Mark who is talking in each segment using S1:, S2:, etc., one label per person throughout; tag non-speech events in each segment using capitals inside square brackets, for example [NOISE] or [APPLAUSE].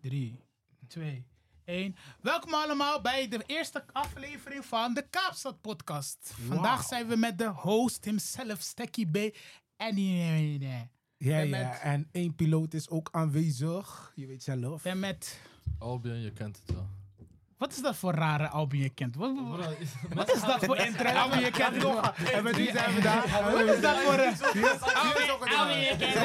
S1: 3, 2, 1. Welkom allemaal bij de eerste aflevering van de Kaapstad Podcast. Vandaag zijn we met de host himself, Stekkie B. En nee, nee.
S2: Ja,
S1: Jij
S2: ja.
S1: bent-
S2: En één piloot is ook aanwezig. Je weet zelf.
S1: ben met.
S3: Albion, je kent het wel.
S1: Wat is dat voor rare album je kent? Wat, wat- wat is dat voor intro album je kent?
S2: En met die zijn we daar.
S1: Wat is dat voor een album je
S2: Ja,
S1: kent? Je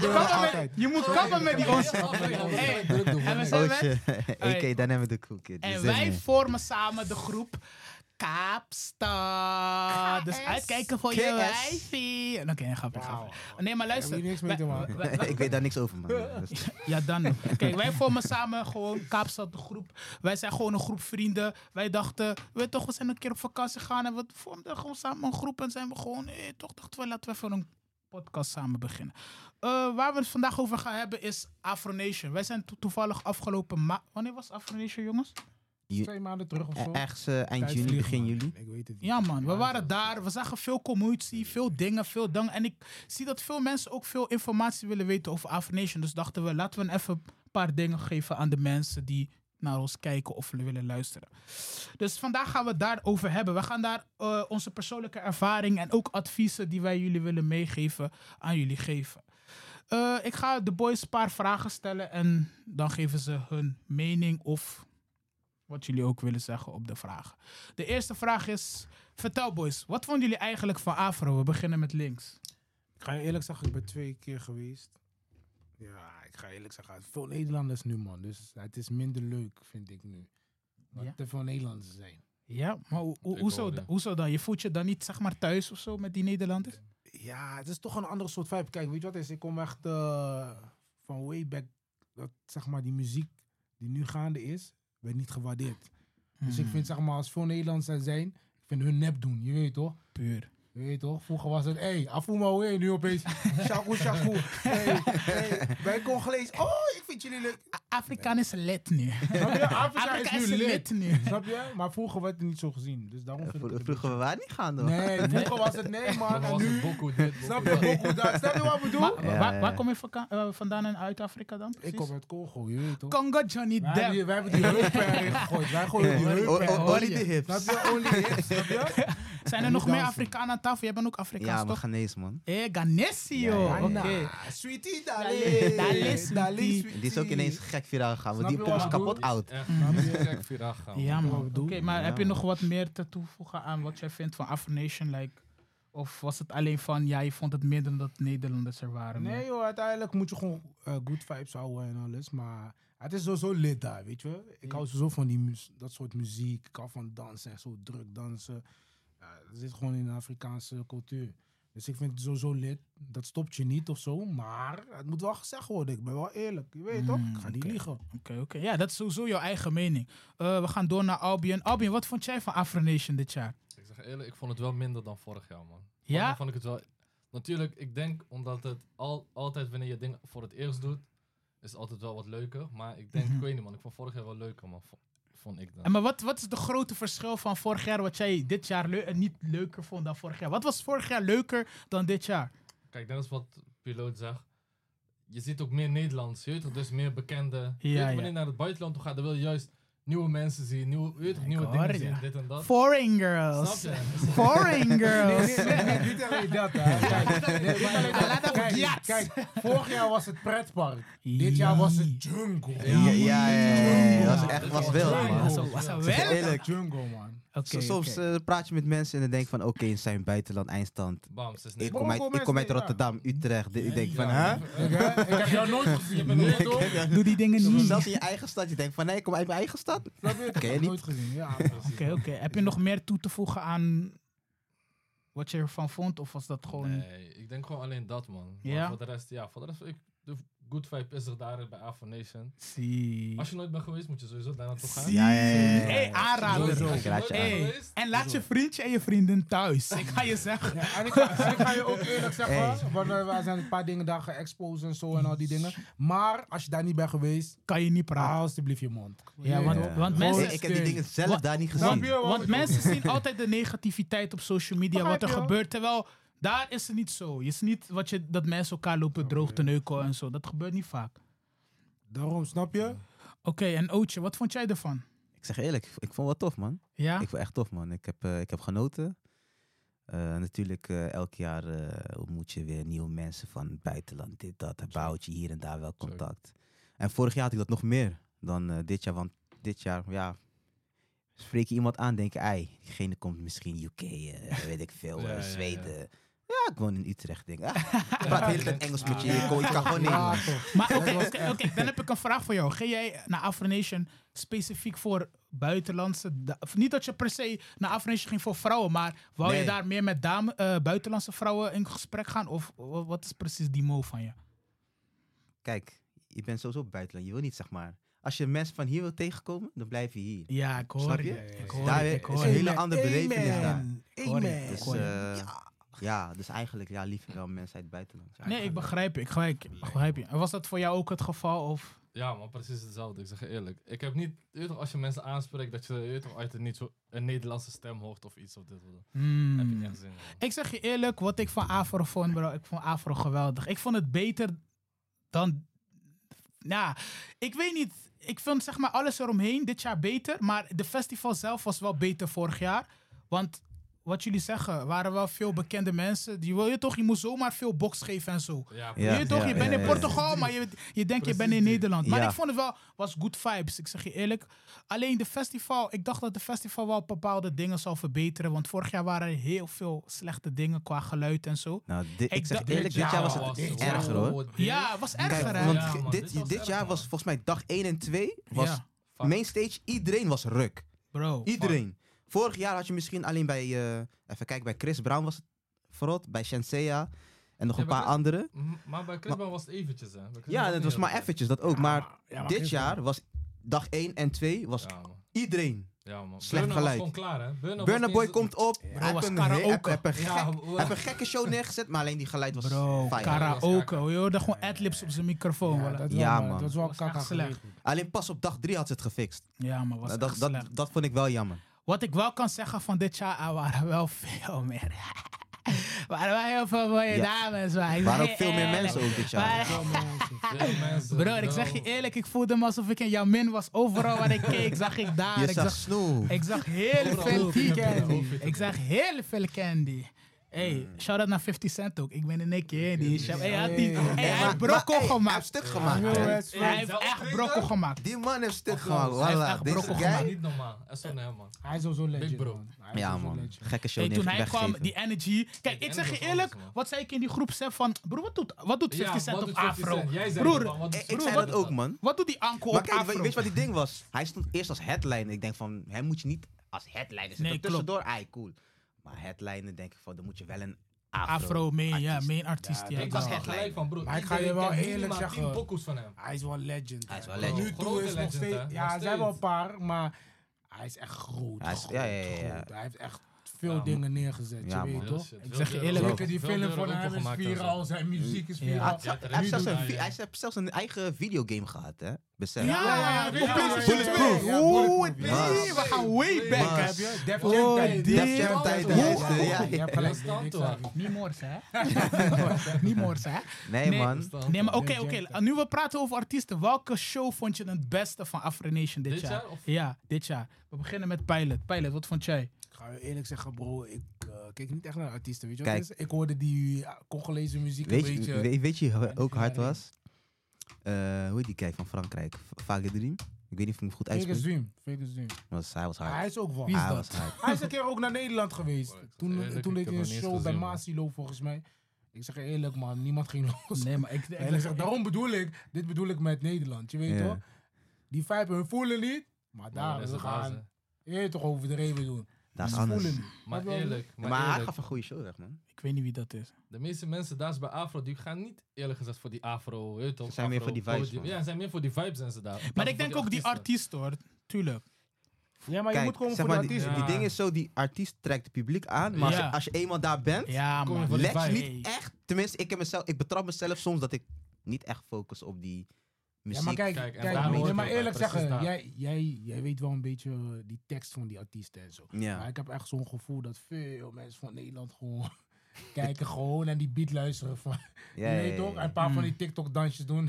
S2: door
S1: kappen met-
S2: altijd.
S1: Je moet kappen met die ons. Oh, Hey, en we zijn
S4: Oh
S1: met
S4: shit. [LAUGHS]
S1: Hey.
S4: AK Dynamic the Cool Dus, eh, Kid.
S1: En
S4: Die zijn
S1: wij
S4: er.
S1: vormen samen de groep Kaapstad. Dus uitkijken voor je
S4: KS.
S1: wijfie. Oké, okay, grappig. grappig. Nee, maar luister.
S2: Daar heb je niks mee te
S1: Wij-
S2: maken.
S1: wij- wij-
S4: [LAUGHS] Ik weet daar niks over,
S1: [LAUGHS]
S4: man. Dat is-
S1: Ja, dan. Kijk, wij vormen samen gewoon Kaapstad de groep. Wij zijn gewoon een groep vrienden. Wij dachten, weet je toch, we zijn een keer op vakantie gegaan. En we vormden gewoon samen een groep. En zijn we gewoon, eh, toch dachten we, laten we even een podcast samen beginnen. Eh, waar we het vandaag over gaan hebben is Afronation. Wij zijn to- toevallig afgelopen ma... Wanneer was Afronation, jongens?
S2: Twee maanden terug of zo.
S4: Ergens eh, eind
S2: Tijd
S4: juli,
S2: vliegt,
S4: begin
S2: man.
S4: juli.
S2: Ik weet het niet.
S1: Ja man, we waren daar. We zagen veel commotie, veel dingen, veel dingen. En ik zie dat veel mensen ook veel informatie willen weten over Afronation. Dus dachten we, laten we even een paar dingen geven aan de mensen die naar ons kijken of willen luisteren. Dus vandaag gaan we het daarover hebben. We gaan daar eh, onze persoonlijke ervaring en ook adviezen die wij jullie willen meegeven aan jullie geven. Eh, ik ga de boys een paar vragen stellen en dan geven ze hun mening of wat jullie ook willen zeggen op de vragen. De eerste vraag is: vertel boys, wat vonden jullie eigenlijk van Afro? We beginnen met links.
S2: Ik ga je eerlijk zeggen, ik ben twee keer geweest. Ja, ik ga je eerlijk zeggen, veel Nederlanders nu, man. Dus het is minder leuk, vind ik nu. Dat
S1: Ja.
S2: er veel Nederlanders zijn.
S1: Ja, maar hoe hoe-
S3: Ik
S1: hoezo,
S3: hoor je.
S1: hoezo dan? Je voelt je dan niet zeg maar thuis of zo met die Nederlanders?
S2: Ja, het is toch een andere soort vibe. Kijk, weet je wat het is? Ik kom echt eh, van way back. Dat zeg maar die muziek die nu gaande is, werd niet gewaardeerd.
S1: Mm.
S2: Dus
S1: Hmm.
S2: ik vind zeg maar als veel Nederlanders er zijn, ik vind hun nep doen. Je weet toch?
S1: puur.
S2: Je weet toch? Vroeger was het, hé, hey, Afuma Way, nu opeens. [LAUGHS] Shaku Shaku. Hey, hey, wij Congolees. Oh, ik vind jullie leuk.
S1: Afrika is lid nu.
S2: Snap
S1: [LAUGHS]
S2: je? Afrika,
S1: Afrika
S2: is nu lid.
S1: [LAUGHS] nu.
S2: Snap je? Maar vroeger werd het niet zo gezien. Dus daarom vind ik
S4: Eh, Vro-
S2: het
S4: Vroeger, we waren niet gaan, hoor.
S2: Nee, vroeger was het nee, man. En nu. Snap je? Boku, dat- Snap je wat ik bedoel?
S1: Maar,
S4: Ja,
S1: waar,
S4: ja.
S1: waar kom je vaka- eh, vandaan en uit Afrika dan?
S2: ik
S1: precies?
S2: kom uit Congo, je weet toch?
S1: Congo Johnny
S2: Wij
S1: Depp.
S2: hebben, die, wij hebben die heupen erin gegooid. Wij gooien die
S4: O-
S2: heupen
S4: o-
S2: erin.
S4: Only the hips.
S2: Snap je? Only hips, snap je?
S1: Zijn er nog meer
S2: dansen.
S1: Afrikanen aan tafel? Jij bent ook Afrikaans,
S4: Ja, maar
S1: toch?
S4: Ghanese, man.
S1: Eh, Ghanesi, joh.
S4: Ja,
S1: Oké.
S4: ja.
S2: Nah, Sweetie,
S1: Dale,
S2: dale.
S1: dale, sweetie.
S4: En die is ook ineens gek viraal gegaan, want
S2: Snap
S4: die
S2: je
S4: pop is
S2: wat ik
S4: kapot oud.
S1: Ja, man. Oké,
S2: bedoel?
S1: maar
S4: Ja,
S1: heb je
S4: man.
S1: nog wat meer te toevoegen aan wat jij vindt van Afronation? Like, of was het alleen van, ja, je vond het meer dan dat Nederlanders er waren?
S2: Nee joh, uiteindelijk moet je gewoon eh, good vibes houden en alles. Maar het is sowieso lid daar, weet je. Ik hou sowieso van die mu- dat soort muziek. Ik hou van dansen en zo druk dansen. Ja, dat zit gewoon in de Afrikaanse cultuur. Dus ik vind het sowieso lid. Dat stopt je niet of zo. Maar het moet wel gezegd worden. Ik ben wel eerlijk. Je weet toch? Ik ga niet liegen.
S1: Oké, oké. Ja, dat is sowieso jouw eigen mening. Eh, we gaan door naar Albion. Albion, wat vond jij van Afronation dit jaar?
S3: Ik zeg eerlijk, ik vond het wel minder dan vorig jaar, man.
S1: Ja?
S3: Vorig jaar vond ik het wel... Natuurlijk, ik denk omdat het al, altijd wanneer je dingen voor het eerst doet, is het altijd wel wat leuker. Maar ik denk, ik weet niet, man. Ik vond vorig jaar wel leuker, man. vo- Vond ik
S1: Mhm. En
S3: dan.
S1: maar wat, wat is de grote verschil van vorig jaar wat jij dit jaar leu- eh, niet leuker vond dan vorig jaar? Wat was vorig jaar leuker dan dit jaar?
S3: Kijk, dat is wat piloot zegt. Je ziet ook meer Nederlands, je weet toch? Dus meer bekende. Je weet
S1: Ja,
S3: toch,
S1: ja.
S3: wanneer je naar het buitenland toe gaat, dan wil je juist nieuwe mensen zien, nieuwe, je weet toch,
S1: Ik
S3: nieuwe
S1: hoor
S3: dingen
S1: je.
S3: zien, dit en dat.
S1: Foreign
S3: Snap
S1: girls.
S4: [LAUGHS]
S3: je?
S1: Foreign girls.
S2: [LAUGHS] Nee, nee, [LAUGHS] nee, niet alleen dat, hè. Kijk, nee, niet alleen dat.
S1: Laat dat
S2: Kijk,
S1: op
S2: kijk, vorig jaar was het pretpark. Dit jaar was het jungle.
S4: Ja,
S2: man.
S4: ja, ja, ja, ja. Dat was echt was wild,
S2: Ja,
S4: man.
S2: man.
S1: Was dat
S4: Zeg
S1: wel?
S4: Eerlijk.
S2: Jungle, man.
S1: Oké,
S4: So- Soms
S1: oké.
S4: eh, praat je met mensen en dan denk je van, oké, ze zijn buitenland, eindstand.
S3: Bam, ze is
S4: Ik
S3: Nederlands.
S4: kom uit, ik kom uit Rotterdam, Utrecht. [LAUGHS] Ik denk van, hè?
S2: Ik, hè? ik heb jou nooit gezien.
S3: Je bent nooit door. Oké,
S1: [LAUGHS] Doe die dingen niet.
S4: [LAUGHS] Zelfs in je eigen stad, je denkt van, nee, ik kom uit mijn eigen stad.
S2: Snap je? Ik heb
S4: Ken
S2: jou
S4: je niet?
S2: nooit gezien. Ja,
S1: Oké, oké. Heb je nog meer toe te voegen aan wat je ervan vond? Of was dat gewoon...
S3: Nee, ik denk gewoon alleen dat, man. Maar
S1: Ja?
S3: Voor de rest, ja, voor de rest, ik, de good vibe is er daar bij Afro Nation.
S1: Zie.
S3: Als je nooit bent geweest, moet je sowieso daar naartoe gaan.
S1: Zie.
S4: Ja, ja, ja, ja, ja.
S1: Hey,
S3: Sowieso.
S1: aanrader.
S4: Ik raad je aan.
S3: Hey.
S1: Hey, en laat je vriendje en je vrienden thuis. Ik ga je zeggen.
S2: En ik, ga- en ik ga je ook eerlijk zeggen, want eh, wij zijn een paar dingen daar geëxposed en zo en al die dingen. Maar als je daar niet bent geweest,
S1: Kan je niet
S2: hou
S1: praten.
S2: alsjeblieft je mond.
S1: Ja, want,
S4: Ja.
S1: want
S4: Ik-
S1: mensen...
S4: Ik heb die dingen zelf
S1: Wat-
S4: daar niet
S2: Snap
S4: gezien.
S2: je? Want-
S1: Want mensen zien altijd de negativiteit op social media, wat er
S2: Begrijp je?
S1: gebeurt. Terwijl daar is het niet zo. Je is niet wat je, dat mensen elkaar lopen droog te neuken en zo. Dat gebeurt niet vaak.
S2: Daarom, snap je?
S1: en Ootje, wat vond jij ervan?
S4: Ik zeg eerlijk, ik vond het wel tof, man.
S1: Ja?
S4: Ik vond het echt tof, man. Ik heb, eh, ik heb genoten. Eh, natuurlijk, eh, elk jaar eh, ontmoet je weer nieuwe mensen van het buitenland. Dit, dat. Dan bouwt je hier en daar wel
S3: Zo.
S4: contact. En vorig jaar had ik dat nog meer dan eh, dit jaar. Want dit jaar, ja, spreek je iemand aan, denk je, ei, diegene komt misschien UK, eh, weet ik
S3: [LAUGHS]
S4: veel,
S3: Ja,
S4: eh,
S3: ja, ja.
S4: Zweden. Ja, ik woon in Utrecht, denk ik. [LAUGHS] Ah, ik praat de hele tijd Engels met je. Je, kon- je kan gewoon niet, man.
S2: Ja, toch.
S1: Maar oké,
S2: Dat was
S1: oké, oké, dan heb ik een vraag voor jou. Ga jij naar Afronation specifiek voor buitenlandse... da- of niet dat je per se naar Afronation ging voor vrouwen, maar wou je
S4: Nee.
S1: daar meer met dame, eh, buitenlandse vrouwen in gesprek gaan? Of wa- wat is precies die mo van je?
S4: Kijk, je bent sowieso buitenland. Je wil niet, zeg maar. Als je mensen van hier wil tegenkomen, dan blijf je hier.
S1: Ja, ik hoor
S4: Snap
S1: je.
S4: je?
S1: Ik hoor
S4: Daar
S1: het,
S4: weer-
S1: ik hoor
S4: is een
S1: het.
S4: hele andere
S2: Amen.
S4: belevenis daar.
S1: Hoor je?
S2: Amen.
S1: Ik
S4: Dus,
S1: hoor je.
S4: eh, ja. dus eigenlijk ja, liever wel mensen uit het buitenland. Ja,
S1: Nee, ik begrijp je. Ik begrijp je. Ik begrijp je. En was dat voor jou ook het geval? Of?
S3: Ja, maar precies hetzelfde. Ik zeg je eerlijk. Ik heb niet, je weet toch, als je mensen aanspreekt, dat je, je weet toch, uit het niet zo een Nederlandse stem hoort of iets of dit of dat.
S1: Hmm.
S3: Heb je niet echt zin in. man.
S1: Ik zeg je eerlijk, wat ik van Afro vond, bro. Ik vond Afro geweldig. Ik vond het beter dan. Ja, ik weet niet. Ik vond zeg maar alles eromheen dit jaar beter. Maar de festival zelf was wel beter vorig jaar. Want wat jullie zeggen, waren wel veel bekende mensen. Die wil je toch, je moet zomaar veel box geven en zo.
S3: Ja,
S4: Ja.
S1: je weet toch, je
S4: ja,
S1: bent
S4: ja,
S1: in
S4: ja.
S1: Portugal, maar je, je denkt je
S3: Precies
S1: bent in
S3: die.
S1: Nederland. Maar
S4: Ja.
S1: ik vond het wel, was good vibes, ik zeg je eerlijk. Alleen de festival, ik dacht dat de festival wel bepaalde dingen zou verbeteren. Want vorig jaar waren er heel veel slechte dingen qua geluid en zo.
S4: Nou, dit,
S1: Ik
S4: ik zeg
S1: dacht-
S4: eerlijk, dit jaar was
S2: Ja,
S4: het
S2: dit
S4: erger
S2: jaar.
S4: hoor.
S1: Ja, het was erger
S4: Kijk,
S1: hè?
S4: want
S3: Ja, man,
S4: dit,
S3: dit was
S4: dit,
S3: erg,
S4: jaar
S3: man.
S4: was volgens mij dag 1 en 2 was
S1: Ja,
S3: Fuck.
S4: main stage, iedereen was ruk.
S1: bro.
S4: Iedereen. Vorig jaar had je misschien alleen bij, eh, even kijken, bij Chris Brown was het verrot, bij Shanseya en nog
S3: Ja,
S4: een
S3: bij
S4: paar
S3: Chris-
S4: anderen.
S3: M- Maar bij Crisban was het eventjes, hè? Bij Chris Brown
S4: Ja, dat
S3: niet
S4: was
S3: heel
S4: maar
S3: erg.
S4: eventjes, dat ook.
S2: Ja,
S4: Maar
S2: ja, maar
S4: dit
S2: Chris Brown.
S4: jaar was dag 1 en 2 was
S3: Ja, man.
S4: iedereen.
S3: Ja, man.
S4: Slecht
S3: Burna was
S4: geluid.
S3: gewoon klaar, hè? Burna was
S4: Burna
S3: niet
S4: Boy
S3: eens-
S4: komt op,
S1: was
S4: hij heeft een,
S1: karaoke.
S4: hij heeft- hij heeft een gek-
S3: Ja,
S4: Hij heeft een gekke show neergezet, maar alleen die geluid was
S1: Bro,
S4: fijn.
S1: karaoke.
S3: Ja,
S1: hoor, Je hoorde gewoon adlibs op zijn microfoon.
S2: Ja,
S1: Ja,
S2: dat,
S4: Ja,
S2: man.
S4: man.
S2: dat is wel
S1: Dat was
S2: kaka
S1: echt slecht.
S2: slecht.
S4: Alleen pas op dag 3 had ze het gefixt.
S1: ja maar was
S4: Nou,
S1: dat,
S4: dat, dat,
S1: slecht.
S4: dat vond ik wel jammer.
S1: Wat ik wel kan zeggen van dit jaar, er waren wel veel meer. [LAUGHS] Er waren wel heel veel mooie
S4: Ja.
S1: dames. maar ik
S4: Er waren
S1: zeg [LAUGHS]
S4: ook
S1: je
S4: veel meer
S1: eerlijk.
S4: mensen ook dit jaar.
S1: Maar-
S3: Veel mensen,
S1: Broer, ik zeg je
S3: bro.
S1: eerlijk, ik voelde me alsof ik in Jamin was. Overal waar ik keek, zag ik daar.
S4: Je
S1: ik,
S4: zag
S1: zag,
S4: Snoe.
S1: ik zag heel
S3: Overal
S1: veel
S3: hoef je te
S1: candy.
S3: hoef je te
S1: Ik zag heel veel candy. Hey,
S4: Hmm.
S1: shout out naar 50 Cent ook. Ik ben in één keer die. shop. Hey, hij had die.
S2: Hey,
S1: Hey, hij
S4: Maar-
S1: heeft
S4: maar,
S1: brokkel
S4: hey, Hij heeft
S1: gemaakt.
S4: stuk gemaakt.
S2: Ja,
S4: hè.
S2: ja.
S1: Hij heeft
S3: Zelf
S1: echt
S3: drinken?
S1: brokkel gemaakt.
S4: Die man heeft stuk
S3: Hij heeft
S4: gemaakt.
S1: echt
S4: Voilà, deze
S1: brokkel
S3: Maar
S1: gemaakt.
S4: guy.
S3: niet normaal. Echt zo naar hem, man.
S2: Hij is sowieso legend,
S3: bro.
S2: man. Hij is
S4: Ja
S2: sowieso
S4: man,
S2: legend.
S4: gekke show
S1: Hey, toen hij
S4: neergelegd.
S1: kwam, die energy. Kijk, ik
S3: energy
S1: zeg je
S3: was
S1: eerlijk,
S3: anders, man.
S1: wat zei ik in die groep? Zeg van, broer, wat doet, wat doet 50 Cent op afro? Broer,
S4: Ik, ik
S1: Broer,
S4: zei
S1: wat-
S4: dat ook man.
S1: Wat doet die anko
S4: Maar
S1: op
S4: kijk,
S1: afro?
S4: weet, weet je wat die ding was? Hij stond eerst als headliner. Ik denk van, hem moet je niet als headliner zetten.
S1: Nee, klopt.
S4: Tussendoor, ai cool. Maar headliner denk ik van, dan moet je wel een afro.
S1: Afro, main, ja,
S4: artiest.
S1: main artiest.
S2: Ja,
S1: Ja,
S3: Ik
S1: dat
S3: was
S1: wel.
S3: [LAUGHS] echt gelijk van, broer.
S2: Maar ik ga je
S3: iedereen
S2: wel
S3: kent
S2: eerlijk
S3: minimaal
S2: zeggen.
S3: tien pokoes van hem.
S2: Hij is wel legend.
S4: Hij is wel
S2: Wat
S4: legend.
S2: Nu toe
S3: Grote
S2: is nog
S3: legend, hè?
S2: steeds.
S3: Nog
S2: Ja, er zijn
S3: steeds.
S2: wel een paar, maar hij is echt groot.
S4: Hij is-
S2: groot,
S4: ja, ja, ja, ja.
S2: groot. Hij heeft echt veel
S3: Ja,
S2: dingen neergezet,
S4: Ja,
S2: je
S4: man.
S2: weet
S3: Heel
S2: toch?
S3: shit.
S1: Ik
S3: Veel
S1: zeg je
S3: deuren
S1: eerlijk,
S3: open-
S2: Zeker die
S3: veel
S2: film
S3: deuren
S2: van hem is
S3: opengemaakt en zo.
S2: viraal, zijn muziek is
S1: Ja.
S4: Hij
S2: viraal.
S4: had-
S3: Ja,
S4: hij heeft
S3: nu
S4: zelfs
S3: doet
S4: een
S3: hij,
S4: vi-
S3: ja.
S4: hij heeft zelfs een eigen videogame gehad, hè? Besef.
S1: Ja, ja, ja.
S2: ja,
S1: Bulletproof
S2: ja, ja, ja.
S1: Bulletproof.
S2: Ja,
S1: Oeh,
S2: Bulletproof,
S4: ja.
S1: nee, we gaan way
S3: Mas.
S1: back.
S2: Heb je? Def
S1: Oh,
S2: Jam tijd.
S1: die-
S2: Def Jam
S4: Jam
S2: tijd,
S4: tijd,
S2: ja,
S4: juist,
S2: ja,
S4: ja,
S2: ja.
S4: ja.
S2: Je hebt gelijk,
S3: Dat is
S2: niks aan.
S1: Niet morsen, hè? [LAUGHS] Niet morsen, hè?
S4: Nee,
S1: Nee,
S4: man.
S1: Nee, maar oké,
S2: Nee,
S1: oké.
S2: Jenke.
S1: Nu we praten over artiesten, welke show vond je het beste van Afro Nation dit,
S3: Dit
S1: jaar?
S3: jaar of-
S1: Ja, dit jaar. We beginnen met Pilot. Pilot, wat vond jij?
S2: Ik ga je eerlijk zeggen, bro, ik eh, kijk niet echt naar artiesten, weet je wat
S4: Kijk.
S2: het is? Ik hoorde die eh, Congolese muziek
S4: Weet
S2: een
S4: je,
S2: beetje.
S4: weet, weet je hoe ook hard
S2: daarin.
S4: was? Eh, hoe heet die kijk van Frankrijk? Vage Dream? Ik weet niet of ik hem goed
S2: Vegas
S4: uitspreek.
S2: Dream, Vegas Dream.
S4: Was, hij was
S2: Hij
S4: hard.
S2: is ook wel.
S1: Wie is
S4: hij
S1: dat?
S4: was hard.
S2: Hij is een keer ook naar Nederland geweest.
S3: Oh, ik zeg
S2: Toen,
S3: eerlijk,
S2: toen
S3: ik
S2: deed
S3: heb
S2: hij een
S3: hem niet
S2: show
S3: eens
S2: bij
S3: gezien, man.
S2: Masilo volgens mij. Ik zeg je eerlijk man, niemand ging los.
S1: Nee, maar
S2: [LAUGHS]
S1: ik...
S2: Eerlijk gezegd, daarom bedoel ik, dit bedoel ik met Nederland, je weet
S4: Ja.
S2: toch? Die vijf hun voelen niet, maar daar
S3: is
S2: we
S3: het haast,
S2: gaan je weet toch overdreven doen.
S4: Dat is
S2: Ze
S4: anders.
S2: voelen
S4: Maar,
S2: niet.
S3: Maar
S2: Wat wil je?
S3: eerlijk, maar,
S4: hij
S3: eerlijk,
S4: gaf een goede show weg, man.
S1: Ik weet niet wie dat is.
S3: de meeste mensen daar is bij Afro, die gaan niet eerlijk gezegd voor die Afro. Ze
S4: Ze zijn meer voor die vibes, man.
S3: Ja, ze zijn meer voor die vibes en ze daar. dan
S1: Maar
S3: voor
S1: ik denk ook die artiest, hoor. Tuurlijk.
S2: Ja, maar je moet
S4: Kijk,
S2: komen
S4: zeg
S2: voor de
S4: maar, die,
S2: artiesten.
S3: Ja.
S4: die ding is zo, die artiest trekt het publiek aan. Maar als,
S1: Ja.
S4: je, als je eenmaal daar bent,
S1: Ja,
S3: Kom je
S1: man.
S3: voor die
S4: let je
S3: vibe.
S4: niet echt... Tenminste, ik, heb mezelf, ik betrap mezelf soms dat ik niet echt focus op die
S2: Ja,
S4: muziek.
S2: maar kijk,
S3: Kijk,
S2: kijk,
S3: en daar
S2: nee,
S3: hoort
S2: maar
S3: het ook
S2: eerlijk
S3: bij, precies
S2: zeggen,
S3: daar.
S2: jij, jij, jij weet wel een beetje eh, die tekst van die artiesten en zo.
S4: Ja.
S2: Maar ik heb echt zo'n gevoel dat veel mensen van Nederland gewoon [LAUGHS] kijken gewoon en die beat luisteren. Van,
S4: Ja,
S2: je weet
S4: ja, ja,
S2: toch?
S4: ja. Mm.
S2: Een paar van die TikTok-dansjes
S4: [LAUGHS]
S2: doen.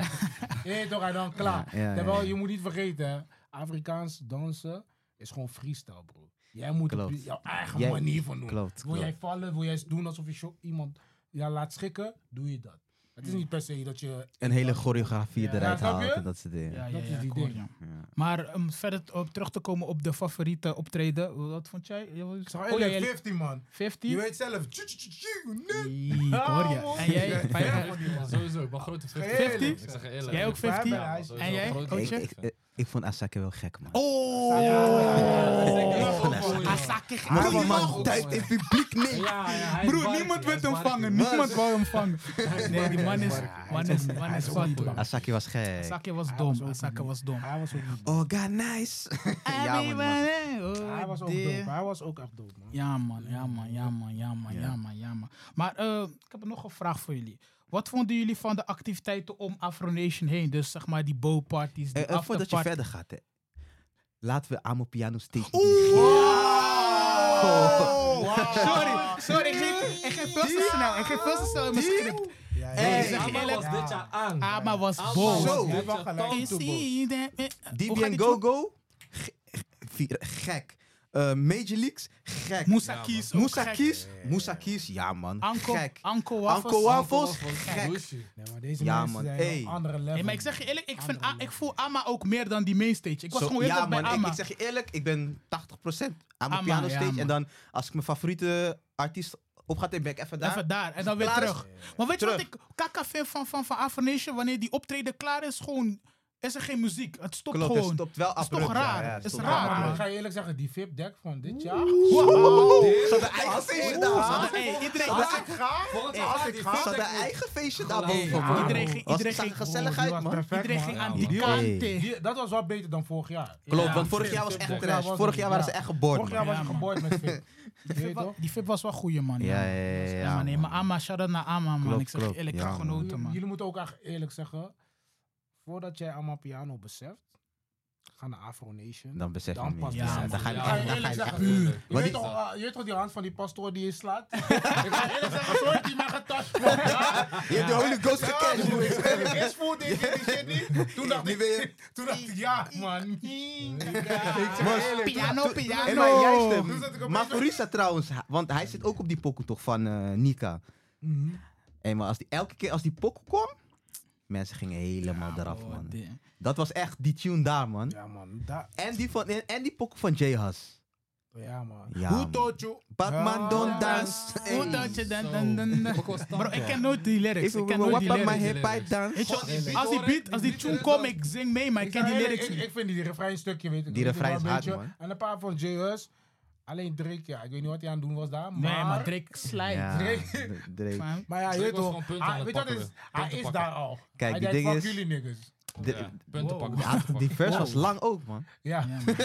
S2: je weet toch? En dan klaar.
S4: Ja, ja,
S2: Terwijl
S4: ja.
S2: je moet niet vergeten, hè, Afrikaans dansen is gewoon freestyle, bro. Jij moet het op
S4: Klopt.
S2: jouw eigen
S4: Jij-
S2: manier van doen.
S4: Klopt,
S2: Wil jij
S4: klopt.
S2: vallen, wil jij doen alsof je cho- iemand ja, laat schikken, doe je dat. Het is
S4: Mm.
S2: niet per se dat je...
S4: Een hele choreografie
S1: Ja.
S4: eruit
S2: Ja, snap
S4: haalt
S2: je?
S4: en dat soort dingen.
S1: Ja, ja,
S2: dat is
S1: ja,
S2: die
S1: ik hoor
S2: ding.
S1: je.
S4: Ja.
S1: Maar om verder t- op terug te komen op de favoriete optreden. Wat vond jij? Ja, wat-
S2: Ik zag
S1: oh,
S2: eerlijk,
S1: jij
S2: 50 man.
S1: 50?
S2: Je weet zelf. tju, tju, tju, tju, nee.
S1: Ie, ik hoor je.
S2: Ah,
S1: En jij?
S2: man.
S1: Vijf-
S2: Ja, van die man.
S3: Sowieso, ik ben grote 50.
S1: 50?
S3: Ik zeg je eerlijk.
S1: Jij ook 50?
S3: Ja, man, sowieso
S1: En jij,
S3: grote
S1: coach?
S4: Ik,
S3: 50.
S4: ik, ik, ik vond Asake wel gek, man.
S1: Oh!
S4: Oh.
S1: Ah,
S4: [LAUGHS]
S3: Ja.
S1: Asake ging
S4: Hij
S3: die
S1: helemaal
S3: man
S4: man
S3: ook,
S4: duikt
S3: man.
S4: in publiek nee.
S3: Ja, ja, hij is
S1: Broer,
S3: barkie,
S1: niemand wil
S3: hij is
S1: hem
S3: barkie.
S1: vangen. Niemand wil hem vangen. [LAUGHS] Nee, die man is... Man is... Man is
S2: ook
S1: zwart,
S2: niet
S1: broer.
S2: bang.
S4: Asake was gek.
S1: Asake was
S2: Hij
S1: dom.
S2: was ook
S1: Asake
S2: niet.
S1: was dom.
S2: Hij was ook niet
S4: Oh, god, nice. [LAUGHS] ja, man, man. Oh,
S1: man.
S2: Hij was ook dope. Hij was ook echt dope, man.
S1: Oh, Ja man, ja man, ja man, ja man, ja man, ja man. Maar eh, ik heb nog een vraag voor jullie. Wat vonden jullie van de activiteiten om Afro Nation heen? Dus zeg maar die bo-parties, die
S4: Eh, eh, voordat je
S1: afterparties.
S4: verder gaat, hè. Laten we Amo Piano steeds... Oh.
S2: Oh,
S1: Sorry, sorry, ik ging, ik ging veel te snel. Ik ging veel te snel in mijn script.
S2: Ja, ja,
S1: Hey,
S2: ja. Nou,
S1: zeg
S3: Ama
S1: eerlijk-
S3: was dit jaar aan.
S1: Ama was
S3: Ama
S1: boos.
S3: was
S4: Zo.
S3: dit
S2: Hij
S3: jaar
S2: had gelijk.
S3: tand-
S1: I see that- eh, hoe gaat
S4: DB en
S1: die tune?
S4: Go-Go? Ge- ge- vier- Gek. Eh, Major Leagues? Gek.
S1: Moussa Kies. ook
S4: Moussa
S1: gek. Ah,
S4: Kies? Moussa Kies, ja man.
S1: Anko,
S4: Gek.
S1: Anko
S4: Anko
S1: Waffles.
S4: Wafels?
S3: Van
S4: Gek.
S3: Gucci.
S2: Nee, maar deze
S4: Ja,
S2: mensen
S4: man.
S2: zijn
S4: Hey.
S2: op andere level.
S1: Nee, maar ik zeg je eerlijk, ik, vind, A- ik voel Ama ook meer dan die mainstage. Ik was
S4: Zo,
S1: gewoon heel
S4: ja,
S1: erg bij
S4: man, ik,
S1: Ama.
S4: ik zeg je eerlijk, ik ben 80% aan
S1: Ama,
S4: mijn piano
S1: ja,
S4: stage.
S1: man.
S4: en dan, als ik mijn favoriete artiest op ga, dan ben ik even daar.
S1: Even daar en dan weer
S4: Klaar is-
S1: terug. Maar weet je wat
S4: Terug.
S1: ik kaka vind van, van, van Afro Nation? Wanneer die optreden klaar is, gewoon is er geen muziek. Het stopt
S4: Klopt, het
S1: gewoon.
S4: stopt wel
S1: is
S4: abrupt.
S1: toch raar?
S4: Ja, ja, het
S1: Is
S4: stopt
S1: raar,
S4: abrupt.
S2: maar
S1: man.
S2: ik ga je eerlijk zeggen, die VIP-deck van dit jaar.
S4: Ze hadden eigen feestje daar. Ze hadden-
S1: Hey, iedereen,
S4: Als
S1: iedereen,
S4: ik ga,
S3: Volgens
S4: Hey,
S3: mij
S4: als
S3: gaat
S4: ik
S3: die
S4: ga, ze hadden
S3: feedback niet-
S4: eigen feestje daar
S3: Hey,
S4: boven,
S3: ja,
S4: man.
S1: iedereen ging-
S4: Was-
S1: iedereen
S4: zag
S1: ging- Oh,
S4: gezelligheid,
S2: was
S4: man.
S2: perfect,
S1: iedereen
S2: man.
S1: ging
S2: Ja,
S1: aan
S2: man.
S1: die
S4: man.
S1: kant.
S4: Hey.
S1: eh.
S2: Die- dat was wel beter dan vorig jaar.
S4: Klopt,
S3: Ja,
S4: want vorig jaar was
S3: fit,
S4: echt
S3: fit,
S4: trash.
S2: was
S4: Vorig
S2: het,
S4: jaar waren
S2: ja.
S4: ze echt geboord.
S2: Vorig jaar was
S1: Ja,
S2: je
S1: man.
S2: geboord met
S4: [LAUGHS]
S2: VIP. Weet je
S1: Wa-
S2: toch?
S1: Die VIP was wel goeie, man.
S4: Ja, ja, ja, ja,
S1: man. Nee,
S4: man.
S1: dus- maar Ama, shout-out naar Ama, man.
S4: Klopt,
S1: ik zeg je
S4: klopt.
S1: eerlijk, ik
S4: Ja,
S1: ga
S4: man.
S1: genoten, man.
S2: Jullie moeten ook echt eerlijk zeggen, voordat jij allemaal piano beseft, ga naar Afro Nation.
S4: Dan besef je
S2: Dan
S4: hem
S2: pas
S4: niet.
S1: besef
S4: Ja,
S1: je
S4: dan ga je
S2: Ja,
S4: dan ga je
S2: eerlijk
S4: echt
S2: zeggen,
S4: puur.
S2: Je
S4: Maar
S2: weet,
S4: die-
S2: toch, eh, je weet toch die hand van die pastoor die je slaat? ik ga eerlijk zeggen, zo heeft hij mij getast. man. Ja,
S4: Je hebt de Holy Ghost gecatcht, broer.
S2: Ik
S4: [LAUGHS]
S2: eerst voelde ik dit shit niet. Toen dacht
S4: Nu
S2: ik,
S4: ben je-
S2: toen dacht ik ja man.
S1: Piano,
S4: En maar
S1: piano.
S4: juist,
S2: Toen zat ik
S4: hem.
S2: opeens-
S4: maar Farisa trouwens, ha- want hij zit ook op die pokoe toch van eh, Nika. En maar als die, elke keer als die pokoe kwam, mensen gingen helemaal eraf,
S1: Oh,
S4: man.
S1: damn.
S4: Dat was echt die tune daar, man.
S2: Ja man, dat...
S4: En die, van, en, en die pokoe van J-Hus.
S2: Ja man.
S4: Ja,
S2: Hoe
S4: man.
S2: toot je?
S4: Batman,
S2: Ja.
S4: don't dance.
S1: Hoe
S4: Hey.
S1: dat je dan-
S3: Zo.
S1: dan- dan- dan-
S3: Ik was stand,
S1: Bro, ik
S3: ja.
S1: ken nooit die lyrics. Ik
S4: If you
S1: ken
S4: will
S1: nooit
S4: wap
S1: die
S4: up my
S1: lyrics.
S4: hip, I dance.
S1: Weet je,
S3: Gewoon die beat
S1: als die
S3: hoor ik,
S1: beat, als die
S3: die
S1: tune
S3: beat
S1: komt,
S3: is
S1: ik zing mee, maar ik
S2: Ik
S1: ken die
S2: zei,
S1: lyrics
S2: ik,
S1: niet.
S2: ik vind die refreinstukje, weet ik
S4: Die
S2: weet ik wel
S4: refrein is
S2: een
S4: hard,
S2: beetje.
S4: man.
S2: En een paar van J.S. Alleen Drake, ja. Ik weet niet wat hij aan het doen was daar, maar...
S1: Nee, maar Drake
S4: Ja,
S1: slijt.
S4: Drake.
S1: fam.
S2: [LAUGHS] Maar ja, je
S3: Drake
S2: weet
S3: was
S2: toch,
S3: gewoon punten
S2: hij-
S3: aan het
S2: weet je wat
S3: pakken
S2: is?
S3: weer.
S2: Hij
S3: Punten
S2: is
S3: pakken.
S2: daar al.
S4: Kijk,
S2: hij
S4: die
S2: denkt,
S4: ding
S2: fuck
S4: is-
S2: jullie niggas.
S4: De-
S3: Ja, Punten pakken.
S4: Ja,
S3: punten
S4: die
S3: pakken.
S4: vers was lang ook, man.
S2: Ja.
S1: Ja, man.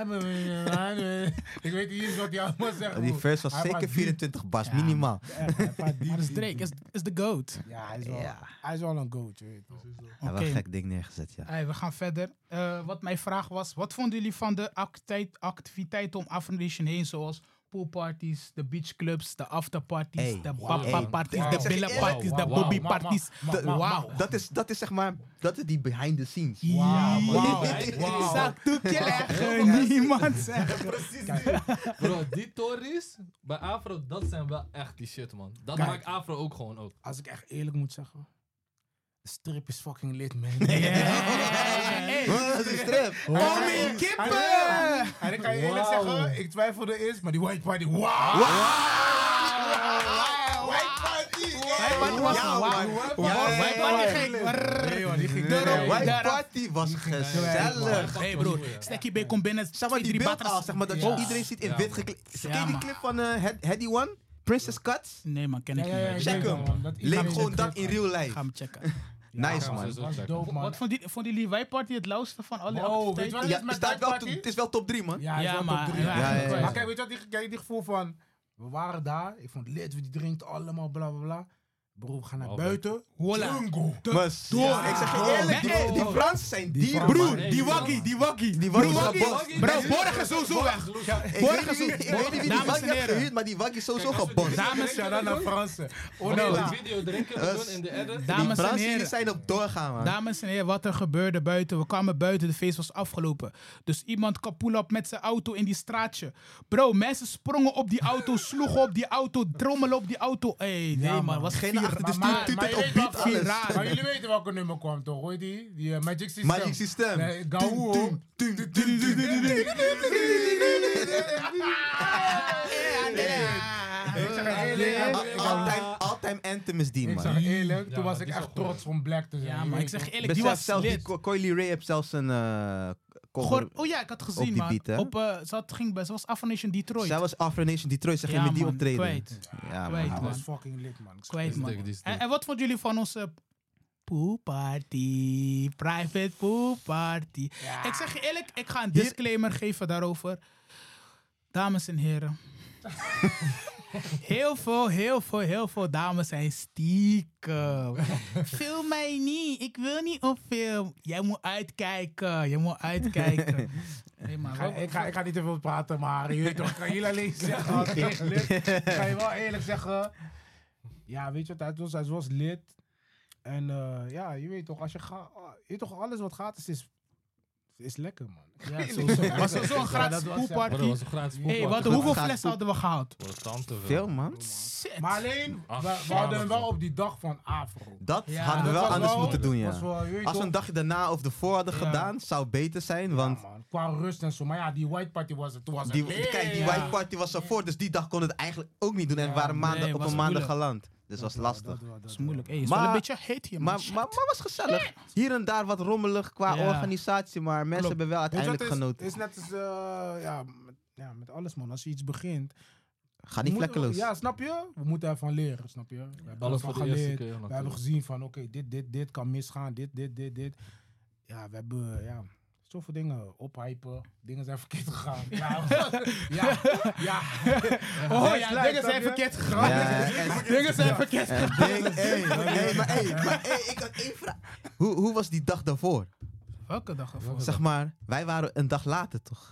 S2: I'm a- I'm a- Ik weet niet eens wat hij allemaal zegt.
S4: Die
S2: broer.
S4: vers was
S2: Hij
S4: zeker
S2: maakt
S4: 24 bars,
S1: Ja,
S4: minimaal.
S2: diep, echt, hij maakt diep,
S1: Maar dat is
S2: diep,
S1: Drake,
S2: diep.
S1: is, is de GOAT.
S2: Ja, hij is wel,
S4: Ja.
S2: hij is wel een goat, je weet toch.
S4: Hij had
S1: Oké.
S4: wel gek ding neergezet, ja.
S1: Hey, we gaan verder. Eh, wat mijn vraag was, wat vonden jullie van de activiteit, activiteiten om Afro Nation heen, zoals poolparties, de beachclubs, de afterparties,
S4: Hey,
S1: de
S4: wow.
S1: papa-parties,
S4: Hey,
S1: de
S4: wow.
S1: billenparties, de
S3: Wow.
S1: bobbyparties.
S2: Ma- ma- ma- ma-
S1: Wauw.
S4: Dat is, dat is zeg maar, dat is die behind the scenes.
S2: Wauw,
S1: Ja,
S2: wauw,
S1: dit
S2: wauw.
S1: is dat toekje leggen, niemand zegt.
S3: Bro, die Tories bij Afro, dat zijn wel echt die shit, man. Dat
S2: Kijk.
S3: maakt Afro ook gewoon ook.
S2: Als ik echt eerlijk moet zeggen, de strip is fucking lit, man.
S4: [LAUGHS]
S1: Hey, hey.
S4: Huh, Dat is strip.
S1: Oh, mijn kippen!
S2: En ik ga je eerlijk
S3: Wauw.
S2: zeggen, ik twijfelde eerst, maar die white party, wauw! White party!
S1: White party was
S4: Ja,
S1: wauw.
S4: man.
S1: White
S4: Ja, ja, ja,
S1: party
S4: ja.
S1: ging. brrr.
S2: Nee, man, die ging
S1: Daarop,
S2: erop.
S1: daarop.
S4: White Party was gezellig.
S1: Hey broer, Stekkie B komt binnen,
S4: Zeg maar
S1: twee,
S4: die
S1: drie
S4: beeld
S1: batters.
S4: al, zeg maar, dat je
S2: Ja.
S4: iedereen ziet in
S3: Ja,
S4: wit
S3: man.
S4: gekleed. Ken
S1: Ja,
S4: je die
S1: man.
S4: clip van eh, Head- Heady One? Princess Cuts?
S1: Nee man, ken ik
S2: Ja,
S1: niet.
S2: ja, ja,
S1: meer.
S2: ik
S4: Check
S2: weet
S4: hem.
S2: wel, man. Dat
S4: Leef
S2: iedereen
S4: gewoon
S2: de
S4: dat
S2: clip
S4: in real life.
S1: Ga hem checken.
S4: Nice,
S3: Ja,
S4: man.
S3: man.
S2: was
S3: Check.
S2: dope, man.
S1: Wat vonden jullie, vonden jullie White Party het lauwste van alle
S2: Wow,
S1: activiteiten?
S2: weet je wat?
S4: Ja,
S2: Is met
S4: het staat
S2: White
S4: wel
S2: Party?
S4: to- het is wel top 3, man.
S2: Ja, hij
S1: Ja,
S2: is wel
S1: maar-
S2: top drie.
S1: ja,
S4: ja, ja.
S2: Maar kijk, weet je wat, die- kijk, die gevoel van, we waren daar, ik vond het lit, we die drinken allemaal, bla bla bla. Bro, we gaan naar
S3: Oh,
S2: buiten.
S1: Hola.
S2: Jungle.
S4: Mas,
S1: door.
S4: ja, ik zeg je eerlijk, die,
S1: Nee,
S4: die
S1: nee.
S4: Fransen zijn
S2: Die
S4: die,
S2: Fransen
S4: broer.
S1: Broer,
S3: Nee,
S1: die
S3: man.
S1: wakkie, die wakkie.
S4: Die
S1: Bro,
S4: wakkie is
S1: wakkie.
S4: gebost.
S1: Bro, Borg is sowieso weg.
S4: Ik
S1: Borg
S4: weet
S1: is
S4: niet, ik
S1: sowieso
S4: weet niet wie die
S1: Dames
S4: Waggy
S1: en
S4: heeft
S1: heren.
S4: gehuurd, maar die Waggy is sowieso
S3: Kijk, als we dit-
S4: gebost.
S2: Dames en heren, naar Fransen. Oh,
S3: Wanneer
S2: nou.
S3: we die video erin kunnen doen in de edit.
S1: Dames
S4: Die
S1: en
S4: Fransen die
S1: heren.
S4: zijn op doorgaan, man.
S1: Dames en heren, wat er gebeurde buiten. We kwamen buiten, de feest was afgelopen. Dus iemand kapoel op met zijn auto in die straatje. Bro, mensen sprongen op die auto, [LAUGHS] sloegen op die auto, trommelen op die auto. Hé, nee
S2: man.
S1: man, Dus was
S4: Geen
S1: [LAUGHS]
S4: achter Ah, de
S1: maar-
S4: stuur,
S1: maar-
S2: maar
S4: tuut
S2: je
S4: op
S2: weet
S4: beat,
S2: wat-
S4: alles.
S1: Viraal.
S2: Maar jullie weten welke nummer kwam toch, hoor je die? Die eh, Magic System.
S4: Magic System.
S2: Nee, Gauw.
S4: Doem, doem, doem, doem, doem, doem, doem, doem.
S2: Ik zeg het eerlijk,
S4: Al- all-time- All-time anthem is die,
S2: ik zeg
S4: man.
S2: het eerlijk,
S3: Ja,
S2: toen was ik
S3: maar die is
S2: echt
S3: ook goed.
S2: trots om Black te zijn.
S1: Ja,
S2: je
S1: maar ik
S2: weet
S1: zeg
S2: toch?
S1: eerlijk, die
S4: Besef
S1: was
S4: zelf, die
S1: lit.
S4: Co- Coily Ray heeft zelfs een eh, cover.
S1: Gewoon- oh ja, ik had gezien,
S4: die
S1: man.
S4: beat, hè?
S1: Op, eh, ze, had, ging, bij- ze was Affirmation Detroit.
S4: Zij was Afro Nation Detroit, zeg je
S1: Ja,
S4: met die
S1: man,
S4: optreden.
S1: kwijt.
S4: Ja,
S1: Kwijt,
S4: man.
S2: Hij was
S1: man.
S2: fucking lit, man. Ik zeg
S1: Kwijt,
S3: Die is
S1: man.
S3: dik, die is dik.
S1: En, en wat vonden jullie van onze pool party? Private pool party.
S2: Ja.
S1: Ik zeg je eerlijk, ik ga een disclaimer geven daarover. Dames en heren. heel veel, heel veel, heel veel dames zijn stiekem. film mij niet. Ik wil niet op film. Jij moet uitkijken. Jij moet uitkijken. Nee, maar
S2: Ik ga,
S1: wat-
S2: ik, ga, ik ga niet te veel praten, maar [LAUGHS] je weet toch, ik kan jullie alleen zeggen, het is lit. Ik ga je wel eerlijk zeggen. Ja, weet je wat, het was, het was lid. En eh, ja, je weet toch, als je gaat, je weet toch, alles wat gratis is, is lekker, man.
S1: Ja, sowieso. Maar sowieso een
S2: Ja,
S1: gratis
S2: dat was-
S3: Bro, dat
S1: poolparty.
S3: was een gratis
S1: Hé,
S3: poolparty.
S1: wat- hoeveel
S4: Gaat
S1: flessen
S4: poep-
S1: hadden we gehaald?
S3: Bro, tante veel.
S4: Veel, man.
S1: Shit.
S2: Maar alleen, we, we hadden hem wel op die dag van Afro.
S4: Dat
S1: Ja.
S4: hadden we
S1: Dat
S4: wel
S1: was
S4: anders
S1: wel-
S4: moeten doen,
S2: Was
S4: ja.
S2: wel, je weet
S4: Als we een
S2: toch,
S4: dagje daarna of ervoor hadden
S1: Ja.
S4: gedaan, zou beter zijn, want...
S2: ja, man, qua rust en zo. Maar ja, die white party was het, toen was het
S4: Die,
S2: lit.
S4: Kijk, die
S1: ja.
S4: white party was ervoor, dus die dag kon het eigenlijk ook niet doen. En we waren maanden,
S1: nee,
S4: op
S1: was
S4: een maandag
S1: moeilijk.
S4: geland. Dus was lastig.
S2: Dat, dat,
S1: Dat
S2: dat,
S1: is moeilijk. Hey, het is
S4: Maar-
S1: wel een beetje heet hier, man.
S4: Maar, maar, maar was gezellig. Hier en daar wat rommelig qua
S1: Ja.
S4: organisatie, maar mensen
S1: Klopt.
S4: hebben wel
S2: Weet je wat
S4: uiteindelijk
S2: Het
S4: genoten.
S2: is, is net als, eh, ja, met, ja, met alles man. Als je iets begint.
S4: Ga niet
S2: we moeten-
S4: vlekkeloos.
S2: Ja, snap je? We moeten ervan leren, snap je? We hebben
S3: Alles
S2: ervan
S3: voor de eerste
S2: geleerd.
S3: keer.
S2: We hebben
S3: natuurlijk.
S2: gezien van, oké, dit, dit, dit kan misgaan. Dit, dit, dit, dit. Ja, we hebben, eh, ja... Zoveel dingen ophypen, dingen zijn verkeerd gegaan. Ja, ja, ja.
S1: Oh
S2: Red
S1: ja,
S2: flag,
S1: dingen
S2: snap
S1: zijn
S2: je?
S1: verkeerd
S4: Ja,
S1: gegaan. [LAUGHS]
S4: en-
S1: Dingen zijn verkeerd gegaan.
S4: en ding, hey, hey, maar hey, maar hey, ik had één vraag. Hoe, hoe was die dag daarvoor?
S1: Welke dag ervoor?
S4: Zeg maar, wij waren een dag later toch?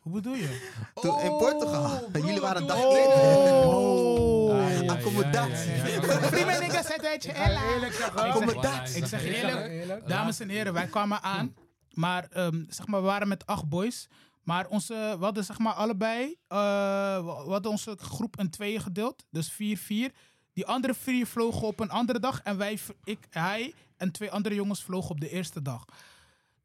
S1: Hoe bedoel je?
S4: Toen in Portugal. [LAUGHS] Jullie waren een dag eerder.
S1: Oh!
S3: Ah, ja, ja,
S4: accommodatie.
S3: ja, ja, ja.
S1: Prima niggas uit uit je
S2: Ik ga je
S1: Ella.
S2: eerlijk zeggen.
S4: Accommodatie.
S1: Ik zeg je
S2: Ik ga je
S1: eerlijk,
S2: eerlijk.
S1: dames en heren, wij kwamen aan. Maar, ehm, zeg maar we waren met acht boys. Maar onze, we hadden zeg maar allebei, eh, we we hadden onze groep in tweeën gedeeld. Dus vier, vier. Die andere vier vlogen op een andere dag. En wij, v- ik, hij en twee andere jongens vlogen op de eerste dag.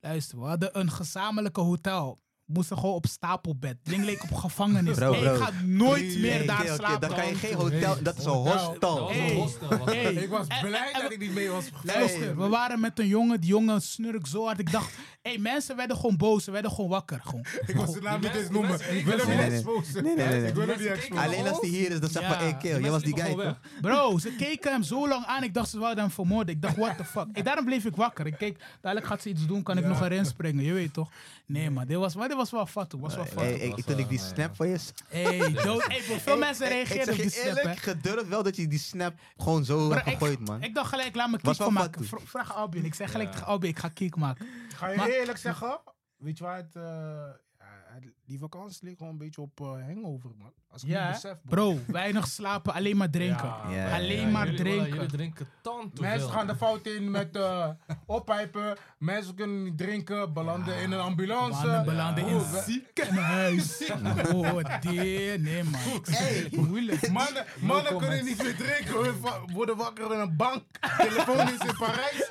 S1: Luister, we hadden een gezamenlijke hotel. We moesten gewoon op stapelbed. Ding leek op gevangenis.
S4: Bro,
S1: Hey,
S4: bro.
S1: Ik ga nooit
S4: Hey,
S1: meer
S4: hey,
S1: daar
S4: oké, oké,
S1: slapen.
S4: Dan kan je geen hotel, dat is een
S2: Hotel.
S3: Dat
S4: hostel.
S3: was
S1: Hey.
S3: een hostel. was
S1: Hey.
S3: het.
S2: Ik was
S1: En-
S2: blij
S1: en-
S2: dat ik niet mee was
S1: Luister, we waren met een jongen, die jongen snurk zo hard. Ik
S4: [LAUGHS]
S1: dacht, hé, mensen werden gewoon boos, ze werden gewoon wakker. Gewoon.
S2: Ik was de naam
S3: Die
S2: niet eens
S3: mensen- die
S2: noemen.
S3: mensen
S2: Ik wil hem
S3: keken
S2: niet
S4: zo.
S2: exposen.
S4: nee, nee, nee.
S2: Ik wil
S3: Die
S2: hem niet
S3: mensen keken
S2: exposen.
S4: Alleen als die hier is, dan [LAUGHS] zeg
S1: Ja.
S4: maar, hey, kill, jij was die guy.
S3: mensen liepen
S4: toch?
S3: gewoon weg.
S1: Bro, ze keken hem zo lang aan, ik dacht ze wilden hem vermoorden. Ik dacht, what the fuck. Hey, daarom bleef ik wakker. Ik keek, dadelijk gaat ze iets doen, kan ik nog erin springen, je weet toch? Nee, maar dit was, maar dit was wel fat, was wel fat.
S4: Hey,
S1: Hey,
S4: ik,
S3: was
S4: toen ik
S3: wel-
S4: die
S3: nee,
S4: snap
S3: ja.
S4: van je zag.
S1: dood. Hey, bro, veel mensen
S4: Hey,
S1: reageerden op
S4: Ik
S1: die
S4: zeg je
S1: snap,
S4: eerlijk,
S1: hè.
S4: gedurfd wel dat je die snap gewoon zo
S1: Bro,
S4: hebt gegooid, man.
S1: ik, ik dacht gelijk, laat me
S4: Was
S1: kiek
S4: wel
S1: van
S4: fat dus.
S1: maken.
S4: toen.
S1: Vra- Vraag Albin. Ik zeg gelijk
S3: Ja.
S1: tegen Albin, ik ga kiek maken.
S2: Ga je
S1: Maar-
S2: eerlijk zeggen? Weet je waar het... eh, ja, het- die vakantie leek gewoon een beetje op eh, hangover, man. Als ik
S1: Ja,
S2: niet
S1: hè?
S2: besef, bro.
S1: Bro, weinig slapen, alleen maar drinken.
S2: Ja.
S4: Ja,
S1: alleen
S4: ja,
S1: maar
S3: jullie,
S1: drinken.
S3: Jullie drinken tand te
S2: Mensen
S3: veel.
S2: gaan de fout in met
S3: [LAUGHS]
S2: eh ophijpen. Mensen kunnen niet drinken, belanden in een ambulance.
S1: Mannen belanden in
S2: Broer, we-
S1: het [LAUGHS] ziekenhuis. Oh, dear, nee man.
S4: Hey.
S1: Moeilijk.
S2: Mannen, mannen kunnen niet meer drinken. Hun va- worden wakker in een bank. Telefoon is in Parijs.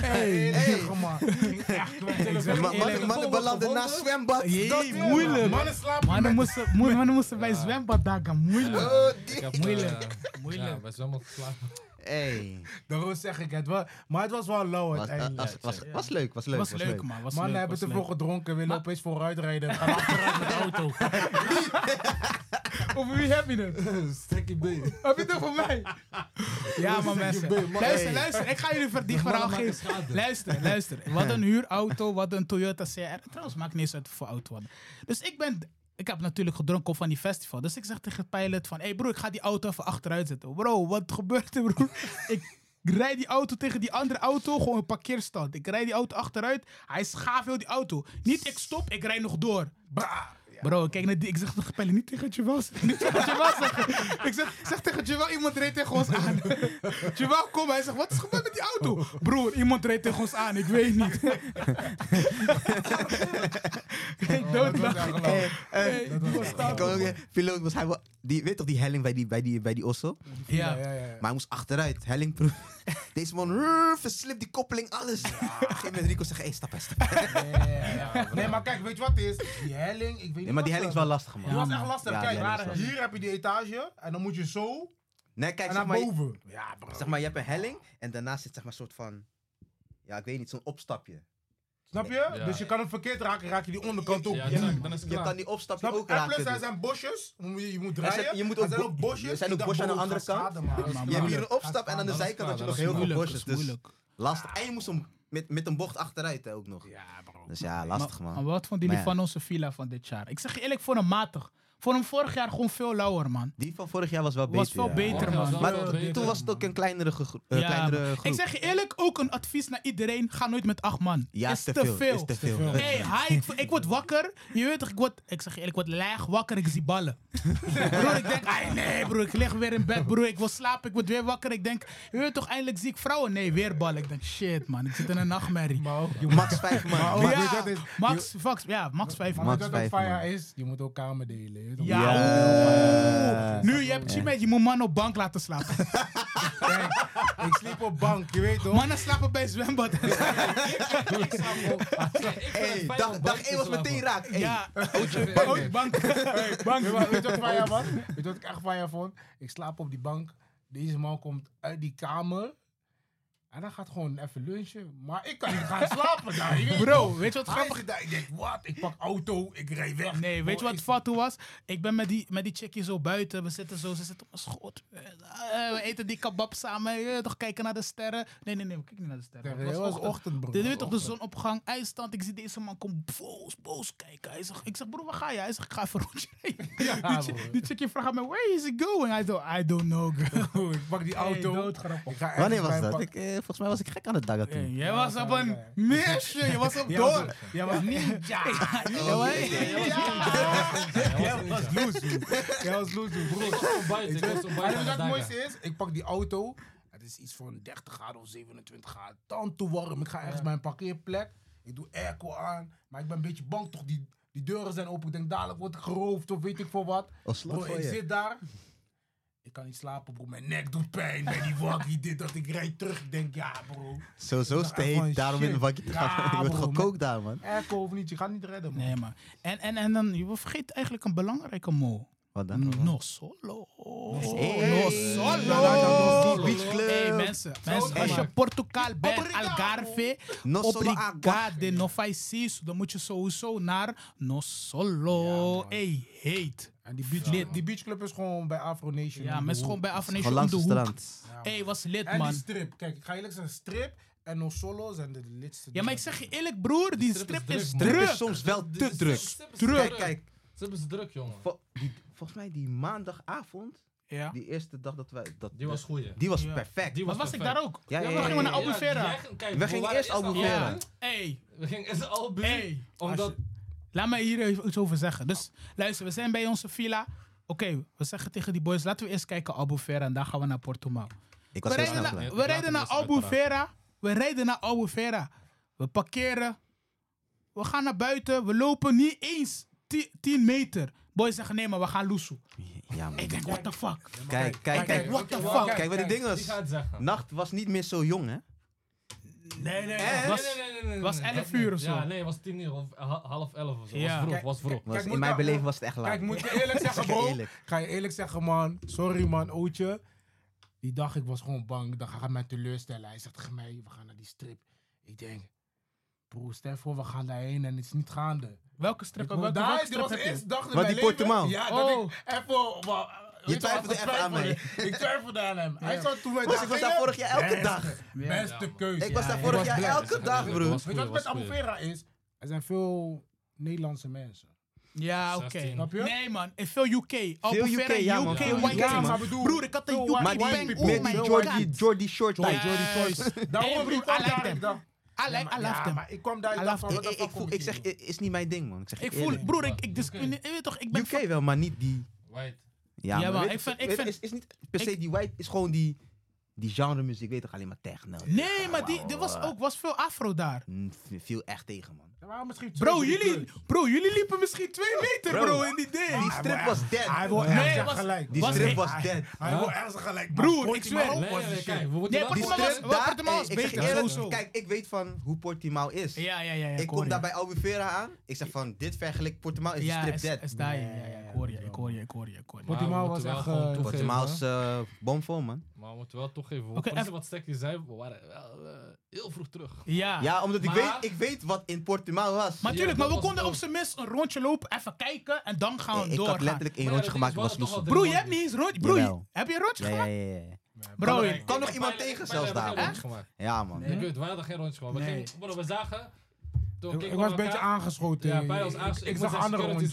S2: Hey, hey. man. Ging echt met telefoon.
S4: Ma- mannen,
S1: eerlijk.
S4: mannen belanden na zwembad.
S1: Jee,
S4: dat-
S1: moeilijk.
S2: Mannen slapen
S1: Mannen
S2: met-
S1: moesten, mo- mannen moesten bij zwembad dagen. Moeilijk.
S4: Oh,
S3: Ik
S4: die-
S3: heb, eh,
S1: Moeilijk.
S3: Ja,
S1: Moeilijk.
S3: bij zwemmen geslapen.
S4: Hey,
S2: Daarom zeg ik het wel. Maar het was wel lauw
S3: eh,
S4: was, eh, was,
S2: uiteindelijk.
S4: was, was, was leuk, was leuk.
S1: Was leuk man. Was
S2: Mannen
S1: leuk,
S2: hebben
S1: was
S2: te
S1: leuk.
S2: veel gedronken, willen
S1: Maar-
S2: opeens
S4: [LAUGHS]
S2: vooruitrijden. Gaan achteruit met de auto.
S1: Over wie heb je het?
S3: Stekkie B.
S1: Heb je het over mij? Ja maar mensen. Luister, luister. Ik ga jullie ver- die verhaal
S3: maken
S1: geven.
S3: schade.
S1: Luister, luister. Wat een huurauto, wat een Toyota CR. Trouwens, maakt niet eens uit voor auto. we hadden. Dus ik ben ik heb natuurlijk gedronken van die festival. Dus ik zeg tegen de pilot van... Hé hey broer, ik ga die auto even achteruit zetten. Bro, wat [LAUGHS] gebeurt er broer? ik rijd die auto tegen die andere auto. Gewoon een parkeerstand. Ik rijd die auto achteruit. Hij schaaft heel die auto. Niet ik stop, ik rijd nog door. Bah. Bro, kijk naar die. Ik zeg tegen de pilot, niet tegen Jawel zeggen. Niet tegen Jawel zeggen. Ik zeg, ik zeg tegen Jawel, iemand reed tegen ons aan. Jawel, kom. Hij zegt, wat is gebeurd met die auto? Broer, iemand reed tegen ons aan. Ik weet
S4: [LAUGHS]
S1: niet.
S2: Oh,
S1: ik doodlachen.
S4: Hey, eh,
S1: Hey, die was
S4: ik kon ook, eh, piloot was hij wel- die, weet toch die helling bij die, bij die, bij die ossel?
S1: Ja.
S2: ja, ja.
S4: Maar hij moest achteruit, helling. pro- [LAUGHS] Deze man rrr, verslipt die koppeling, alles. Op een gegeven moment Rico zegt, hey, stap eens.
S2: Ja, ja, ja. Nee, maar kijk, weet je wat het is? Die helling, ik weet niet
S4: Nee, maar
S2: wat
S4: die helling is wel lastig, man.
S2: Die was echt lastig.
S4: Ja, die
S2: kijk,
S4: helling
S2: maar
S4: is lastig.
S2: hier heb je die etage en dan moet je zo
S4: Nee, kijk,
S2: en
S4: zeg
S2: naar
S4: maar, je-
S2: boven. Ja, bro.
S4: zeg maar, je hebt een helling en daarnaast zit zeg maar een soort van, ja, ik weet niet, zo'n opstapje.
S2: Snap je?
S3: Ja.
S2: Dus je kan hem verkeerd raken, raak je die onderkant op.
S3: Ja,
S2: Ja.
S3: dan, dan is het
S4: Je
S3: klaar.
S4: kan die opstapje
S2: Snap je?
S4: ook
S2: En
S4: raken.
S2: plus, er
S4: dus.
S2: zijn bosjes. Je moet- Je moet
S4: Er zijn-
S2: draaien.
S4: je moet
S2: Er
S4: ook
S2: zijn
S4: bo-
S2: ook bosjes.
S4: er zijn
S2: Ik
S4: ook
S2: dacht,
S4: bosjes aan
S2: bro,
S4: de andere
S2: het gaat
S4: kant.
S2: schaden, man.
S4: Je hebt hier
S1: moeilijk.
S4: een opstap en aan de
S3: Dat is
S4: zijkant had je
S3: klaar, dat
S4: nog
S3: is
S4: heel veel
S1: Moeilijk, is
S4: bosjes. Dus
S1: moeilijk.
S4: lastig. En je moest hem met, met een bocht achteruit hè, ook nog.
S2: Ja, bro.
S4: Dus ja, lastig
S1: maar,
S4: man.
S1: maar wat vonden jullie
S4: Maar ja.
S1: van onze villa van dit jaar? Ik zeg je eerlijk, voor een matig. Voor een vorig jaar gewoon veel lauwer, man.
S4: Die van vorig jaar was wel
S1: Was
S4: beter.
S1: wel
S4: ja.
S1: beter,
S3: Ja,
S1: man.
S3: dat was
S4: Maar
S3: wel
S4: to-
S3: beter.
S4: toen was het ook een kleinere, gegro- eh,
S1: Ja,
S4: kleinere
S1: man.
S4: groep.
S1: Ik zeg je eerlijk, ook een advies naar iedereen. Ga nooit met acht man.
S4: ja,
S1: is te veel.
S4: Is te veel.
S1: Hey, hi, ik, ik word wakker. Je weet toch, ik word, ik zeg je eerlijk, ik word laag wakker, ik zie ballen. broer, ik denk, ai, nee broer, ik lig weer in bed broer, ik wil slapen, ik word weer wakker. Ik denk, je weet toch, eindelijk zie ik vrouwen. Nee, weer ballen. Ik denk, shit man, ik zit in een nachtmerrie.
S2: Maar ook, je
S4: Max 5 man.
S2: Maar ook-
S4: Max-
S2: weet je
S1: ja,
S2: wat is?
S1: Max, Max, ja, Max 5
S2: Maar
S4: Max
S2: weet je wat ook
S4: vijf,
S2: fire
S4: man.
S2: is? Je moet ook kamer delen. je weet toch?
S1: Ja.
S4: Ja.
S1: Nu, je hebt Chimed, je moet man op bank laten slapen.
S2: Kijk, ik sliep op bank, je weet [LAUGHS] toch?
S1: Mannen slapen bij zwembad.
S2: [LAUGHS]
S4: Hey, dag, dag 1 was meteen raak. Hey,
S1: ja,
S2: Hey,
S1: ook bank.
S2: bank. Weet je wat fire man? Weet je wat ik echt fire vond? Ik slaap op die bank. Deze man komt uit die kamer. En dan gaat gewoon even lunchen. Maar ik kan niet gaan slapen daar. je weet toch?
S1: Bro, weet je wat
S2: Hij
S1: grappig
S2: is daar. Ik denk, wat? Ik pak auto, ik rijd weg.
S1: Nee, weet je
S2: Bro,
S1: wat
S2: ik-
S1: fatu was? Ik ben met die, met die chickie zo buiten. We zitten zo, ze zit op mijn schoot. Eh, eh, we eten die kebab samen. eh, toch kijken naar de sterren. Nee, nee, nee, we kijken niet naar de sterren.
S2: Het was ochtend, bro.
S1: Dit weet toch de zonopgang, ijsstand. Ik zie deze man komt boos, boos kijken. Hij zegt, ik zeg, broer, waar ga je? Hij zegt, ik ga even een rondje rijden.
S2: [LAUGHS]
S1: die, chi-
S2: Ah, broer.
S1: die chickie vraagt aan mij, where is he going? Hij zegt, I don't know, girl.
S2: Bro, Ik pak die auto. Ik ga echt
S4: Wanneer was
S2: mijn
S4: dat?
S2: pak-
S4: Ik, eh, volgens mij was ik gek aan het dagen
S1: Hey,
S4: toen.
S1: jij was op een
S2: ja.
S1: meisje, je was op
S2: Jij was
S1: door.
S2: een- Jij
S1: [LAUGHS]
S2: was ninja.
S1: Ja, wij-
S2: Jij was loezoe. Jij was loezoe,
S3: Ik
S2: bro.
S3: was op buiten,
S2: Ik
S3: ik
S2: weet-
S3: was op
S2: En weet je
S3: buiten.
S2: wat het
S3: aan het
S2: mooiste is? Ik pak die auto. Het is iets van 30 graden of 27 graden. Dan te warm. Ik ga ergens bij een parkeerplek. Ik doe airco aan. Maar ik ben een beetje bang toch. Die, die deuren zijn open. Ik denk dadelijk word ik geroofd of weet ik voor wat.
S4: Of slot
S2: Bro,
S4: Oh, voor
S2: ik
S4: je.
S2: zit daar. Ik kan niet slapen, bro. Mijn nek doet pijn bij die wakkie. Dit, dat. Ik rijd terug. Ik denk, ja, bro.
S4: Zo, zo
S2: dacht echt van,
S4: steed, daarom in de
S2: shit.
S4: bakje te [LAUGHS]
S2: Ja,
S4: gaan. Je wordt
S2: bro,
S4: gekookt daar, man.
S2: Airco of niet, je gaat niet redden, man.
S1: Nee, maar. En, en, en dan, je vergeet eigenlijk een belangrijke mol.
S4: Wat dan?
S1: No solo.
S4: Hey.
S1: No
S4: Ja,
S1: solo.
S4: ja, Beach Club.
S1: Hey mensen, mensen als je
S3: gemaakt.
S1: Portugal bent,
S2: Obrigado.
S1: Algarve,
S4: No solo
S1: obrigade, no faz isso. Dan moet je sowieso naar No Solo.
S2: Ja, man.
S1: hey, heet.
S2: En die beach,
S1: Lid.
S2: die beachclub is gewoon bij Afro Nation.
S1: Ja,
S2: om de
S1: mensen gewoon
S2: hoek.
S1: bij Afnation
S4: Gewoon
S1: om
S4: langs
S1: de
S4: het
S1: hoek.
S4: strand.
S2: Ja, man.
S1: hey, was lid
S2: En die
S1: man.
S2: strip. Kijk, ik ga eerlijk zeggen, strip en no solo zijn de lidste.
S1: Ja, maar ik zeg je eerlijk broer, die
S3: strip
S1: strip
S3: is
S1: is
S3: druk, man.
S4: Druk
S1: druk.
S4: is soms wel te druk. Kijk,
S3: Druk.
S4: kijk.
S3: Ze hebben ze druk, jongen.
S4: vol- die- volgens mij die maandagavond,
S1: Ja.
S4: die eerste dag dat wij... Dat,
S3: Die was goeie.
S4: Die was
S1: Ja.
S4: perfect.
S3: Die
S1: Maar
S3: was
S1: was ik
S3: perfect.
S1: daar ook?
S4: Ja, ja,
S1: we
S4: ja,
S1: gingen naar
S4: ja, ja.
S1: Albufeira.
S3: jij ging- kijk,
S4: We gingen
S3: waren
S4: eerst
S3: aan
S4: Albufeira.
S1: Ja.
S3: Albufeira.
S1: Hey,
S3: We gingen eerst Albufeira.
S1: hey.
S3: Omdat...
S1: Laat me hier even iets over zeggen. Dus luister, we zijn bij onze villa. Oké, we zeggen tegen die boys, laten we eerst kijken Albufeira en dan gaan we naar Portimao.
S4: Ik
S1: We
S4: was heel
S1: rijden,
S4: snel
S1: na-
S4: klaar.
S1: we rijden naar
S3: Later dus
S1: Albufeira. We rijden naar Albufeira. We parkeren. We gaan naar buiten. We lopen niet eens 10 meter. Boys zeggen nee, maar we gaan loesoe.
S4: Ja, man.
S1: Ik denk, what the fuck?
S4: Kijk, kijk, kijk.
S1: what the
S2: oké,
S1: fuck?
S2: kijk,
S4: Kijk wat die ding
S3: Die
S4: was.
S3: gaat het zeggen.
S4: Nacht was niet meer zo jong, hè?
S1: Nee, nee,
S4: Eh?
S1: was-
S3: nee, nee, nee, nee, nee,
S1: was
S3: nee,
S1: 11
S3: nee.
S1: uur of zo.
S3: Ja, nee, het was 10 uur of ha- half 11 of zo.
S1: Ja.
S3: Was vroeg,
S2: Kijk,
S3: was vroeg.
S2: kijk,
S4: Was,
S2: moet
S4: in mijn
S2: ik-
S4: beleving was het echt laat.
S2: Kijk, moet je
S4: [LAUGHS]
S2: eerlijk zeggen, bro.
S4: Eerlijk.
S2: Ga je eerlijk zeggen, man. Sorry, man, Ootje. Die dag, ik was gewoon bang. Dan gaat hij mij teleurstellen. Hij zegt tegen mij, we gaan naar die strip. Ik denk, bro, stel voor, we gaan daarheen en het is niet gaande.
S1: Welke
S2: Ik
S1: strip?
S2: moet-
S1: Welke,
S2: daar,
S1: welke
S2: dit was
S1: strip
S2: de
S1: heb je?
S2: eerste dag in
S4: Wat,
S2: mijn
S4: die
S2: leven.
S4: Portimao?
S2: Ja, dat
S1: Oh.
S2: ik even... wa- weet
S4: Je twijfelde
S2: wat, ik
S4: even aan mij.
S2: twijfelde. Ik twijfelde aan hem. Hij zou toen wij
S4: Bro, ik was daar
S2: gingen,
S4: vorig jaar elke
S2: beste-
S4: dag.
S2: Beste keuze.
S4: Ik was daar
S1: ja,
S4: vorig
S2: ik was
S4: jaar
S2: blij.
S4: elke dag,
S3: Ja,
S4: bro.
S3: was-
S2: Weet je wat
S3: Goeie,
S2: met Albufeira is? Er zijn veel Nederlandse mensen.
S1: Ja, oké.
S3: 16.
S2: Snap je?
S1: Nee, man. In veel UK. Al
S4: Veel
S1: UK,
S4: UK, ja,
S1: UK
S4: man.
S2: Ja,
S4: Veel
S1: white
S4: UK,
S1: kids.
S4: man.
S2: maar bedoel...
S1: Broer, ik had een
S2: Veel
S1: UK
S2: white
S4: Maar die,
S1: bang.
S2: people.
S1: Oh
S4: met
S1: my
S4: die
S1: god.
S4: Jordi, Jordi Short
S1: Jordi-
S4: type.
S1: Jordi Toys. Nee,
S2: Daarom
S1: broer,
S2: ik
S1: I
S2: kwam
S1: like
S2: daar.
S1: them.
S2: Ik dacht...
S1: I like, I love them.
S2: maar ik kwam daar.
S1: I
S2: Ik dacht
S1: love them.
S2: van, wat
S4: Ik,
S2: de fuck
S4: ik, ik
S2: kom
S4: voel,
S2: ik
S4: ik
S2: hier
S4: zeg,
S2: doen?
S4: i- is niet mijn ding, man. Ik zeg
S1: Ik
S4: je eerlijk.
S1: voel, broer, ik, ik
S3: UK.
S1: discrimineer. Je weet toch, ik ben
S4: UK wel, maar niet die...
S3: White.
S4: Ja,
S1: Ja, maar
S4: weet-
S1: ik vind- ik
S4: weet-
S1: vind-
S4: is, is niet per se
S1: ik-
S4: die white, is gewoon die, die genre muziek, weet toch, alleen maar techno.
S1: Nee, maar die,
S4: Wauw,
S1: er was
S4: eh,
S1: ook was veel afro daar.
S4: mm, v- Viel echt tegen, man.
S2: Er waren misschien twee,
S1: Bro
S2: drie
S1: jullie,
S2: kleuren.
S1: bro, jullie liepen misschien twee meter, bro,
S4: Bro.
S1: in die ding.
S4: Die strip was
S2: Hij
S4: dead.
S2: wil
S1: Nee,
S2: ernstig
S1: was-
S2: gelijk.
S4: Die
S1: was
S4: strip
S1: echt-
S4: was dead.
S2: Hij wil ernstig gelijk.
S1: Broer,
S2: Maar
S1: ik
S2: komt hij maar
S1: zweer.
S2: op, was
S3: Nee,
S2: de
S3: nee,
S2: shit.
S3: kijk, we moeten
S1: Nee,
S3: wel-
S1: Portimao
S4: Die
S1: Portimao was-
S4: strip
S1: wel,
S4: daar,
S1: Portimao
S4: eh,
S1: is
S4: ik zeg je
S1: beter, sowieso.
S4: eerlijk, kijk, ik weet van hoe Portimao is.
S1: Ja, ja, ja. ja,
S4: Ik
S1: hoor
S4: kom
S1: je.
S4: daar bij Albufeira aan, ik zeg van, dit vergelijk Portimao is die
S1: Ja,
S4: strip
S1: is-
S4: dead.
S1: is daar, ja, ja,
S2: Nee,
S1: ja, ik hoor je, ik hoor je, ik hoor je, ik hoor je.
S3: Maar we
S2: Portimao
S3: moeten
S2: was
S3: wel
S2: echt,
S3: gewoon
S2: eh,
S3: toegeven-
S4: Portimao is eh, bomvol, man.
S3: Maar we moeten wel toegeven, hoe
S1: Oké,
S3: precies
S1: even-
S3: wat Stek die zei, we waren wel eh, heel vroeg terug.
S1: Ja.
S4: Ja, omdat ik
S3: maar-
S4: weet, ik weet wat in Portimao was.
S1: Maar
S3: Ja,
S1: tuurlijk,
S3: dat
S1: maar we
S3: was
S1: konden
S3: het
S1: op zijn minst een rondje lopen, even kijken en dan gaan
S4: Ik-
S1: we
S4: ik had
S1: doorgaan.
S4: letterlijk één
S3: Maar ja,
S4: rondje
S3: dat
S4: gemaakt, ik
S3: ding
S4: was
S3: is wel toch
S4: moesten.
S1: Bro,
S3: drie
S1: je hebt niet
S3: rondjes.
S1: eens rondje. Bro, je-
S4: Jawel.
S1: heb je een rondje
S4: Ja, ja,
S1: gemaakt?
S4: ja, ja.
S1: Bro,
S3: Nee,
S1: ik-
S4: kan nog
S3: ik-
S4: iemand
S3: ik- ik-
S4: tegen
S3: ik-
S4: zelfs
S3: ik- ik- ik- ik- ik- ik- ik- ik- ik-
S4: daar, man.
S3: ik- gemaakt.
S4: Ja, man.
S3: Ik weet, we hadden geen rondjes gemaakt. We,
S2: Nee.
S3: gingen- broer, we zagen... Toen
S2: Ik,
S3: keken
S2: ik
S3: we
S2: was een
S3: elkaar-
S2: beetje aangeschoten.
S3: Ja, bij ons
S2: Ik-
S3: aangezien.
S2: Ik zag andere rondjes.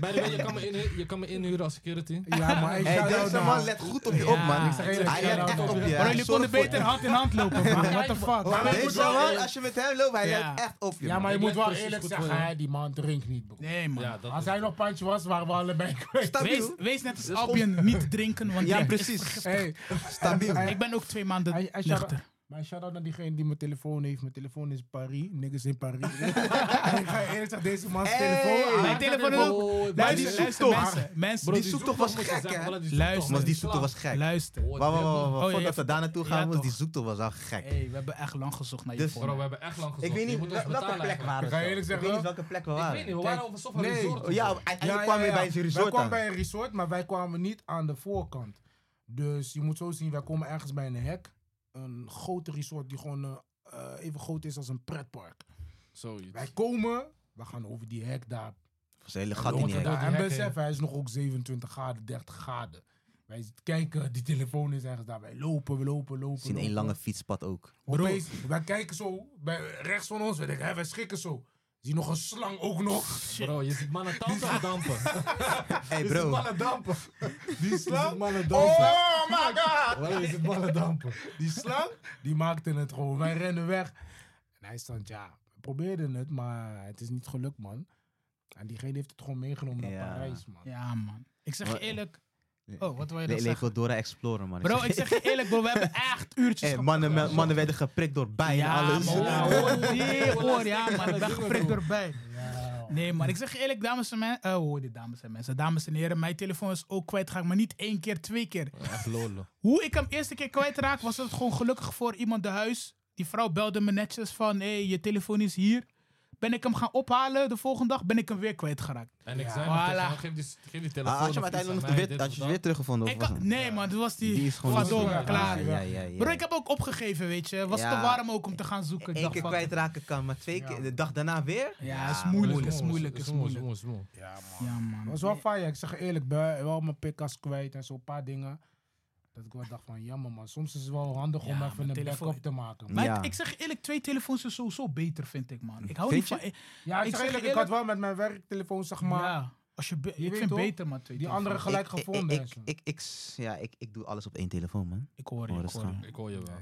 S3: Bij de way, je kan, me inhu- je kan me inhuren als security.
S2: Ja, maar ik
S4: Hey,
S2: zou jou
S4: deze
S2: nou-
S4: man let goed op je
S1: Ja.
S4: op, man.
S1: Ik zeg
S2: eerlijk,
S4: Hij
S2: ik zou
S4: let echt
S2: nou-
S4: op je.
S1: Bro,
S4: Hij
S1: jullie
S4: zorgt
S1: konden
S4: voor je.
S1: beter hand in hand
S4: [LAUGHS]
S1: lopen, [LAUGHS] man. What the
S4: Maar
S1: fuck?
S3: wij
S4: Deze
S3: moeten wel-
S4: man, als je met hem loopt, hij
S1: Ja.
S4: let echt op je.
S2: Ja,
S4: man.
S2: maar je
S3: Ik
S2: moet
S3: let
S2: wel
S3: precies
S2: eerlijk
S3: goed
S2: zeggen,
S3: voor je.
S2: hij die man drinkt niet, bro.
S1: Nee, man.
S3: Ja, dat
S2: Als
S3: is
S2: hij
S3: het.
S2: nog pandje was, waren we allebei kwijt.
S1: Wees,
S4: Stabiel.
S1: wees net als
S4: Dat is
S1: Albion, niet drinken, want
S4: Ja,
S1: drinken is
S4: precies.
S2: Hey,
S4: Stabiel.
S2: Hij-
S1: Ik ben ook twee maanden
S2: Hij- hij-
S1: nuchter.
S2: Maar shout-out naar diegene die mijn telefoon heeft. Mijn telefoon is Paris. Niggas in Paris. En
S4: [LAUGHS]
S2: ik ga eerlijk zeggen, deze man's
S4: Hey.
S2: telefoon.
S1: Mijn
S2: Mijn
S1: telefoon is ook...
S3: Oh,
S4: Maar
S1: Luister,
S4: die
S1: luister,
S4: zoektocht.
S1: mensen. Mensen,
S4: Bro,
S1: die
S4: die
S1: zoeken.
S4: zoektocht was gek, hè?
S1: Luister.
S4: Maar die zoektocht was gek.
S1: Luister.
S3: Wow,
S4: Wacht, wacht, wacht,
S1: Oh,
S4: wacht.
S1: ja,
S4: Voordat
S1: ja,
S4: we daar naartoe
S1: ja,
S4: gaan, was die
S1: toch.
S4: zoektocht was al gek.
S1: Hey, we hebben echt lang gezocht naar je
S4: Dus-
S1: voor.
S3: Bro, we hebben echt lang gezocht.
S4: Ik weet
S3: Je
S4: niet
S3: moet ons
S4: wel- welke
S3: betalen
S4: plek we
S3: eigenlijk.
S4: waren.
S2: Ik ga
S4: zo.
S2: eerlijk
S4: Ik
S2: zeggen-
S4: weet niet welke plek we
S3: Ik weet niet,
S4: waren.
S3: we
S2: Kijk,
S3: waren over sofa
S2: nee.
S3: resort. of
S4: Ja,
S3: zo.
S4: uiteindelijk kwamen we bij zijn
S2: Wij
S4: resort
S2: kwamen
S4: aan.
S2: bij een resort, maar wij kwamen niet aan de voorkant. Dus je moet zo zien, wij komen ergens bij een hek. Een grote resort die gewoon eh, eh, even groot is als een pretpark.
S3: Zoiets.
S2: Wij komen, we gaan over die hek daar.
S4: Er was een hele gat in
S3: Jongen,
S4: die
S3: dat
S4: hek.
S3: wordt-
S2: daar.
S3: die
S2: En
S3: hek
S2: besef,
S3: heen.
S2: hij is nog ook 27 graden, 30 graden. Wij kijken, die telefoon is ergens daar. Wij lopen, we lopen, lopen.
S4: We zien één
S2: lopen.
S4: lange fietspad ook.
S2: Opeens, wij kijken zo, bij, rechts van ons, we denken, hè, wij schrikken zo. Zie nog een slang ook nog.
S3: Bro, je ziet mannen tanden aan dampen.
S4: Hé bro,
S1: [LAUGHS]
S2: dampen. Die slang.
S3: mannen
S2: Oh my god!
S3: Bro, je ziet mannen dampen.
S2: Die slang, die maakte het gewoon. Wij rennen weg. En hij stond, ja, we probeerden het, maar het is niet gelukt, man. En diegene heeft het gewoon meegenomen naar
S4: Ja.
S2: Parijs, man.
S1: Ja, man. Ik zeg je
S4: Maar-
S1: eerlijk... Oh, wat wil je
S4: Le-
S1: nog
S4: leek
S1: zeggen?
S4: wel Dora Explorer man.
S1: Bro, ik zeg je eerlijk, bro. We
S4: [LAUGHS]
S1: hebben echt uurtjes
S4: Hé,
S1: gepakt.
S4: Eh, mannen, me- mannen werden geprikt door bijen en
S1: Ja,
S4: alles. [LAUGHS]
S1: man.
S3: Ja.
S1: Oh, die hoor, ja, man. Ik ben
S3: Ja.
S1: geprikt doorbij.
S2: Ja.
S1: Nee, maar ik zeg je eerlijk, dames en mensen. Oh, hoor dit, dames en mensen. Dames en heren, mijn telefoon is ook kwijtgeraakt, maar niet één keer, twee keer.
S3: Echt lolo.
S1: Hoe ik hem eerste keer kwijtraak, was het gewoon gelukkig voor iemand de huis. Die vrouw belde me netjes van: hé, hey, je telefoon is hier. Ben ik hem gaan ophalen de volgende dag, ben ik hem weer kwijtgeraakt.
S3: En ik
S2: Ja.
S3: zei nog
S1: Voilà.
S3: tegen hem, geef die, geef die telefoon.
S4: Ah, Had je hem
S3: of iets aan
S4: uiteindelijk nog
S3: mij,
S4: weer-
S3: dit
S4: had
S3: of
S4: je het weer
S3: dat.
S4: teruggevonden? of
S1: Ik
S4: was
S1: had-
S4: het-
S1: nee, man, dat was die.
S4: Die is gewoon
S1: Vandoor,
S4: losgegaan.
S1: klaar.
S4: Ah, ja, ja, ja.
S1: Bro, ik heb ook opgegeven, weet je. Was te
S4: Ja.
S1: warm ook om te gaan zoeken. Ik
S4: Eén
S1: dacht
S4: keer
S1: van-
S4: kwijtraken kan, maar twee
S2: Ja.
S4: keer, de dag daarna weer?
S1: Ja, is moeilijk, is moeilijk, is moeilijk.
S3: is moeilijk.
S2: Ja, man.
S1: Ja,
S2: Het
S1: man.
S2: was wel fijn, ik zeg je eerlijk, ben wel mijn pikkas kwijt en zo'n paar dingen. Dat ik wel dacht van, jammer man, soms is het wel handig
S1: Ja,
S2: om
S1: maar
S2: even een
S1: telefoon-
S2: backup te maken.
S1: Maar
S4: Ja.
S1: ik- ik zeg je eerlijk, twee telefoons is sowieso beter, vind ik, man. Ik hou
S4: Vind
S1: niet van...
S4: je?
S2: Ja, ik,
S1: Ik
S2: zeg
S1: zeg
S2: eerlijk,
S1: je
S2: ik had wel met mijn werktelefoon, zeg maar,
S1: ja, als je be-
S2: Je
S1: ik
S2: weet
S1: vind
S2: toch,
S1: beter, maar twee
S2: die
S1: telefoons.
S2: andere gelijk
S4: Ik- ik-
S2: gevonden. en
S4: Ik,
S2: zo.
S4: ik, ik, s- ja, ik, ik doe alles op één telefoon, man.
S1: Ik hoor je,
S4: Hoor
S1: ik
S4: eens
S1: hoor je.
S4: gaan.
S3: Ik hoor je wel.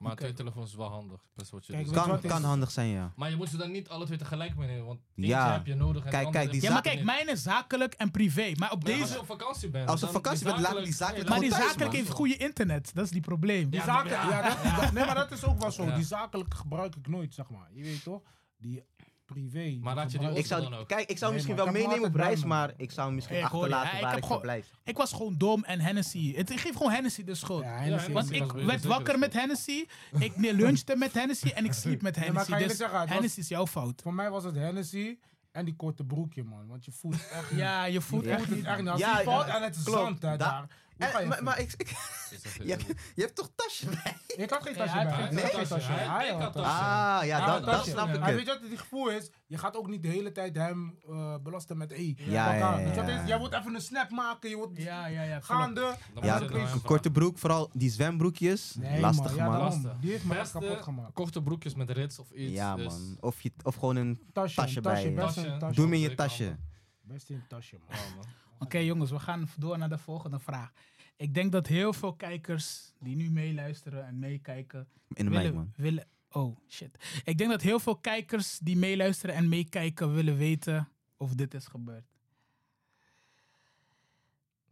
S3: Maar twee telefoons is wel handig. Best wat je
S2: Kijk,
S3: doet.
S2: Weet je
S4: Kan,
S2: wat is-
S4: kan handig zijn, ja.
S3: Maar je moet ze dan niet alle twee tegelijk meenemen, want eentje
S4: Ja.
S3: heb je nodig en
S4: Kijk,
S3: de andere
S4: kijk,
S3: heb
S4: die
S3: je
S1: Ja, maar
S4: zaak-
S1: kijk,
S3: niet.
S1: mijn is zakelijk en privé. Maar op
S3: Maar als
S1: deze...
S3: je op vakantie bent.
S4: Als je op
S3: dan-
S4: vakantie bent, laat die zakelijk
S1: maar
S4: Gewoon
S1: die
S4: thuis,
S1: zakelijk
S4: man.
S1: heeft goede internet. Dat is die probleem.
S2: Die
S3: Ja,
S2: zaken,
S3: maar-
S2: ja, dat, dat- nee, maar dat is ook wel zo.
S3: Ja.
S2: Die zakelijke gebruik ik nooit, zeg maar. Je weet toch? Die privé.
S3: Maar laat je die
S2: gebruik-
S4: Ik
S3: dan
S4: zou,
S3: ook.
S4: kijk, ik
S2: Nee,
S4: zou misschien
S2: man,
S4: wel
S2: ik heb hem
S4: meenemen op
S2: altijd
S4: reis,
S2: bij me.
S4: maar ik zou hem misschien
S1: Ik hoor je,
S4: achterlaten
S1: ja, ik
S4: waar
S1: heb
S4: ik
S1: gewoon-
S4: verblijf.
S1: Ik was gewoon dom en Hennessy. Het, ik geef gewoon Hennessy de schuld.
S2: Ja, Hennessy
S3: Ja,
S1: Want
S2: is-
S3: Hennessy
S1: ik
S3: was weer
S1: werd
S3: de
S1: wakker
S3: zekerste.
S1: met Hennessy. Ik [LAUGHS] ne- lunchte met Hennessy en ik sliep met
S2: maar
S1: Hennessy.
S2: kan je
S1: dus
S2: zeggen, het was-
S1: Hennessy is jouw fout.
S2: Voor mij was het Hennessy en die korte broekje, man. Want je voelt echt.
S1: Ja, je voelt
S2: je
S1: echt
S2: voelt het echt
S1: niet.
S2: niet. Als
S4: Ja,
S2: die valt
S4: ja,
S2: en het is
S4: klopt.
S2: zand hè,
S4: Da-
S2: daar. ga je
S4: Eh, maar
S2: even?
S4: maar ik, ik-
S3: Is dat-
S4: Ja. je hebt toch tasje bij?
S2: Ik had geen
S3: Nee,
S2: tasje
S3: hij
S2: bij.
S3: heeft
S2: Hij
S3: geen
S2: had
S3: tasje.
S2: tasje.
S3: Hij
S2: Hij
S3: heeft
S2: had
S3: geen
S2: tasje.
S3: tasje.
S4: Ah, ja,
S2: Hij
S4: dan,
S2: had
S4: dan
S2: tasje.
S4: snap ik
S2: Maar weet
S4: het.
S2: je wat het gevoel is? Je gaat ook niet de hele tijd hem eh, belasten met... Hey,
S4: ja,
S2: pak aan.
S4: ja,
S2: Weet je wat
S4: ja.
S2: het is? Jij moet even een snap maken. Je wordt
S1: Ja, ja, ja. klopt.
S2: gaande.
S3: Dan
S4: Ja,
S3: moet je
S2: een
S3: het aan hem
S4: korte broek, vooral die zwembroekjes.
S2: Nee,
S4: lastig,
S2: man. Ja,
S4: man.
S2: daarom.
S3: Lastig.
S2: Die heeft me echt
S3: Beste-
S2: kapot gemaakt.
S3: vragen. Korte broekjes met rits of iets.
S4: Ja,
S3: dus-
S4: man. Of, je, of gewoon een...
S2: Tasje,
S4: Tasje
S2: tasje,
S4: bij je.
S2: best
S3: Tasje.
S2: een tasje.
S4: Doe hem in
S3: dat
S4: je
S3: wil ik
S4: tasje.
S2: Best in tasje, man.
S3: Ja, man.
S1: Oké jongens, we gaan door naar de volgende vraag. Ik denk dat heel veel kijkers die nu meeluisteren en meekijken...
S4: In de mic, man.
S1: willen, oh shit. Ik denk dat heel veel kijkers die meeluisteren en meekijken willen weten of dit is gebeurd.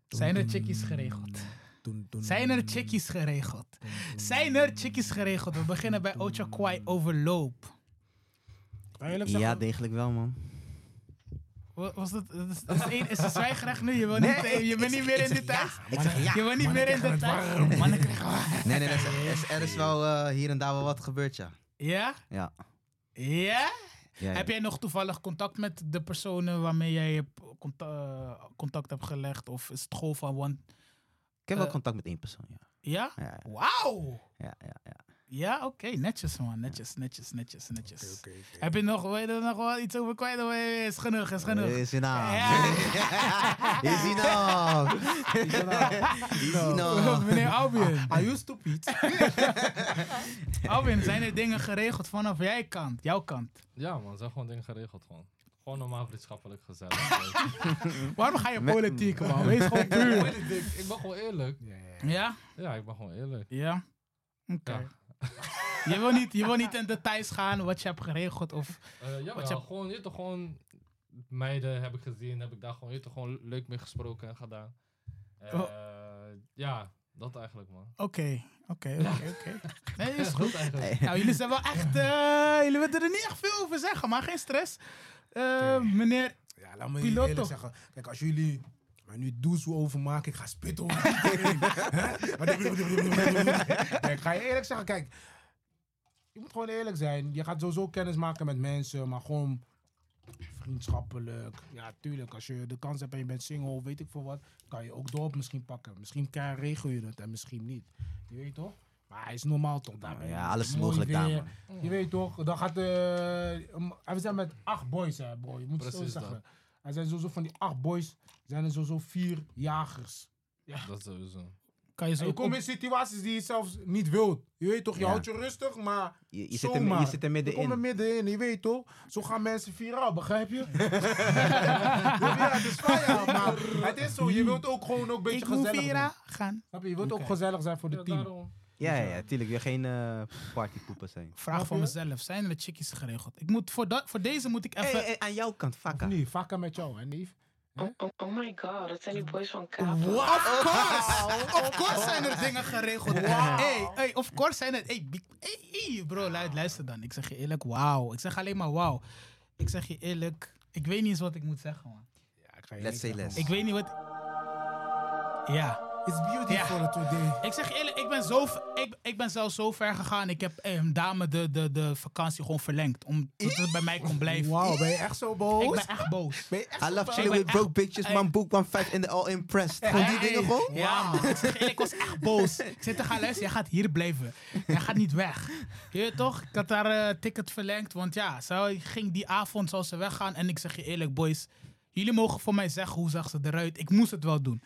S1: Zijn er chickies geregeld? Zijn er chickies geregeld? Zijn er chickies geregeld? We beginnen bij Ocha Kwai overloop.
S4: Ja, degelijk wel, man.
S1: Nou, Wa- Was dat, dat is, dat is, één- is een zwijgrecht nu? Je wil niet,
S4: Nee,
S1: je bent
S4: ik-
S1: niet meer
S4: ik
S1: in
S4: zeg
S1: dit
S4: ja.
S1: thuis?
S4: Ik zeg
S1: [LAUGHS]
S4: ja.
S1: Je bent niet meer in dit thuis? Mannen krijgen warm.
S4: Nee, nee, nee, er is, er is wel eh, hier en daar wel wat gebeurd, ja.
S1: Ja?
S4: Ja.
S1: Ja?
S4: ja, ja.
S1: Heb jij nog toevallig contact met de personen waarmee jij je p- cont- eh, contact hebt gelegd? Of is het gewoon van one...
S4: Ik heb wel
S1: eh,
S4: contact met één persoon, ja.
S1: Ja?
S4: Ja, ja,
S1: Wauw!
S4: ja. ja, ja.
S1: Ja, oké. Netjes, man. Netjes, netjes, netjes, netjes. Heb je nog, weet je er nog wel iets over kwijt? Of eh, is genoeg, is genoeg.
S4: [LAUGHS] Is je naam.
S1: Ja. [LAUGHS]
S4: Is nou? je naam. [LAUGHS] Is je naam.
S1: Meneer Albion.
S4: [LAUGHS]
S2: Are you stupid?
S1: [LAUGHS] Albion, zijn er dingen geregeld vanaf jij kant, jouw kant?
S3: Ja, man, zijn gewoon dingen geregeld gewoon. Gewoon normaal vriendschappelijk gezellig. Weet
S1: Waarom ga je
S4: Met-
S1: politiek, man? Wees gewoon
S4: [LAUGHS]
S1: puur.
S3: je. Ik- Ik ben gewoon eerlijk.
S1: Ja?
S3: Ja, ik ben gewoon eerlijk.
S1: Ja? Oké.
S3: Ja.
S1: [LAUGHS] Je, wil niet, je wil niet in details gaan wat je hebt geregeld of...
S3: Eh ja,
S1: Wat je-
S3: gewoon, je weet toch gewoon meiden heb ik gezien, heb ik daar gewoon, je weet toch gewoon leuk mee gesproken en gedaan. Eh, Ja, dat eigenlijk man.
S1: Oké, oké, oké, oké. Nee, is goed.
S3: Dat eigenlijk.
S4: Hey.
S1: Nou, jullie zijn wel echt... eh, jullie willen er niet echt veel over zeggen, maar geen stress. Eh, Meneer...
S2: Ja, laat me
S1: Piloto.
S2: je eerlijk zeggen. Kijk, als jullie maar nu doezoe over maken, ik ga spitten [LAUGHS] over iedereen. Hè? Maar dit- [LAUGHS] Nee, Ik ga je eerlijk zeggen, kijk. Je moet gewoon eerlijk zijn. Je gaat sowieso kennis maken met mensen, maar gewoon vriendschappelijk. Ja, tuurlijk. Als je de kans hebt en je bent single of weet ik veel wat, kan je ook dorp misschien pakken. Misschien kan- regel je het en misschien niet. Je weet toch? Maar hij is normaal toch daarmee.
S4: Nou Ja, alles is
S2: Mooi
S4: mogelijk daar,
S2: weer.
S4: man.
S2: Je weet toch, dan gaat de. we zijn met acht boys, hè, bro. Je moet het zo
S3: Precies
S2: zeggen.
S3: dat.
S2: Er zijn sowieso van die acht boys, zijn er sowieso vier jagers.
S3: Dat sowieso.
S1: Kan je
S2: En
S1: zo
S2: je komt in situaties die je zelfs niet wilt. Je weet toch, je
S4: Ja.
S2: houdt je rustig, maar.
S4: [LAUGHS] Je, je, zit er,
S2: zomaar.
S4: je zit er
S2: Je komt er
S4: middenin.
S2: middenin, je weet toch? Zo gaan mensen viraal, begrijp je? [LAUGHS] ja, het is fire, maar het is zo. Je wilt ook gewoon ook een beetje
S1: Ik moet
S2: gezellig
S1: Vera
S2: zijn.
S1: gaan.
S2: Snap je? Je wilt ook
S1: Oké.
S2: gezellig zijn voor de
S3: Ja,
S2: team.
S3: daarom.
S4: Ja, ja, ja, tuurlijk. Weer geen eh partypoepen zijn.
S1: Vraag van mezelf. Zijn er chickies geregeld? Ik moet, voor, dat- voor deze moet ik even...
S4: Hey, hey, aan jouw kant,
S2: Of
S4: fakka.
S2: niet, vakken met jou, hè, neef?
S5: Oh, oh, oh my god, dat zijn die boys van Kaap.
S1: Of course! Of course zijn er dingen geregeld. Hey, hey, of course zijn er. Hey, bi- hey, hey, bro, lu- luister dan. Ik zeg je eerlijk, wauw. Ik zeg alleen maar wauw. Ik zeg je eerlijk, ik weet niet eens wat ik moet zeggen, man.
S2: Ja, ik ga je
S4: Let's say
S2: eerlijk
S4: less.
S1: Ik weet niet wat. Ja.
S2: zeggen. It's beautiful today.
S1: Ik zeg je eerlijk, ik ben, zo, v- ik, ik ben zelfs zo ver gegaan. Ik heb eh, een dame de, de, de vakantie gewoon verlengd. Om tot het bij mij kon blijven.
S2: Wauw, Oh, ben je echt zo
S1: Ik
S2: boos?
S1: ben echt boos.
S2: Ben je echt
S4: I
S2: zo
S4: love
S2: boos?
S4: chilling
S1: Ik
S4: with
S1: ben
S4: broke bitches,
S1: Hey.
S4: man. Book one five and they're all impressed. Gewoon die
S1: Hey,
S4: dingen gewoon?
S1: Ja, man. Ik, zeg je eerlijk, ik was echt boos. Ik zei tegen haar, luister, jij gaat hier blijven. Jij gaat niet weg. Je weet toch? Ik had haar eh, ticket verlengd. Want ja, zij ging die avond zou ze weggaan. En ik zeg je eerlijk, boys. Jullie mogen voor mij zeggen hoe zag ze eruit. Ik moest het wel doen.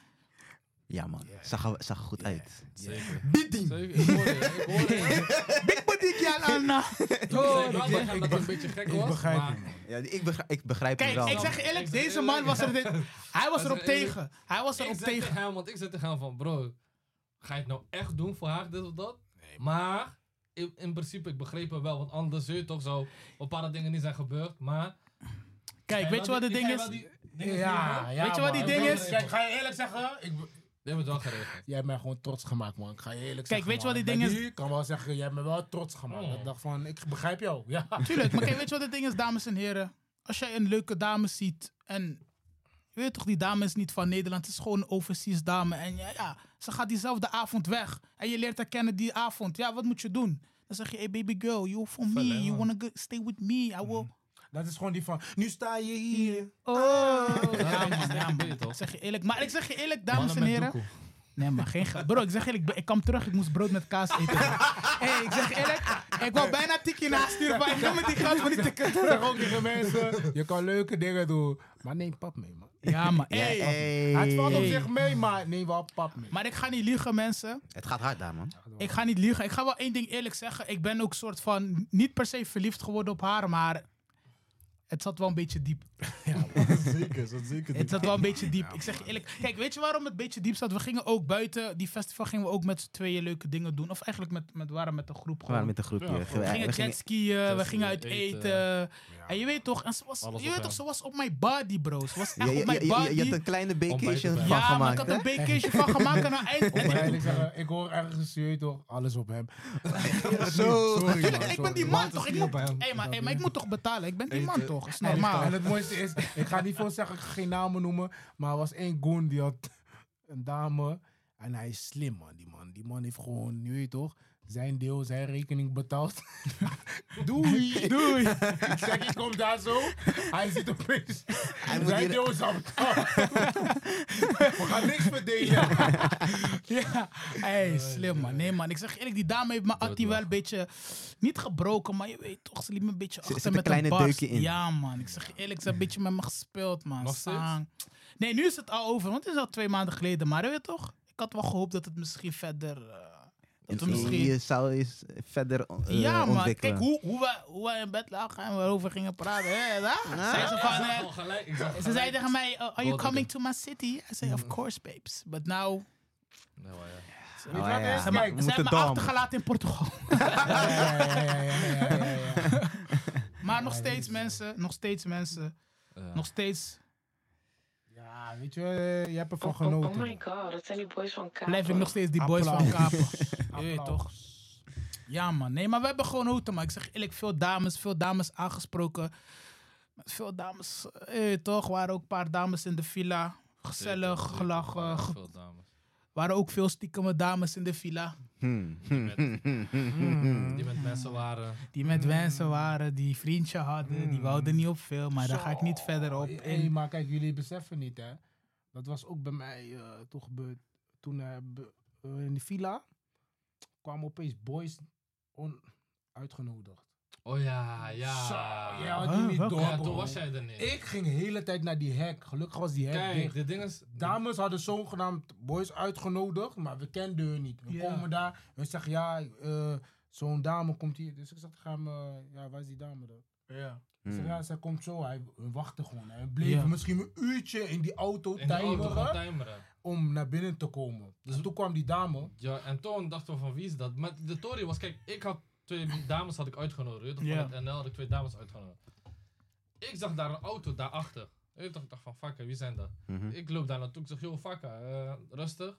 S4: Ja, man. Zag er, zag er goed uit.
S3: Zeker.
S4: Bidding!
S3: Zeker. Ik hoor je, ik hoor je.
S1: Big booty girl,
S4: nou,
S1: Anna.
S3: Ik begrijp wel dat het een beetje gek was.
S2: begrijp
S3: maar-
S2: hem.
S4: Ja, ik begrijp, ik begrijp het
S1: Kijk,
S4: wel.
S1: ik
S4: man.
S1: zeg je eerlijk, deze man was er... Dit, hij was erop tegen. Hij was
S3: Ik
S1: erop
S3: zeg tegen
S1: tegen.
S3: hem, want ik zeg tegen hem van, bro, ga je het nou echt doen voor haar, dit of dat? maar in, in principe, ik begreep hem wel, want anders zul je toch zo bepaalde dingen niet zijn gebeurd, maar...
S1: Kijk, weet je wat het ding is?
S2: Ja, ja,
S1: Weet je wat
S2: man.
S1: die ding
S2: Ik
S1: is?
S2: ben- Kijk, ga je eerlijk zeggen? Ik, be-
S3: Dit wordt wel geregeld.
S2: jij hebt mij gewoon trots gemaakt, man. Ik ga je eerlijk
S1: Kijk,
S2: zeggen.
S1: weet je wat die
S2: man.
S1: ding
S2: Bij
S1: is?
S2: Ik kan wel zeggen, jij hebt me wel trots gemaakt.
S3: Oh.
S2: Ik dacht van, ik begrijp jou. Ja. [LAUGHS]
S1: Tuurlijk, maar kijk, weet je wat het ding is, dames en heren? Als jij een leuke dame ziet en... Je weet toch, die dame is niet van Nederland. Het is gewoon een overseas dame. En ja, ja, ze gaat diezelfde avond weg. En je leert haar kennen die avond. Ja, wat moet je doen? Dan zeg je, hey baby girl, you for me.
S3: Verlengen.
S1: You wanna go- stay with me. I will...
S2: Dat is gewoon die van, nu sta je hier.
S1: Oh. Ja,
S3: Ja,
S1: man, ja, man.
S3: toch?
S1: Ik zeg je eerlijk. Maar ik zeg je eerlijk, dames en heren. Nee, maar geen geld. Bro, ik zeg eerlijk, ik kwam terug, ik moest brood met kaas [LAUGHS] eten. hey, ik zeg eerlijk, ik wou bijna tikkie nasturen, maar ik wil met die geld van [LAUGHS] die tikkie terug.
S2: Zeg ook tegen mensen, je kan leuke dingen doen. Maar neem pap mee, man.
S1: Ja, maar
S4: Hey.
S1: hey.
S2: Het valt op
S1: Hey.
S2: zich mee, maar neem wel pap mee.
S1: Maar ik ga niet liegen, mensen.
S4: Het gaat hard daar, man.
S1: Ik ga niet liegen. Ik ga wel één ding eerlijk zeggen. Ik ben ook soort van niet per se verliefd geworden op haar, maar het zat wel een beetje
S4: [LAUGHS]
S1: diep.
S3: zeker, [LAUGHS] dat zeker.
S1: Het zat wel een beetje diep. Ik zeg je eerlijk. Kijk, weet je waarom het een beetje diep zat? We gingen ook buiten die festival gingen we ook met z'n tweeën leuke dingen doen. Of eigenlijk met, met we waren met een groep
S4: We waren
S1: gewoon.
S4: met een groepje.
S3: Ja,
S4: We
S3: gewoon.
S1: we
S4: gingen-
S1: gingen
S4: we gingen-
S1: jetskiën, we
S3: Jetskiën,
S1: gingen uit
S3: eten.
S1: eten. En je weet toch, en ze was,
S3: Alles
S1: je
S3: op
S1: weet toch,
S3: hem.
S1: ze was op mijn body, bro. Ze was echt
S4: je,
S1: op mijn
S4: je, je- je,
S1: body.
S4: je had een kleine vacation
S3: erbij.
S1: ja,
S4: van
S1: maar ik
S4: gemaakt,
S1: had
S4: hè? Oh
S1: een vacation van gemaakt en aan
S4: [LAUGHS]
S1: eind. en ik-
S2: Maar eerlijk zeggen, ik hoor ergens, je weet toch, alles op
S3: [LAUGHS]
S2: hem.
S4: Zo.
S2: Sorry, man.
S1: Tuurlijk, ik ben die man toch? Ik moet, hey, maar, hey, maar ik moet toch betalen? Ik ben die man
S3: Eten.
S1: toch? Dat is
S2: Sorry.
S1: normaal.
S2: En het mooiste is, ik ga niet veel zeggen, ik ga geen namen noemen, maar er was één goon die had [LAUGHS] een dame en hij is slim, man. Die man, die man heeft gewoon, je weet toch, zijn deel, zijn rekening betaald. [LAUGHS] doei, [LAUGHS] doei. Ik zeg, ik kom daar zo, hij zit opeens,
S4: moet
S2: zijn
S4: hier-
S2: deel is al [LAUGHS] betaald. We gaan niks verdelen.
S1: Ja, hey, slim man. Nee man, ik zeg je eerlijk, die dame heeft mijn Atti wel een beetje, niet gebroken, maar je weet toch, ze liet me een beetje achter
S4: zit een
S1: met
S4: kleine
S1: barst.
S4: deukje in.
S1: Ja man, ik zeg je eerlijk, ze heeft een beetje met me gespeeld man.
S3: Nog steeds?
S1: Sang. Nee, nu is het al over, want het is al twee maanden geleden, maar je weet toch, ik had wel gehoopt dat het misschien verder... eh, dat we
S4: En
S1: misschien...
S4: Je zou eens verder eh,
S1: ja, maar
S4: ontwikkelen.
S1: kijk hoe, hoe, wij, hoe wij in bed lagen en waarover gingen praten. hè, hè?
S4: Ah.
S1: Zei ze van, eh, ze zei tegen mij, uh, are you
S3: Doordenken.
S1: coming to my city? I zei, of course, babes. But now...
S4: Oh, ja, ja.
S1: Ze
S4: Maar Nou, we
S1: hebben ze
S4: moeten
S1: hebben me
S4: dan.
S1: achtergelaten in Portugal.
S2: Ja, ja, ja, ja, ja, ja, ja, ja.
S1: Maar nog steeds mensen, nog steeds mensen, nog steeds
S2: Ja, weet je, eh, je hebt ervan
S5: Oh, oh, oh
S2: genoten.
S5: my god, dat zijn die boys van Kaap.
S1: blijf ik nog steeds die boys van
S2: Applaus.
S1: Kapen. Je weet
S2: [LAUGHS] Applaus.
S1: toch? Ja man, nee, maar we hebben gewoon houten, maar ik zeg eerlijk, veel dames, veel dames aangesproken. Veel dames, eh, toch, waren ook een paar dames in de villa. Gezellig, gelachen. eh, ge- waren ook veel stiekeme dames in de villa.
S4: Hmm, hmm, hmm, hmm, hmm, hmm.
S3: Die met mensen waren.
S1: Die
S2: Mm.
S1: met wensen waren, die vriendje hadden, die wouden niet op veel, maar daar ga ik niet verder op
S2: Hey,
S1: in.
S2: maar kijk, jullie beseffen niet, hè. Dat was ook bij mij eh, toch gebeurd. Toen eh, be- eh, in de villa kwamen opeens boys on uitgenodigd.
S3: Oh ja, ja.
S2: Zo, jij had
S1: Huh,
S2: die niet
S1: welke?
S2: door,
S3: Ja, toen
S2: bro.
S3: was jij er niet.
S2: Ik ging de hele tijd naar die hek. Gelukkig was die hek
S3: Kijk,
S2: dicht.
S3: dit ding is...
S2: Dames hadden zogenaamd boys uitgenodigd, maar we kenden hun niet. We
S1: Ja.
S2: komen daar, hun zeggen ja, eh, zo'n dame komt hier. Dus ik zeg, ga me, ja, waar is die dame dan?
S1: Ja.
S2: Ik zeg,
S4: Hmm.
S2: ja, zij komt zo. Hij we wachten gewoon. Hij bleef
S1: Ja.
S2: misschien een uurtje in die auto
S3: In de auto
S2: timeren
S3: gaan timeren.
S2: om naar binnen te komen. Dus toen kwam die dame.
S3: Ja, en toen dachten we van wie is dat? Maar de Tory was, kijk, ik had twee dames had ik uitgenodigd. weet je toch?
S1: Ja.
S3: Van het NL had ik twee dames uitgenodigd. Ik zag daar een auto daarachter. Weet je toch, Ik dacht van fucker, wie zijn dat?
S4: Mhm.
S3: Ik loop daar naartoe. Ik zeg, joh, fucker, eh, rustig.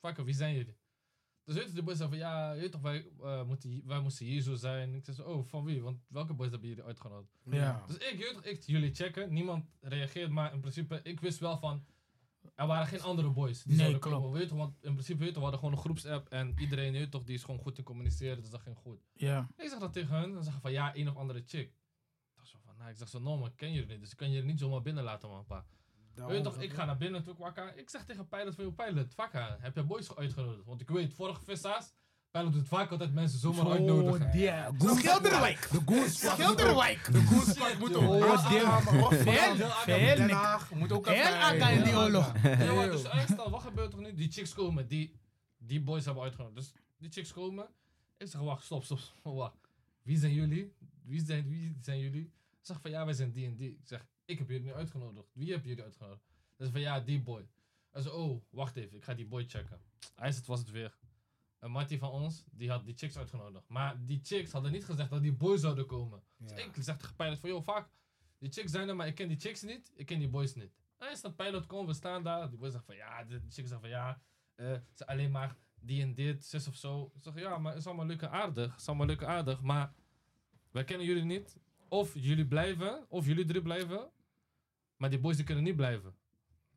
S3: Fucker, wie zijn jullie? Dus weet je, de boys zei van ja, weet je toch, wij, eh, moeten, hier- wij moesten hier zo zijn. Ik zei, zo, oh, van wie? Want welke boys hebben jullie uitgenodigd?
S1: Ja.
S3: Dus ik, weet je toch, ik jullie checken. Niemand reageert, maar in principe, ik wist wel van. Er waren geen andere boys die
S1: Nee,
S3: zouden
S1: klopt.
S3: komen. Weet je, toch, want in principe weet je, toch, we hadden gewoon een groepsapp en iedereen weet je, toch, die is gewoon goed in communiceren, dus dat ging goed.
S1: Ja.
S3: Ik zeg dat tegen hun, dan zeggen van ja, een of andere chick. Ik dacht zo van, nou, ik zeg zo, no man, ik ken jullie niet, dus ik kan jullie niet zomaar binnen laten man, pa.
S2: Nou,
S3: Weet je toch, ik ga naar binnen toe, kwakka. Ik zeg tegen Pilot van, joh, Pilot, vakka, heb je boys uitgenodigd? Want ik weet, vorige vissa's, Pilot doet vaak altijd mensen zomaar uitnodigen.
S2: Oh, yeah. Goons-
S1: Schilderwijk!
S2: De goons
S1: Schilderwijk!
S2: De goonspark moet ook.
S3: Oh,
S1: Veel, veel
S2: Den
S1: niks.
S2: Haag moet ook
S1: Heel
S2: even-
S1: akka in die oorlog.
S3: Ja, maar dus uitstel, wat gebeurt er nu? Die chicks komen, die, die boys hebben uitgenodigd. Dus die chicks komen. Ik zeg, wacht, stop, stop, stop, wacht. Wie zijn jullie? Wie zijn, wie zijn jullie? Ik zeg van, ja, wij zijn die en die. Ik zeg, ik heb jullie niet uitgenodigd. Wie hebben jullie uitgenodigd? Hij zei van, ja, die boy. Hij zei, oh, wacht even, ik ga die boy checken. Hij zei, het was het weer. Een mattie van ons, die had die chicks uitgenodigd. Maar die chicks hadden niet gezegd dat die boys zouden komen. Dus ik zeg tegen Pilot van, joh, vaak, die chicks zijn er, maar ik ken die chicks niet, ik ken die boys niet. Hij is dat Pilot komt, we staan daar, die boys zegt van, ja, de chicks zeggen van, ja, eh, ze zijn alleen maar die en dit, zus of zo. Ik zeg, ja, maar het is allemaal leuk en aardig, het is allemaal leuk en aardig, maar wij kennen jullie niet. Of jullie blijven, of jullie drie blijven, maar die boys die kunnen niet blijven.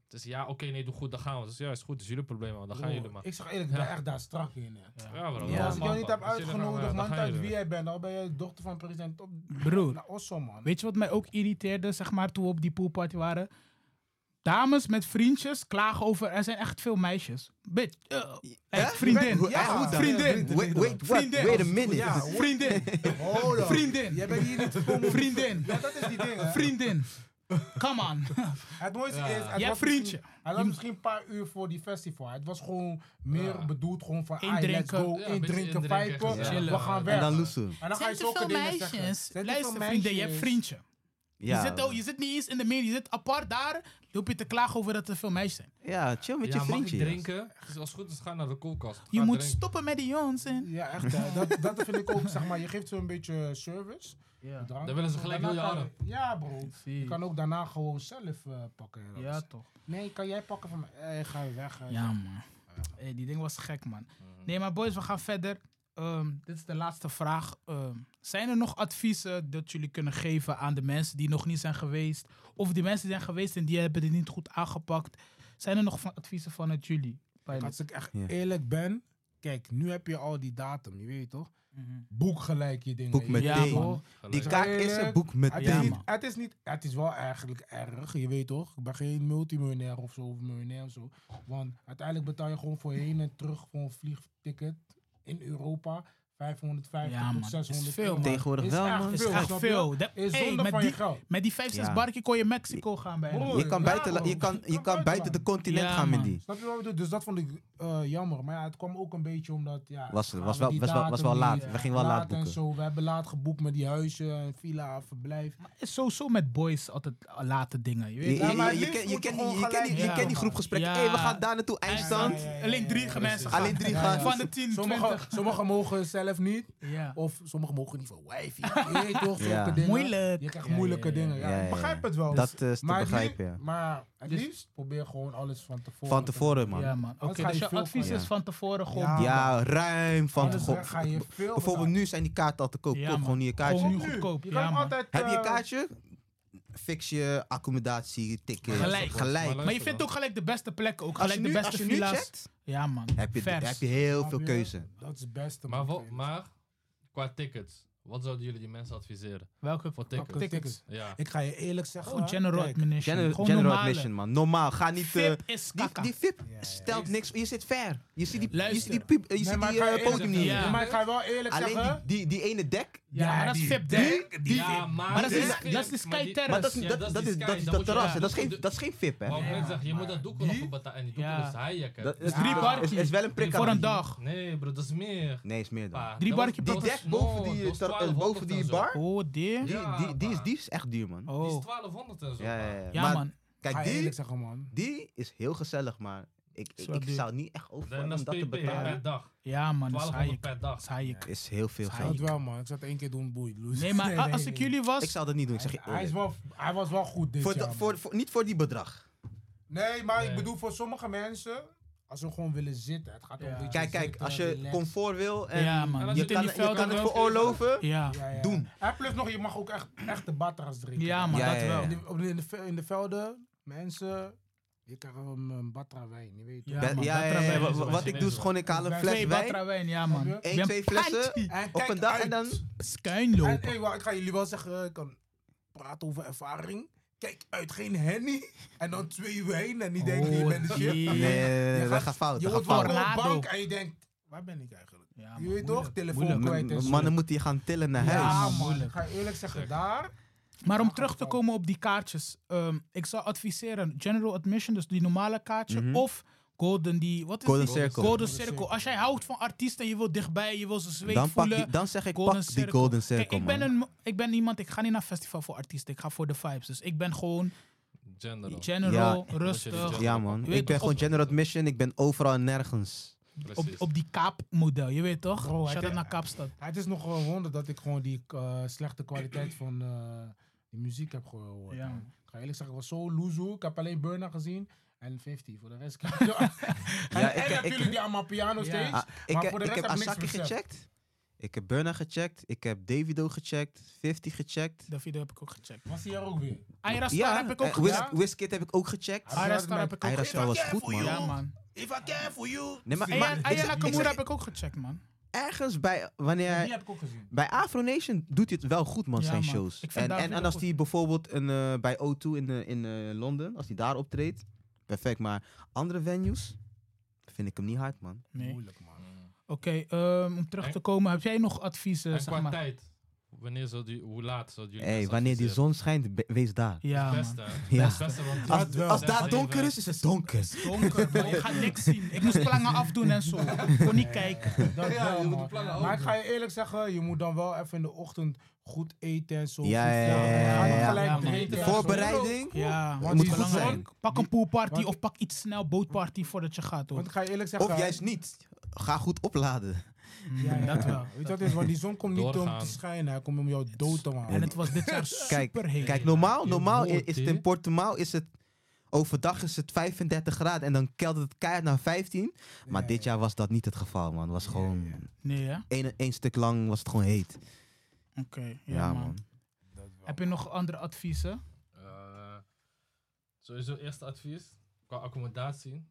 S3: Dus ja, oké, nee, doe goed, dan gaan we. Dus ja, is goed, dat is jullie probleem, man, dan gaan jullie maar.
S2: Ik zeg eerlijk, ik
S3: Ja.
S2: ben echt daar strak in. hè.
S3: Ja, bro.
S4: Ja.
S2: Als ik jou niet heb
S3: Als jullie gaan, ja,
S2: uitgenodigd,
S3: eh, dan
S2: man,
S3: gaan
S2: uit
S3: jullie
S2: wie
S3: weer.
S2: jij bent, al ben jij dochter van president op
S1: Broer,
S2: naar Osso, man.
S1: weet je wat mij ook irriteerde, zeg maar, toen we op die poolparty waren? Dames met vriendjes klagen over. Er zijn echt veel meisjes. Bitch. eh, echt
S4: Hè?
S1: vriendin.
S4: Hoe- eh, hoe dan?
S1: Vriendin.
S4: Wait, wait, what?
S1: Vriendin.
S4: Wait a minute.
S2: Ja, hoe-
S1: Vriendin.
S2: Hold
S1: Vriendin.
S2: Jij bent hier niet voor
S1: Vriendin.
S2: Ja, dat is die ding. hè.
S1: Vriendin. Come on.
S2: Het mooiste
S3: Ja.
S2: is... het
S1: Ja,
S2: was Nou,
S1: vriendje.
S2: misschien- Hij was misschien een paar uur voor die festival. Het was gewoon meer
S3: Ja.
S2: bedoeld gewoon van... Ay, let's
S1: Indrinken.
S2: go,
S3: Ja, een beetje
S2: indrinken,
S3: indrinken,
S2: pijpen.
S3: ja.
S2: We
S1: Chillen.
S2: gaan
S4: En
S2: weg.
S4: dan loesoe.
S2: En dan ga
S1: Zijn te
S2: je zulke
S1: veel
S2: dingen zeggen.
S1: meisjes.
S2: Zijn te
S1: Luister
S2: veel
S1: vriendin, je hebt
S2: meisjes.
S1: vriendje.
S4: Ja,
S1: Je, zit al, je zit niet eens in de media. Je zit apart daar. Dan hoef je te klagen over dat er veel meisjes zijn.
S4: ja, chill
S3: ja,
S4: met je
S3: mag ik
S4: vriendje.
S3: drinken? Dus als het goed is, ga naar de koelkast.
S1: Je
S3: Ga
S1: moet
S3: drinken.
S1: stoppen met die jongens. En...
S2: Ja, echt. hè. Dat, dat vind ik ook, zeg maar. Je geeft ze een beetje service.
S1: Ja.
S2: drank.
S3: Dan willen ze gelijk
S2: Daarna
S3: heel je
S2: kan-
S3: arm.
S2: Ja, bro. Je kan ook daarna gewoon zelf eh, pakken. en dat is-
S1: toch.
S2: Nee, kan jij pakken van mij? Eh, ga je weg. eh.
S1: Ja, man. Hey, die ding was gek, man.
S2: Mhm.
S1: Nee, maar boys, we gaan verder. Ehm, dit is de laatste vraag. Ehm, zijn er nog adviezen dat jullie kunnen geven aan de mensen die nog niet zijn geweest? Of die mensen die zijn geweest en die hebben dit niet goed aangepakt? Zijn er nog van adviezen vanuit jullie?
S2: Kijk,
S1: Pilot?
S2: Als ik echt
S4: Ja.
S2: eerlijk ben, kijk, nu heb je al die datum, je weet toch?
S1: Mhm.
S2: Boek gelijk je dingen.
S4: Boek
S2: je
S4: met
S2: weet
S1: Ja,
S2: toch?
S1: man.
S3: Gelijk.
S4: Die kaak is een boek [LAUGHS] met
S2: Het,
S1: Ja,
S2: is
S4: thee.
S2: niet,
S1: man.
S2: het, is niet, het is wel eigenlijk erg, je weet toch? Ik ben geen multimiljonair of zo, of miljonair of zo. Want uiteindelijk betaal je gewoon voor heen en terug voor een vliegticket in Europa. 550
S1: Ja,
S2: tot
S1: man.
S2: 600
S1: Is veel,
S2: euro.
S1: man.
S4: Tegenwoordig
S2: Is
S4: wel,
S2: echt
S4: man.
S1: is
S2: veel,
S1: echt
S2: snap je?
S1: veel. Dat-
S2: Is
S1: hey,
S2: zonde
S1: met
S2: van je
S1: die,
S2: geld.
S1: met die 5, 6
S4: Ja.
S1: barkie kon je Mexico gaan bijna.
S2: Broer,
S4: Je kan,
S2: Ja,
S4: buiten, la-
S2: man.
S4: je kan, je kan buiten de continent
S1: Ja,
S4: gaan met
S1: man.
S4: die.
S2: Snap je wat ik bedoel? Dus dat vond ik eh, jammer. Maar ja, het kwam ook een beetje omdat... Ja,
S4: Was-
S2: gaan
S4: was
S2: we
S4: wel-
S2: die
S4: was wel- was
S2: datum
S4: wel
S2: niet,
S4: laat.
S2: eh,
S4: We gingen wel laat
S2: en
S4: boeken.
S2: zo. We hebben laat geboekt met die huizen, en villa, verblijf.
S1: Maar is sowieso met boys altijd late dingen. Je
S4: Je-
S1: weet
S4: Je
S2: Ja, maar het
S4: je- je
S2: liefst
S4: kent- je
S2: moet
S4: kent
S2: gewoon
S4: die- je kent die-
S2: gelijk-
S4: je kent die
S1: Ja.
S4: groepgesprekken.
S1: Ja.
S4: Hé, we gaan daar naartoe, eindstand.
S2: Ja, ja, ja, ja.
S1: Alleen drie mensen.
S4: Alleen drie
S2: Ja,
S4: gaan.
S2: ja.
S1: Van de 10,
S2: Sommigen
S1: 20.
S2: sommige mogen zelf niet.
S1: Ja.
S2: Of sommigen mogen niet van
S1: [LAUGHS]
S2: wifi. Je weet toch, zulke
S4: Ja.
S2: dingen.
S1: Moeilijk.
S2: Je krijgt
S1: Ja, ja,
S2: moeilijke
S1: ja.
S2: dingen. Ja,
S4: Ja, ja,
S2: Ik
S4: ja.
S2: begrijp het wel.
S4: Dat eh, is te
S2: maar het
S4: begrijpen,
S2: liefst-
S4: ja.
S2: Maar het
S1: Dus-
S2: liefst probeer gewoon alles van tevoren.
S4: Van
S2: te-
S4: tevoren, man.
S1: Ja, man. Oké,
S2: Anders ga
S1: dus
S2: je
S1: je
S2: veel
S1: advies
S2: van-
S1: is
S4: Ja.
S1: van tevoren gewoon...
S2: Ja.
S4: Ja, ruim van
S2: Anders
S4: tevoren.
S2: ga je veel
S4: Bijvoorbeeld nu zijn die kaarten al te koop.
S1: Ja,
S4: Koop
S1: man.
S4: gewoon nu je kaartje.
S1: Gewoon
S2: betalen.
S1: nu goedkoop.
S2: Je
S1: Ja,
S2: kan
S1: man.
S2: altijd...
S4: Heb je
S2: eh,
S4: een kaartje? Fix je accommodatie, ticket.
S1: Gelijk.
S4: Gelijk.
S1: Maar je vindt ook gelijk de beste plekken. Ook
S4: Als je
S1: gelijk de
S4: nu, als
S1: beste
S4: je nu
S1: villa's.
S4: checkt,
S1: Ja, man.
S4: heb je,
S1: Vers.
S4: heb je heel
S2: snap
S4: veel
S2: je?
S4: keuze.
S2: Dat is het beste.
S3: Maar,
S2: man.
S3: wel- maar qua tickets, wat zouden jullie die mensen adviseren?
S1: Welke
S3: Voor tickets.
S2: Welke tickets?
S3: Ja.
S2: Ik ga je eerlijk zeggen.
S1: Oh, general
S2: kijk,
S1: admission.
S4: General,
S1: Gewoon
S4: general
S1: normale.
S4: admission, man. Normaal. Ga niet... eh,
S1: VIP is
S4: die,
S1: kaka.
S4: die VIP
S2: ja.
S4: stelt niks. Je zit ver. Je ziet die, je ziet
S1: Luister.
S4: die, piep- je ziet
S2: Nee, maar
S4: die
S2: ik ga je
S4: eh,
S2: eerlijk
S4: podium
S2: zeggen.
S4: niet.
S1: Ja.
S2: Nee, Maar ik ga je wel eerlijk
S4: Alleen die,
S2: zeggen.
S4: die, die ene dek.
S1: Ja, maar dat is
S2: die-
S1: VIP dek.
S4: die-
S3: ja, maar,
S1: Maar dat
S4: is-
S3: die-
S1: dat is de
S3: maar die-
S1: Skyterrace.
S4: Maar dat is
S3: Ja,
S4: dat- dat is-
S3: die
S4: dat
S3: Sky,
S4: is
S3: dan
S4: dat
S3: moet je-
S4: terras.
S3: ja,
S4: Dat
S3: dan
S4: is geen-
S3: moet je-
S4: dat is geen VIP, hè.
S3: Wou ik
S2: Ja,
S3: net zeggen, je moet
S2: maar
S3: dat doek wel
S2: die-
S3: nog betalen. En die doek
S1: Ja.
S3: is hijjacken.
S4: Dat is
S1: Drie
S4: ja,
S1: barkie.
S4: is- is wel een prik
S1: Voor
S4: aan
S1: een
S4: die-
S1: dag.
S3: Nee bro, dat is meer.
S4: Nee, is meer dan.
S3: Pa,
S1: Drie
S3: dat was-
S1: barkie
S3: dat
S1: per
S4: Die
S1: was
S4: dek
S3: small,
S4: boven
S3: dat
S4: die,
S3: was
S4: ter- eh,
S3: 1200
S4: boven
S3: en
S4: die
S3: zo.
S4: bar,
S1: Oh, dear.
S4: die,
S3: Ja,
S4: die, die, is,
S3: maar-
S4: die is echt duur, man.
S3: Die is
S1: Oh.
S3: 1200 en zo.
S4: Ja, ja, ja.
S1: Ja,
S4: Maar
S1: man.
S2: Ga
S4: Kijk,
S2: je
S4: die,
S2: eerlijk zeggen, man.
S4: die is heel gezellig, maar ik, ik,
S1: Zo
S4: ik
S1: duur.
S4: zou niet echt
S3: Dan-
S4: overvallen
S3: Dan
S4: om
S3: is
S4: dat te
S3: PP
S4: betalen.
S3: per dag.
S1: Ja, man. Dat is
S3: 1200
S1: haaiek.
S3: per
S1: Dat
S3: dag.
S1: is haaiek.
S4: Is heel veel
S1: Hij-
S4: geld.
S2: Dat wel, man. Ik zat één keer doen, boeit. Loes.
S1: Nee,
S2: [LAUGHS]
S1: maar
S2: Nee,
S1: a-
S2: nee,
S1: als ik
S2: nee.
S1: jullie was...
S4: Ik zou dat niet doen, ik zeg je
S2: Hij, is
S4: eerlijk.
S2: wel, hij was wel goed dit
S4: Voor,
S2: jaar.
S4: dat- voor,
S2: man.
S4: voor, niet voor die bedrag.
S2: Nee, maar ik
S3: Nee.
S2: bedoel voor sommige mensen, als ze gewoon willen zitten, het gaat om
S1: Ja.
S2: een beetje
S4: Kijk, kijk,
S2: zitten,
S4: als je
S2: relaxen.
S4: comfort wil en
S1: Ja, man.
S3: En
S1: Je
S3: als
S4: eh, je,
S1: zit in
S4: kan,
S1: die
S4: je kan
S1: velden.
S4: het
S3: velden.
S4: veroorloven,
S1: Ja.
S2: Ja, ja.
S4: doen.
S2: En plus nog, je mag ook echt, echt de batteras drinken.
S1: Ja, man.
S4: Ja,
S1: Dat
S4: ja, ja.
S1: wel.
S2: In de, op de- in, de, ve- in de velden, mensen, je krijgt een, een batra wijn, je weet
S1: Ja,
S4: Dat-
S1: man,
S4: ja,
S1: dat
S4: ja,
S1: er
S4: ja,
S1: wel
S4: wa-
S1: is,
S4: wa-
S3: man.
S4: wat ik doe is gewoon, ik haal een fles
S1: Twee
S4: wijn,
S1: batra wijn, ja, man.
S2: Snap je?
S1: Ik
S4: één,
S1: ben
S4: twee flessen
S1: pantie.
S2: En
S4: op
S2: kijk
S4: een dag en
S2: uit.
S4: dan...
S1: Skuin
S2: En,
S1: lopen.
S2: hey, wacht, ik ga jullie wel zeggen, ik kan praten over ervaring. Kijk uit, geen henny en dan twee wijn en die denken, je
S1: Oh,
S2: bent de shit.
S1: die-
S4: Nee, nee, nee,
S2: Je
S4: nee, dat
S2: gaat-
S4: gaat fout,
S2: Je
S4: dat gaat
S2: wordt wel
S4: fout.
S2: op een
S1: Orlando.
S2: bank en je denkt, waar ben ik eigenlijk?
S1: Ja,
S2: Je
S1: man,
S2: weet toch,
S1: Ah, moeilijk,
S2: telefoon
S1: moeilijk.
S2: kwijt en zo.
S4: Mannen moeten je gaan tillen naar
S1: Ja,
S4: huis.
S2: Ja,
S1: man.
S2: man. Ik
S1: Moeilijk.
S2: ga eerlijk zeggen, daar.
S1: Maar om terug te komen op die kaartjes. ehm, ik zou adviseren general admission, dus die normale kaartje.
S4: Mhm.
S1: Of golden, die, wat is
S4: Golden
S1: die?
S4: Circle.
S1: Golden Circle. Als jij houdt van artiesten en je wilt dichtbij, je wil ze zweet
S4: Dan, pak
S1: voelen.
S4: die, dan zeg ik,
S1: Golden
S4: pak die
S1: Circle.
S4: Golden Circle,
S1: Kijk, ik ben,
S4: man.
S1: een, ik ben iemand, ik ga niet naar festival voor artiesten. Ik ga voor de vibes. Dus ik ben gewoon
S3: General.
S1: general,
S4: Ja.
S1: rustig.
S3: een-
S4: Ja, man.
S1: Weet
S4: Ik ben
S1: toch,
S4: gewoon
S3: op-
S4: General Admission, ik ben overal en nergens.
S1: Op,
S3: Precies.
S1: op die kaapmodel, je weet toch?
S2: Bro, hij-
S1: Shout-out naar Kaapstad.
S2: Het is nog een wonder dat ik gewoon die eh, slechte kwaliteit van eh, die muziek heb gehoord.
S1: Ja.
S2: man. Ik ga eerlijk zeggen, ik was zo loezoe. Ik heb alleen Burna gezien en 50. Voor de rest [LAUGHS] kan ik... en
S4: Ja,
S2: ja,
S4: ik- ik-
S2: jullie die allemaal piano
S1: Ja.
S2: steeds.
S4: Ah, ik,
S2: Maar
S4: heb-
S2: voor de
S4: ik
S2: rest
S4: heb
S2: heb ik niks
S4: Asaki
S2: beseft.
S4: gecheckt. Ik heb Burna gecheckt. Ik heb Davido gecheckt. 50 gecheckt.
S1: Dat video heb ik ook gecheckt.
S2: Was hij er ook weer?
S1: Aira Star
S4: Ja,
S1: heb ik ook
S4: eh, Wiz-
S1: gecheckt.
S2: gedaan.
S4: Wizkid heb ik ook gecheckt.
S2: Ah,
S1: Aira Star heb ik ook
S4: Aira
S1: gecheckt.
S4: Star was goed, man.
S1: Ja, man.
S2: If I care for you.
S4: Nee, maar,
S1: Aya
S4: maar ik
S1: Aya
S4: zeg- ik zeg-
S1: Nakamura heb ik ook gecheckt, man.
S4: ergens bij, wanneer,
S2: Die heb ik ook gezien.
S4: bij Afro Nation doet hij het wel goed, man,
S1: Ja,
S4: zijn
S1: man.
S4: shows.
S1: Ik vind
S4: En,
S1: daar
S4: en,
S1: vind
S4: en
S1: ik
S4: als
S1: ook-
S4: hij bijvoorbeeld een, eh, bij O2 in, eh, in eh, Londen, als hij daar optreedt, perfect. Maar andere venues vind ik hem niet hard, man.
S1: Nee. Oké,
S2: Moeilijk, man.
S1: ehm, om terug te komen, heb jij nog adviezen?
S3: En
S1: zeg
S3: qua
S1: maar?
S3: tijd. Eh, Wanneer zou die, hoe laat zou jullie
S4: hey,
S3: best
S4: wanneer die
S3: adviseren?
S4: zon schijnt, be- wees daar.
S1: Ja, man.
S3: Beste.
S4: Ja.
S3: Het beste, want die-
S4: Als, als
S3: zes,
S4: daar
S3: zeven,
S4: donker is, is het donker.
S1: Donker, bro. Ik ga niks zien. Ik moest plangen afdoen en zo. Ik kon niet
S2: [LAUGHS]
S1: kijken.
S2: Dat
S3: Ja,
S2: wel,
S3: je moet
S2: man.
S3: de plannen
S2: Maar
S3: open.
S2: ik ga je eerlijk zeggen, je moet dan wel even in de ochtend goed eten en zo.
S4: Ja,
S2: Goed,
S4: ja, ja, ja,
S2: Ga niet
S1: ja, ja.
S2: gelijk
S1: Ja, man.
S2: drinken en zo.
S4: Voorbereiding.
S1: Ja,
S4: Het
S1: want
S4: moet
S1: is
S4: goed
S1: belangrijk.
S4: zijn.
S1: Pak een poolparty
S2: want-
S1: of pak iets snel bootparty voordat je gaat, hoor.
S2: Want ik ga je eerlijk zeggen...
S4: Of juist niet. Ga goed opladen.
S1: Mm,
S2: Ja, ja,
S1: Dat wel.
S2: Weet je wat het is? Want die zon komt niet om
S3: Doorgaan.
S2: te schijnen. Hij komt om jou dood te maken.
S1: En het was dit jaar
S4: Kijk,
S1: superheet.
S4: kijk normaal,
S3: Je
S4: normaal i-
S3: hoort
S4: is het
S3: dit.
S4: in Portugal is het... Overdag is het 35 graden en dan keldert het keihard naar 15. Maar
S2: Ja,
S4: dit jaar was dat niet het geval, man. Het was gewoon...
S1: Nee, hè? Oké,
S4: Eén één stuk lang was het gewoon heet.
S1: ja, man. Heb je nog andere adviezen?
S3: Eh, sowieso eerste advies. Qua accommodatie.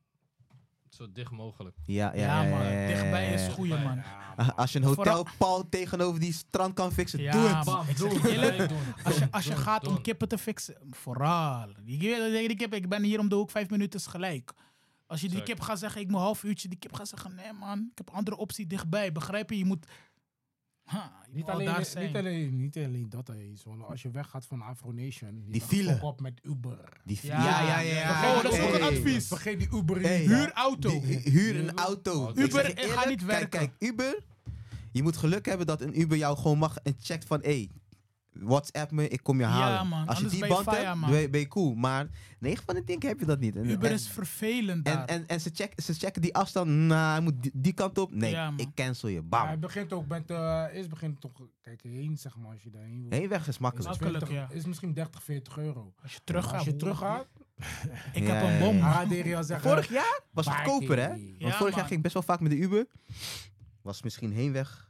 S3: Zo dicht mogelijk.
S4: Ja, ja,
S1: Ja,
S4: ja,
S1: man.
S4: ja, ja, ja,
S1: Dichtbij is
S4: ja.
S1: het goeie,
S3: Dichtbij,
S1: man.
S4: A- Als je een hotel
S1: Vooral-
S4: pal tegenover die strand kan fixen,
S1: Ja,
S4: doe het.
S1: man.
S3: Bam,
S1: Ik zeg
S3: doen,
S1: je eerlijk,
S3: gelijk doen,
S1: Als je,
S3: doen,
S1: als je
S3: doen,
S1: gaat om
S3: doen.
S1: kippen te fixen, vooral. Die kip- die kip, ik ben hier om de hoek, vijf minuten is gelijk. Als je die
S3: Zeker.
S1: kip gaat zeggen, ik moet een half uurtje, die kip gaat zeggen, nee man, ik heb een andere optie dichtbij. Begrijp je? Je moet, ha, je
S2: Niet
S1: moet al
S2: alleen,
S1: daar
S2: niet,
S1: zijn.
S2: alleen, niet alleen dat er is, want als je weggaat van Afro Nation, je
S4: Die
S2: gaat
S4: file.
S2: ook op met Uber.
S4: Die-
S1: Ja,
S2: Vergeet
S1: Oh, dat is ook een
S4: Hey.
S1: advies.
S2: Vergeet die Uber
S4: Hey.
S2: niet.
S1: Huur auto.
S4: Die- hu- huur een auto.
S3: Uber,
S4: Ik zeg je
S1: ik ga niet werken.
S4: Kijk, kijk, Uber. Je moet geluk hebben dat een Uber jou gewoon mag en checkt van... Hey, WhatsApp me, ik kom je
S1: Ja,
S4: halen.
S1: man,
S4: Als je
S1: anders
S4: die
S1: ben je
S4: band
S1: fire,
S4: hebt,
S1: man.
S4: ben je- ben je cool. Maar 9 van de 10 heb je dat niet. En-
S1: Uber
S4: en-
S1: is vervelend
S4: En,
S1: daar.
S4: en, en ze, check, ze checken die afstand. Nou, hij moet die, die kant op. Nee,
S1: Ja, man.
S4: ik cancel je.
S2: Maar Hij
S4: Bam.
S2: begint ook met, eh eerst begint het toch, kijk heen zeg maar, als je daarheen wil.
S4: Heen weg is
S2: Is
S4: makkelijk.
S1: Makkelijk.
S2: 20
S1: ja.
S2: Is misschien 30, 40 euro.
S1: als je teruggaat.
S2: Als je teruggaat,
S1: Ik
S4: Ja,
S1: heb een
S4: ja,
S1: bom.
S4: ja.
S1: man.
S2: ADR al zeggen.
S4: Vorig jaar was het
S2: Bakkie.
S4: goedkoper, hè?
S2: Ja,
S4: Want vorig jaar
S1: man.
S4: ging ik best wel vaak met de Uber. Was misschien heenweg.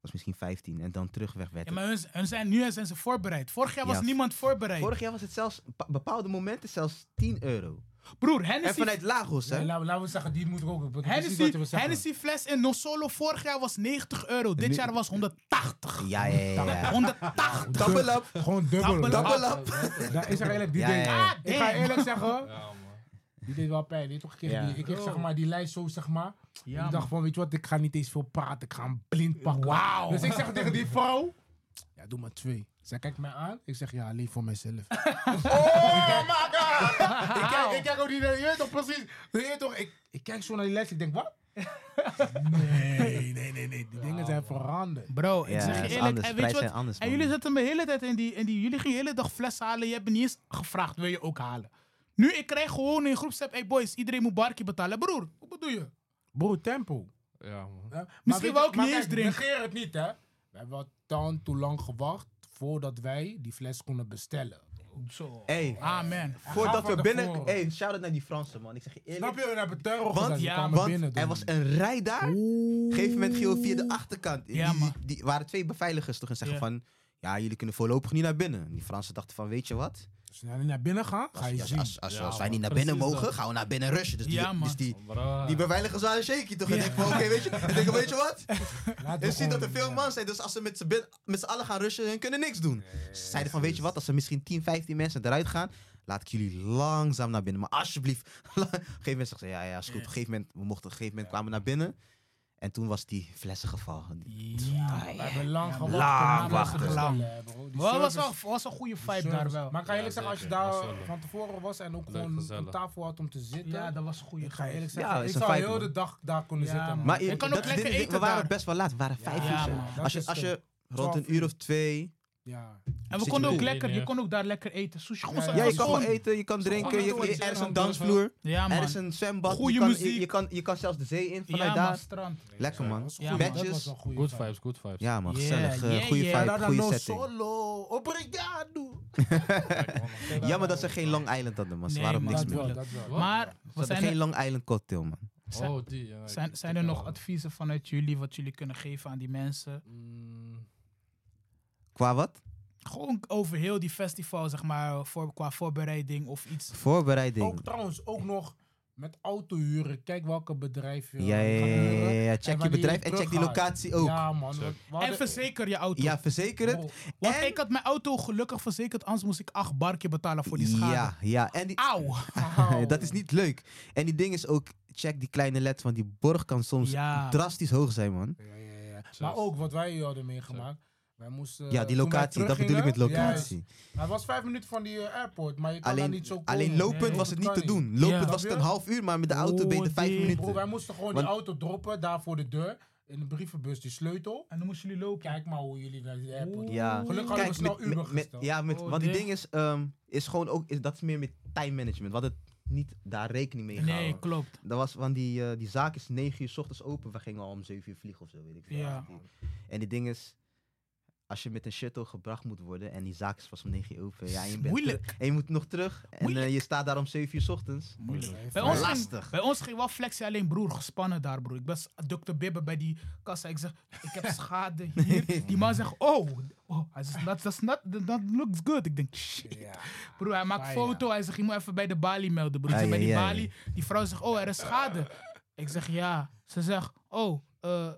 S4: Was misschien 15. En dan terugweg werd
S1: Ja,
S4: het.
S1: maar hun, hun zijn, nu zijn ze voorbereid. Vorig jaar was
S4: Ja.
S1: niemand voorbereid.
S4: Vorig jaar was het zelfs, op bepaalde momenten zelfs 10 euro.
S1: Broer,
S4: En
S1: Hennessy,
S4: vanuit Lagos,
S2: Ja,
S4: hè?
S2: laten we- laten we zeggen, die moet ik ook. precies wat
S1: Hennessy,
S2: je wil zeggen.
S1: Hennessy fles in Nosolo vorig jaar was 90 euro. Dit
S4: Nu-
S1: jaar was 180.
S4: Ja, ja, ja. ja.
S1: 180.
S4: Double up.
S2: Gewoon dubbel.
S1: Double
S2: Dat-
S4: Double up.
S2: dat is er eerlijk, die
S4: Ja,
S2: deed.
S4: ja, ja.
S1: Ah,
S2: Ik ga
S1: damn.
S2: eerlijk zeggen,
S3: Ja, man.
S2: Die deed wel pijn. Die toch kreeg
S4: Ja.
S2: die, ik kreeg zeg
S1: Oh.
S2: maar die lijst zo, zeg maar.
S1: Ja,
S2: ik dacht van, weet je wat, ik ga niet eens veel praten. Ik ga hem blind pakken.
S1: Wauw.
S2: Dus ik
S1: [LAUGHS]
S2: zeg tegen die vrouw. Ja, doe maar twee. Zij kijkt mij aan. Ik zeg, ja, alleen voor
S1: [LAUGHS]
S2: [LAUGHS] mezelf. oh my god! [LAUGHS] ik, kijk, ik kijk ook niet naar, je weet toch precies. Je weet toch, ik, ik kijk zo naar die lijst. Ik
S1: [LAUGHS]
S2: denk, wat? nee, nee, nee, nee. Die dingen zijn veranderd.
S1: Bro, Oh, ik
S4: Ja,
S1: zeg
S4: dat
S1: je
S4: is
S1: eerlijk.
S4: anders.
S1: En, weet
S4: Prijzen
S1: je
S4: zijn
S1: wat?
S4: anders,
S1: en
S4: man.
S1: jullie zetten me de hele tijd in die, in die... Jullie gingen de hele dag flessen halen. Je hebt me niet eens gevraagd, wil je ook halen? Nu, ik krijg gewoon in groepsapp... Hey boys, iedereen moet barkie betalen. Broer, hoe bedoel je?
S2: Bro, tempo.
S3: Ja, man.
S2: Hè? Maar
S1: Misschien
S2: weet
S1: wou
S2: je-
S1: ik
S2: maar
S1: niet eens
S2: kijk,
S1: drinken.
S2: Negeer het niet, hè? We hebben wel dan te lang gewacht voordat wij die fles konden bestellen.
S1: Zo.
S4: Hey.
S1: Amen.
S4: Voordat
S2: van
S4: we binnen...
S2: tevoren.
S4: Hey, shout-out naar die Fransen, man. Ik zeg je eerlijk.
S2: Snap je? We hebben terror
S4: Want-
S2: gedaan. Ze
S1: ja,
S2: kwamen
S4: Want
S2: binnen, dus-
S4: er
S2: doen.
S4: was een rij daar. Op een gegeven moment ging via de achterkant.
S1: Ja,
S4: die,
S1: man.
S4: die, die waren twee beveiligers toch en zeggen
S1: Ja.
S4: van... Ja, jullie kunnen voorlopig niet naar binnen. En Die Fransen dachten van, weet je wat?
S2: Als je nou niet naar binnen gaat, ga
S4: Als,
S2: je
S4: als,
S2: zien.
S4: als, als-
S3: Ja,
S4: als wij
S3: man,
S4: niet naar binnen
S3: precies
S4: mogen,
S3: dat.
S4: gaan we naar binnen rushen. Dus die,
S1: Ja, man.
S4: dus die,
S3: Bro.
S4: die beveiligers waren shaky toch? En ik van, oké, weet je... En denk, weet je
S1: [LAUGHS]
S4: wat?
S2: Laat
S4: En
S2: me
S4: je ziet dat er
S2: gewoon-
S4: veel man zijn, dus als ze met z'n bin- met z'n allen gaan rushen, hun kunnen niks doen. Ze zeiden van, weet je wat, als er misschien 10, 15 mensen eruit gaan, laat ik jullie langzaam naar binnen. Maar alsjeblieft, [LAUGHS] la- op een gegeven moment zegt ze, ja, ja, is goed. Op een gegeven moment, we mochten, op een gegeven moment kwamen we naar binnen. En toen was die flessen gevallen.
S1: Ja.
S2: We hebben lang gewacht.
S4: Lang
S2: om naar binnen te
S4: wachten.
S2: bestellen, hè, bro. Die
S1: Wel, was,
S2: service-
S1: wel, was een goede
S2: die
S1: vibe daar
S2: service.
S1: wel.
S2: Maar ik ga
S3: Ja,
S2: eerlijk zeggen, als je
S3: zeker.
S2: daar
S3: Gezellig.
S2: van tevoren was en ook
S3: Leuk,
S2: gewoon
S3: gezellig.
S2: een tafel had om te zitten.
S1: Ja, dat was een goede
S2: ik ga eerlijk
S1: vibe.
S2: zeggen,
S4: Ja, is
S2: ik
S4: een
S2: zou
S4: feit,
S2: heel
S4: man.
S2: de dag daar kunnen
S1: Ja,
S2: zitten.
S1: man.
S2: man.
S4: Maar je
S1: Je kan ook lekker eten
S4: We waren
S1: daar.
S4: best wel laat, we waren vijf
S1: Ja,
S4: uur. zo.
S1: man.
S4: Als
S2: Dat
S4: je,
S2: is
S4: als
S2: het.
S4: je rond
S2: Twaalf
S4: een uur
S2: uur.
S4: of twee...
S2: Ja.
S1: En we
S4: Zit je
S1: konden ook
S4: goed?
S1: lekker, je
S3: Ja.
S1: kon ook daar lekker eten. Sushi, gewoon
S2: Ja,
S1: zo-
S4: Ja, je
S1: was
S4: kan gewoon
S1: gewoon-
S4: eten, je kan drinken,
S1: gewoon
S4: je,
S1: doen wat
S4: je-
S1: je
S4: er is
S3: wil.
S4: een dansvloer,
S1: Ja, man.
S4: er is een zwembad.
S1: Goeie
S4: je kan,
S1: muziek.
S4: Je, je kan, je kan zelfs de zee in vanuit
S1: Ja, man,
S4: daar.
S1: strand.
S4: Lekker man.
S1: Ja, man.
S2: Dat was
S4: Badges.
S2: een goede
S3: Good
S2: vibe.
S3: vibes, good vibes.
S4: Ja man,
S1: Yeah,
S4: gezellig. eh,
S1: yeah,
S4: Goede
S1: yeah.
S4: vibe, goede
S2: no
S4: setting.
S2: nou solo. Obrigado.
S4: Jammer dat ze geen Long Island hadden, man. Ze
S1: Nee,
S4: waren op
S1: man.
S4: niks
S2: Dat
S1: Dat
S4: meer.
S1: wel,
S2: wel,
S1: dat
S2: dat wel.
S3: Wat?
S1: Maar
S4: Ze
S1: we
S4: hadden
S1: zijn,
S4: geen
S1: er,
S4: Long Island cocktail, man.
S3: Oh, die. ja, ik-
S1: zijn,
S3: ik-
S1: zijn er nog
S3: ja.
S1: adviezen vanuit jullie wat jullie kunnen geven aan die mensen?
S3: Mm,
S4: Qua wat?
S1: Gewoon over heel die festival, zeg maar, voor, qua voorbereiding of iets.
S4: Voorbereiding.
S2: Ook trouwens, ook nog met auto huren, kijk welke bedrijf je
S4: Ja, ja,
S2: gaat
S4: ja,
S2: huren
S4: ja, ja,
S2: en
S4: ja. Check je
S2: wanneer
S4: bedrijf en check die
S2: terughaalt.
S4: locatie ook. Ja,
S2: Ja, man.
S3: Zo.
S2: want we
S1: En
S2: hadden-
S1: verzeker je auto.
S4: verzeker het.
S2: Wow.
S1: Want
S4: en-
S1: ik had mijn auto gelukkig verzekerd, anders moest ik acht barkje betalen voor die schade.
S4: Ja, ja. En die,
S1: Auw!
S4: [LAUGHS]
S2: Oh.
S4: dat is niet leuk. En die ding is ook, check die kleine led, want die borg kan soms
S1: Ja.
S4: drastisch hoog zijn, man.
S2: Ja, ja, ja.
S3: Zo
S2: Maar
S3: is-
S2: ook wat wij hier hadden meegemaakt. Wij moesten,
S4: Ja,
S2: toen
S4: die
S2: wij
S4: locatie, dat bedoel ik met
S2: teruggingen,
S4: locatie.
S2: juist. Hij was vijf minuten van die eh, airport, maar je kan daar
S4: Alleen,
S2: niet zo komen.
S4: alleen lopend
S2: Nee,
S4: was het niet
S2: kan
S4: te doen. Lopend
S1: Ja.
S4: was het een half uur, maar met de auto ben je er
S1: Oh,
S4: vijf
S1: die-
S2: Bro, wij
S4: minuten.
S2: moesten gewoon
S4: Want-
S2: die auto droppen, daar voor de deur. In de brievenbus die sleutel.
S1: En dan moesten jullie lopen.
S2: Kijk maar hoe jullie naar die airport.
S4: Ja.
S2: Gelukkig hadden we
S4: Kijk,
S2: snel
S4: met,
S2: Uber
S4: met- met-
S2: gesteld.
S4: ja, met,
S1: Oh,
S4: want die
S1: dit.
S4: ding is, ehm, is gewoon ook, is, dat is meer met time management. Wat het niet daar rekening mee gehouden.
S1: Nee, klopt.
S4: Dat was, want die, eh, die zaak is 9 uur s ochtends open. We gingen al om 7 uur vliegen of zo, weet ik veel.
S1: Ja.
S4: En die ding is, als je met een shuttle gebracht moet worden en die zaak is pas om 9 uur open. Ja, en je bent
S1: Moeilijk.
S4: terug- en je moet nog terug. En eh,
S1: Moeilijk.
S4: je staat daar om 7 uur s ochtends.
S1: Moeilijk. Bij
S2: Bij
S1: ons, ging,
S4: Lastig.
S1: bij ons ging wel flexie alleen broer gespannen daar broer. Ik ben s- Dr. Bibber bij die kassa. Ik zeg, ik
S4: [LAUGHS]
S1: heb schade hier. Die man zegt, oh, oh hij zegt, that's, that's not, that looks good. Ik denk, shit.
S2: Ja.
S1: Broer, hij maakt
S2: Ah, ja.
S1: foto. Hij zegt, je moet even bij de balie melden, broer. Ik
S4: Ah,
S1: zeg, bij
S4: ja,
S1: die
S4: ja, ja.
S1: balie. Die vrouw zegt, oh, er is schade. Ik zeg, ja. Ze zegt, oh, eh, eh,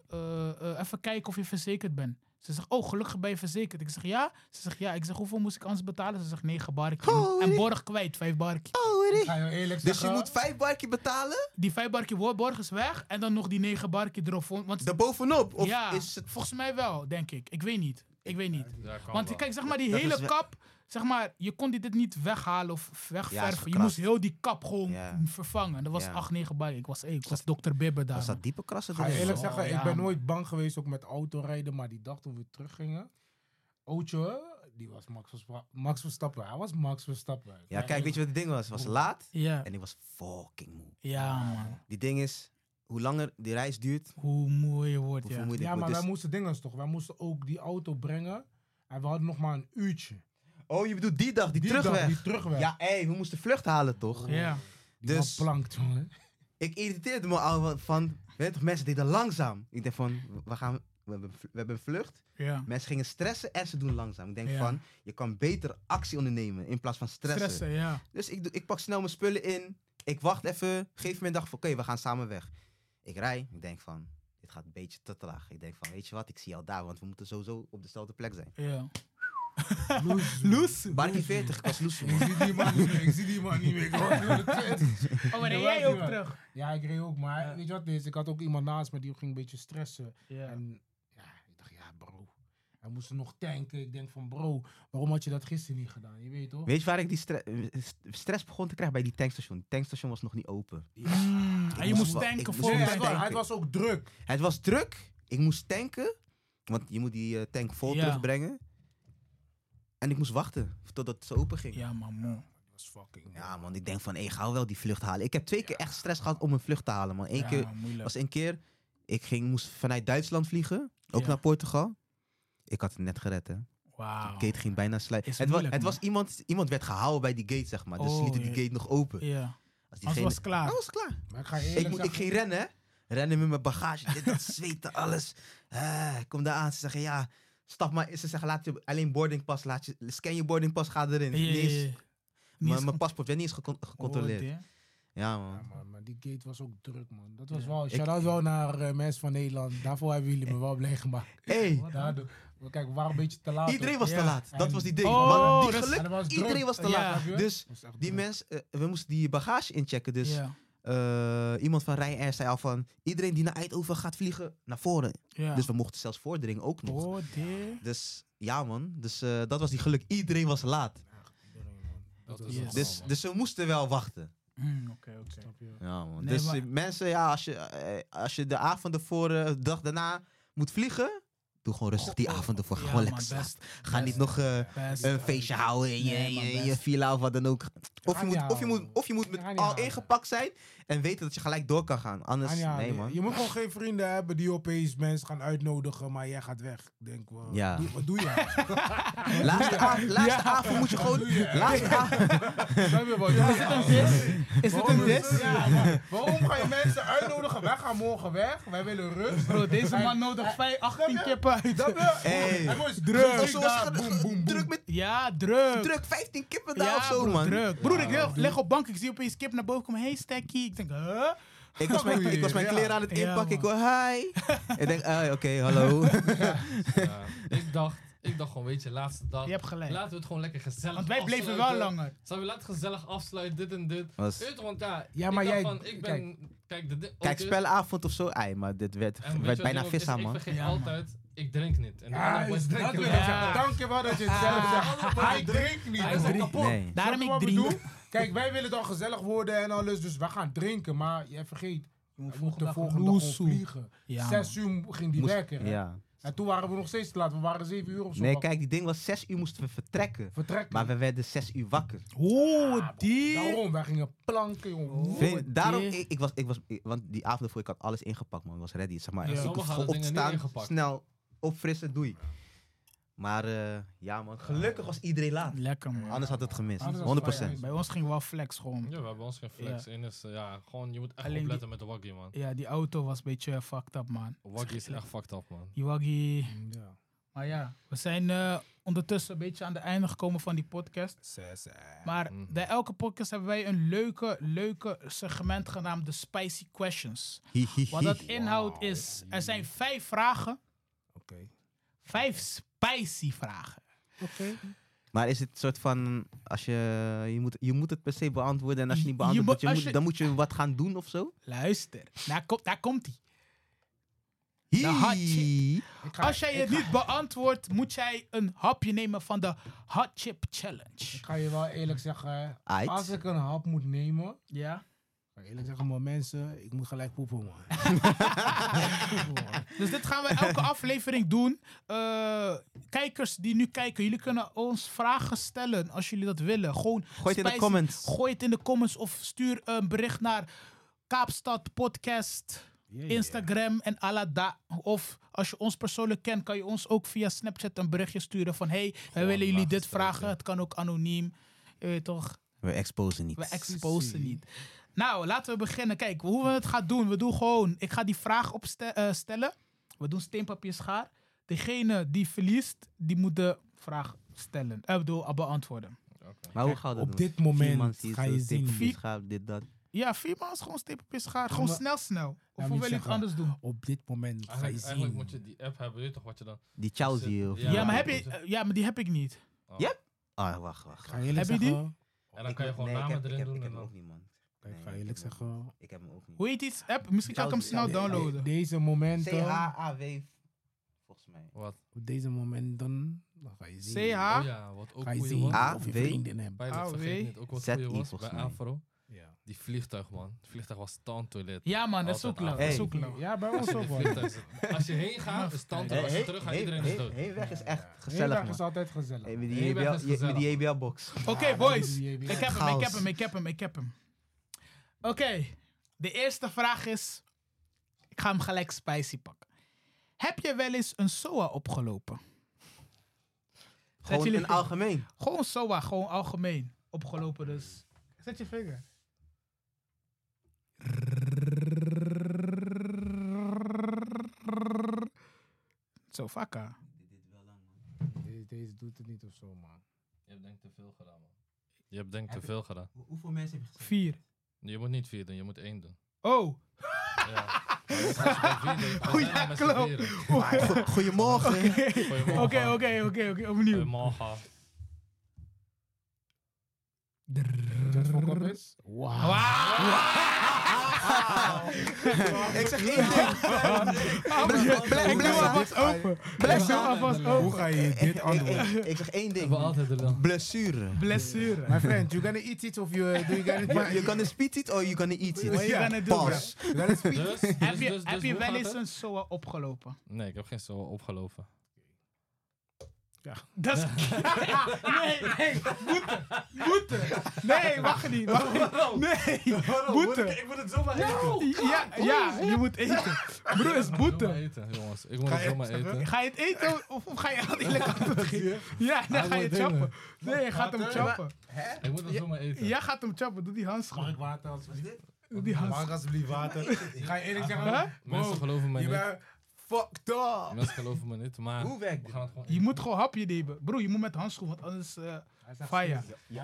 S1: eh, even kijken of je verzekerd bent. Ze zegt, oh, gelukkig ben je verzekerd. Ik zeg, ja. Ze zegt, ja. Ik zeg, hoeveel moest ik anders betalen? Ze zegt, negen barkie.
S4: Oh,
S1: en
S4: nee.
S1: borg kwijt, vijf barkie.
S2: Ik ga je eerlijk
S4: Dus
S2: zeggen.
S4: je moet 5 barkje betalen?
S1: Die vijf barkie wo- borg is weg. En dan nog die negen barkie erop. Want,
S4: Daarbovenop? Of
S1: ja,
S4: is het...
S1: volgens mij wel, denk ik. Ik weet niet. Ik weet niet.
S3: Ja, kan
S1: Want
S3: wel.
S1: kijk, zeg maar, die
S4: Dat
S1: hele
S4: is wel-
S1: kap. Zeg maar, je kon dit dit niet weghalen of wegverven. je
S4: gekrast.
S1: moest heel die kap gewoon
S4: Ja.
S1: mm, vervangen. Dat was
S4: Ja.
S1: 8, 9 bar. Ik was, hey, ik was dokter Bibber daar.
S4: Was dat diepe krassen?
S2: Ga je
S4: erin?
S2: eerlijk
S1: Oh,
S2: zeggen,
S1: ja,
S2: ik ben
S1: man.
S2: nooit bang geweest ook met autorijden, maar die dag toen we teruggingen, Ootje, die was Max Verstappen. Max Verstappen. Hij was Max Verstappen.
S4: Ja, kijk, weet je wat het ding was? Het was laat
S1: Ja.
S4: en ik was fucking moe.
S1: ja, man.
S4: Die ding is, hoe langer die reis duurt,
S1: Hoe moe je wordt,
S4: hoe
S1: ja.
S4: vermoeider
S2: Ja,
S4: ik
S2: maar
S4: word.
S2: wij
S4: Dus-
S2: moesten dingen toch. Wij moesten ook die auto brengen en we hadden nog maar een uurtje.
S4: Oh, je bedoelt die dag, die,
S2: Die dag,
S4: terugweg.
S2: die terugweg.
S4: Ja, hé, we moesten vlucht halen, toch?
S1: Ja.
S2: Die
S4: Dus-
S2: was plankt,
S4: [LAUGHS]
S2: jongen.
S4: Ik irriteerde me al van, weet je toch, mensen deden langzaam. Ik denk van, we, gaan, we, hebben, we hebben een vlucht.
S1: ja.
S4: Mensen gingen stressen en ze doen langzaam. Ik denk
S1: Ja.
S4: van, je kan beter actie ondernemen in plaats van stressen.
S1: Stressen, ja.
S4: Dus ik, doe- ik pak snel mijn spullen in. Ik wacht even. Geef me een dag van, oké, we gaan samen weg. Ik rij. Ik denk van, dit gaat een beetje te traag. Ik denk van, weet je wat, ik zie jou daar, want we moeten sowieso op dezelfde plek zijn.
S1: ja.
S2: Loes.
S1: Loes.
S4: Barkie 40, ik was loes.
S2: Ik [LAUGHS] zie die man niet meer. Ik zie die man niet meer. Ik hoor het door de
S4: [LAUGHS]
S2: tweet.
S1: Oh, maar
S2: Ja,
S1: jij
S2: wij
S1: ook
S2: doen wel.
S1: terug.
S2: Ja, ik reed ook, maar weet je wat het is? Ik had ook iemand naast me die ging een beetje stressen.
S1: Ja.
S2: En ja, ik dacht, ja bro. Hij moest nog tanken. Ik denk van bro, waarom had je dat gisteren niet gedaan? Je weet toch?
S4: Weet je waar ik die stre- eh, st- stress begon te krijgen bij die tankstation? Het tankstation was nog niet open.
S1: Mm, en je
S4: moest
S1: moest
S4: wel- ik
S1: tanken
S4: moest
S1: voor
S2: Nee,
S4: wel
S2: hij,
S1: tanken.
S2: was,
S4: tanken.
S2: hij was ook druk.
S4: Het was druk. Ik moest tanken. Want je moet die eh, tank vol
S1: Ja.
S4: terugbrengen. En ik moest wachten totdat ze open ging. Ja.
S1: Ja, man, man.
S2: Dat was fucking.
S4: man, ik denk van, ik ga wel die vlucht halen. Ik heb twee keer echt stress gehad om een vlucht te halen, man. Eén keer
S1: Ja, moeilijk.
S4: was een keer, ik ging, moest vanuit Duitsland vliegen, ook
S1: Ja.
S4: naar Portugal. Ik had het net gered, hè.
S1: Wauw.
S4: De gate ging bijna
S1: Is
S4: sluiten. Het, was,
S1: moeilijk,
S4: het was iemand, iemand werd gehouden bij die gate, zeg maar. Dus ze
S1: Oh,
S4: lieten die
S1: ja.
S4: gate nog open.
S1: Ja.
S4: Als
S1: Als
S4: diegene-
S1: was het
S4: Ah,
S1: klaar.
S4: was klaar.
S2: Maar ik ga je
S4: Ik,
S2: eerlijk
S4: moet, ik
S2: zeggen.
S4: ging rennen, hè. Rennen met mijn bagage, dit, dat, zweten, alles. Eh, ik kom daar aan, ze zeggen, ja, stap maar. in. Ze zeggen, laat je alleen boardingpas, laat je, scan je boardingpas, ga erin.
S1: Ja, ja, Oh,
S4: Niet eens-
S1: ja.
S4: mijn-
S1: Niet eens
S4: Mijn paspoort werd niet eens gecon- gecontroleerd.
S1: gehoord, hè?
S4: ja,
S2: Ja,
S4: man.
S2: maar, maar die gate was ook druk, man. Dat was
S1: Ja.
S2: wel.
S4: Ik-
S2: Shout out wel naar eh, mensen van Nederland. Daarvoor hebben jullie me wel blij
S4: [LAUGHS]
S2: gemaakt.
S4: hey,
S1: Wat dan?
S2: Daardoor, kijk, we waren een beetje te laat.
S4: iedereen
S2: ook.
S4: was te
S1: Ja.
S4: laat. Dat
S2: En-
S4: was die ding.
S1: Oh,
S4: Want die
S1: dat is-
S4: geluk-
S2: En dat was druk.
S4: iedereen was te
S1: Ja.
S4: laat.
S2: Snap je?
S4: Dus
S2: Dat was echt
S4: die
S2: druk.
S4: mensen, eh, we moesten die bagage inchecken. Dus
S1: Ja.
S4: eh, iemand van Ryanair zei al van, iedereen die naar Eindhoven gaat vliegen, naar voren.
S1: Ja.
S4: Dus we mochten zelfs voordringen ook nog.
S1: Oh, dit.
S4: Dus ja, man. Dus eh, dat was die geluk. Iedereen was laat.
S2: Dat
S3: Dat
S1: is-
S2: was echt
S1: Yes.
S4: Dus, dus we moesten wel wachten.
S1: Mm, Oké, oké.
S2: Snap je?
S4: Ja, man.
S1: Nee,
S4: dus
S1: maar-
S4: eh, mensen, ja, als je, eh, als je de avond ervoor, eh, de dag daarna moet vliegen, doe gewoon rustig die avond ervoor. Ga
S1: Ja,
S4: gewoon
S1: man,
S4: lekker slapen.
S1: best,
S4: Ga
S1: best,
S4: niet nog eh,
S1: best.
S4: een feestje houden in je,
S1: Nee, man,
S4: je- je
S1: best.
S4: villa of wat dan ook. Of
S2: Ga
S4: je
S2: niet
S4: moet, of je moet,
S2: houden.
S4: of je moet
S2: Ga
S4: met
S2: niet
S4: al
S2: houden.
S4: ingepakt zijn en weten dat je gelijk door kan gaan. Anders,
S2: Ah, ja,
S4: nee
S2: je-
S4: man.
S2: Je moet gewoon geen vrienden hebben die opeens mensen gaan uitnodigen, maar jij gaat weg. Ik denk, wel,
S4: Ja.
S2: doe- wat
S4: [LAUGHS]
S2: doe je?
S4: Laatste, av- laatste avond moet je gewoon... Laatste avond...
S2: Snap je wat?
S1: Is het een dis? Is het een
S2: Waarom is
S1: dis?
S2: het- Ja, maar waarom ga je mensen uitnodigen? Wij gaan morgen weg, wij willen rust.
S1: Bro, deze
S2: Hij-
S1: man nodig 5, 18 kippen uit.
S2: Dat we-
S4: Hey.
S2: Hij was
S4: Oh,
S2: druk.
S4: zo
S2: daar,
S4: scha-
S2: boem, boem, boem.
S4: Druk met
S1: Ja, druk.
S4: Druk 15 kippen daar
S1: Ja,
S4: of zo,
S1: broer,
S4: man.
S1: druk. Broer,
S2: Ja,
S1: ik leg,
S2: doe.
S1: leg op bank, ik zie opeens kip naar boven komen. Hey, Stekkie. Ik denk, huh?
S4: Ik was mijn, ik was mijn
S2: Ja.
S4: kleren aan het
S1: Ja,
S4: inpakken. ik
S1: man.
S4: hoor, hi. ik denk, ah, oké, hallo.
S3: Ja, [LAUGHS] ik, dacht, ik dacht gewoon, weet je, laatste dag.
S1: Je hebt gelijk.
S3: Laten we het gewoon lekker gezellig
S1: Want wij bleven wel
S3: afsluiten.
S1: langer.
S3: Zal we laten gezellig afsluiten, dit en dit.
S4: Was,
S3: Weet je, want ja,
S2: Ja,
S3: ik
S2: maar
S3: dacht
S2: jij-
S3: van, ik ben, kijk, de, di- ook
S4: kijk,
S3: dit-
S4: spelavond of zo. Ai, maar dit werd,
S3: en weet je
S4: werd
S3: wat
S4: bijna
S3: ding ook is?
S4: vis aan, man.
S3: Ik vergeet
S1: Ja, man.
S3: altijd, ik drink niet. En de andere boys
S2: Juist, dus dat
S3: drinken
S2: wil
S3: wel.
S2: ik
S1: Ja.
S2: zeggen. Dankjewel dat je het zelf
S3: Ah,
S2: zegt.
S3: alle boys
S2: Hij
S3: drinken.
S2: drinkt niet.
S3: Hij is al
S2: broer.
S3: kapot.
S4: Nee.
S1: Daarom
S2: Snap
S1: ik
S2: je wat we
S1: drink.
S2: doen? Kijk, wij willen dan gezellig worden en alles, dus wij gaan drinken. Maar jij vergeet, we
S1: volgende
S2: moeten de
S1: dag
S2: volgende dag gewoon
S1: loesoe.
S2: vliegen.
S1: Ja,
S2: Zes uur ging die
S4: Moest-
S2: werken. hè?
S4: ja.
S2: En toen waren we nog steeds te laat. We waren zeven uur of zo.
S4: Nee,
S2: wakker.
S4: kijk, die ding was 6 uur moesten we vertrekken.
S2: Vertrekken.
S4: Maar we werden 6 uur wakker.
S1: Oeh, die.
S2: Daarom, wij gingen planken, jongen.
S4: Vind- daarom,
S1: dear.
S4: ik, ik was, ik was, ik- want die avond ervoor, ik had alles ingepakt, man. Ik was ready, zeg maar.
S1: Ja.
S4: Als ik
S3: Sommigen
S4: was gewoon
S3: hadden dingen niet
S4: opstaan,
S3: ingepakt.
S4: snel opfrissen, doei. Maar eh, ja, man, gelukkig was iedereen laat.
S1: Lekker, man.
S4: Anders had het gemist,
S2: Anders was het
S4: 100%.
S2: fijn.
S1: Bij ons ging wel flex gewoon.
S3: Ja, we hebben ons geen flex. En dus, eh, ja, gewoon, je moet echt
S1: Alleen die-
S3: opletten met de waggy, man.
S1: Ja, die auto was een beetje fucked up, man.
S3: Waggy is echt fucked up, man.
S1: Die waggie.
S2: Ja.
S1: Maar ja, we zijn eh, ondertussen een beetje aan de einde gekomen van die podcast.
S4: eh,
S1: Maar
S3: Mhm.
S1: bij elke podcast hebben wij een leuke, leuke segment genaamd de Spicy Questions.
S4: Hi, hi,
S1: Wat
S4: hi.
S1: dat inhoudt is, er zijn vijf vragen.
S2: Oké.
S1: Vijf spicy vragen.
S2: Oké.
S4: Maar is het soort van, als je, je, moet, je moet het per se beantwoorden en als je niet
S1: Je
S4: beantwoordt,
S1: moet-
S4: moet je
S1: als
S4: moet-
S1: je-
S4: dan moet je wat gaan doen of zo?
S1: Luister, daar, komt daar komt ie.
S4: Hi.
S1: Nou, hot shit.
S2: Ik ga-
S1: Als jij het niet beantwoordt, moet jij een hapje nemen van de Hot Chip Challenge.
S2: Ik ga je wel eerlijk zeggen,
S4: Aight.
S2: als ik een hap moet nemen,
S1: Ja?
S2: ga ik eerlijk zeggen, maar mensen, ik moet gelijk poepen, man.
S4: [LAUGHS]
S1: Dus dit gaan we
S2: [LAUGHS]
S1: elke aflevering doen. Eh, kijkers die nu kijken, jullie kunnen ons vragen stellen als jullie dat willen. Gewoon
S4: Gooi het in de
S1: spicy-
S4: comments.
S1: Gooi het in de comments of stuur een bericht naar Kaapstad Podcast, Instagram en Alada. Of als je ons persoonlijk kent, kan je ons ook via Snapchat een berichtje sturen van hey, wij willen jullie dit vragen. Het kan ook anoniem. Je weet toch?
S4: We exposen niet.
S1: We exposen niet. Nou, laten we beginnen. Kijk, hoe we het gaan doen. We doen gewoon... Ik ga die vraag opstellen. We doen steen, papier, schaar. Degene die verliest, die moet de vraag stellen. Eh, bedoel, beantwoorden.
S4: maar hoe gaan we dat
S2: op
S4: doen?
S2: dit moment
S4: Vier man, zie je
S2: ga
S4: zo,
S2: je
S4: tip,
S2: zien.
S4: dit,
S1: Vier-
S4: schaap, dit, dat.
S1: Ja, vier maal is gewoon steen, papier, schaar. Gewoon
S2: maar-
S1: snel, snel. Of
S2: maar
S1: hoe
S2: niet
S1: wil je het
S2: zeggen.
S1: anders doen?
S2: Op dit moment ga je
S3: Eigenlijk, eigenlijk moet
S2: zien.
S3: je die app hebben, weet je toch wat je dan...
S4: Die Chelsea of...
S1: Ja,
S3: Ja,
S1: maar, heb
S3: dat
S1: je,
S3: is-
S1: eh, ja, maar die heb ik niet.
S3: Oh.
S4: Ja. Ah, wacht, wacht.
S2: Ga je eerlijk
S1: Heb je die?
S2: zeggen,
S3: En dan kan je
S4: Ik-
S3: gewoon
S4: nee, ik
S3: namen
S4: heb-
S3: erin
S4: ik heb-
S3: doen
S4: Ik
S3: en
S4: heb hem ook
S3: dan...
S4: niet, man.
S2: kijk,
S4: Nee,
S2: ga
S4: ik
S2: je eerlijk
S4: heb hem
S2: zeggen,
S4: Ik heb hem ook niet.
S1: Hoe heet die app? Misschien kan ik hem snel
S4: Chelsea, ja, ja, ja.
S1: Nou, downloaden.
S2: deze momenten,
S4: C-H-A-W, volgens mij.
S3: Wat?
S2: op deze momenten, dan ga je zien.
S3: Oh
S1: CH?
S3: ja, wat ook
S2: Ga je
S3: goeie
S2: zien
S3: was.
S4: A,
S2: of je
S4: W.
S2: vrienden hebt.
S3: Bij dat
S1: AOW.
S3: vergeet niet, ook wat
S4: ZI
S3: goeie was bij
S4: E volgens mij.
S3: Afro.
S2: Ja,
S3: Die vlieguurtuig, man. Het vliegtuig was tandtoilet.
S1: Ja, man, dat is
S3: Altijd
S1: ook leuk.
S3: aan.
S1: Dat is
S4: Hey.
S1: ook leuk.
S2: ja bij ons ook
S3: Die
S2: wel.
S3: vliegtuig is- Als je heen gaat, is tandtoilet. Als je terug gaat, iedereen is dood.
S4: Heenweg is echt gezellig,
S2: Gezellig is
S4: man.
S2: altijd gezellig.
S4: Hey, met die
S3: Heenweg
S4: JBL
S3: is
S4: je- met
S3: gezellig,
S4: die E JBL-box.
S1: Oké, boys.
S2: Ik
S1: Ik heb hem, ik
S4: Chaos.
S1: heb hem, ik heb hem, ik heb hem. Oké, de eerste vraag is... Ik ga hem gelijk spicy pakken. Heb je wel eens een SOA opgelopen?
S4: Gewoon
S1: jullie-
S4: in algemeen.
S1: Gewoon SOA, gewoon algemeen opgelopen dus. Zet je vinger. Zo, vakken.
S2: Deze, deze doet het niet of zo, man.
S3: Je hebt denk ik te veel gedaan, man. Je hebt denk ik te veel gedaan.
S4: Hoeveel mensen heb je
S1: Vier.
S3: Je moet niet vier doen, je moet één doen.
S1: Oh,
S3: [LAUGHS] Ja. Goed,
S1: ja, klopt.
S4: [LAUGHS] Goedemorgen.
S1: [LAUGHS] oké, oké, oké, oké, opnieuw.
S3: Morgen.
S2: Weet je wat fuck up is?
S4: Ik zeg [LAUGHS] één ding.
S1: Blijf,
S4: blijf-
S1: ik doe
S4: blijf-
S1: alvast open. Ik doe alvast
S2: Hoe
S1: open.
S2: ga je
S1: [LAUGHS]
S2: dit antwoorden?
S4: Ik- [LAUGHS] Ik zeg één
S3: Ik wil
S4: ding.
S3: altijd er dan.
S4: Blessure.
S1: Blessure.
S2: My friend, you gonna eat it
S1: [LAUGHS]
S2: of you, do you gonna
S4: Maar oh, Je kan het spit it or you gonna eat
S1: What you
S4: it.
S1: gonna do,
S4: Pas.
S2: You gonna speak
S3: Dus, dus,
S1: Heb je,
S3: dus,
S1: heb
S3: dus
S1: je
S3: hoe
S1: wel
S3: gaat
S1: eens
S3: het?
S1: een SOA opgelopen?
S3: Nee, ik heb geen zo opgelopen.
S1: Dat is... [LAUGHS] nee,
S3: [LAUGHS]
S1: nee, boete, boete. Nee, wacht niet, wacht niet. Nee, boete.
S3: Ik moet het zomaar eten.
S1: Ja, ja, je moet eten. Broer, is boete.
S3: eten, jongens. Ik moet het zomaar eten.
S1: Ga je het eten of, of ga je [LAUGHS] aan eerlijk antwoord geven? Ja, dan ga je het choppen. Nee, je gaat hem choppen.
S3: Ik moet het zomaar eten.
S1: Jij gaat hem choppen, doe die handschoen.
S2: water alsjeblieft?
S1: Doe die handschoen.
S2: [LAUGHS] alsjeblieft water? Ik ga je eerlijk zeggen,
S1: Huh?
S3: Mensen geloven mij
S2: je
S3: niet.
S2: bent
S4: fucked up.
S3: Mensen geloven me niet, maar
S4: Hoe
S3: we
S4: werkt
S3: gaan het gewoon...
S1: Je moet gewoon hapje nemen. Bro, je moet met handschoen, want anders... eh, Fire.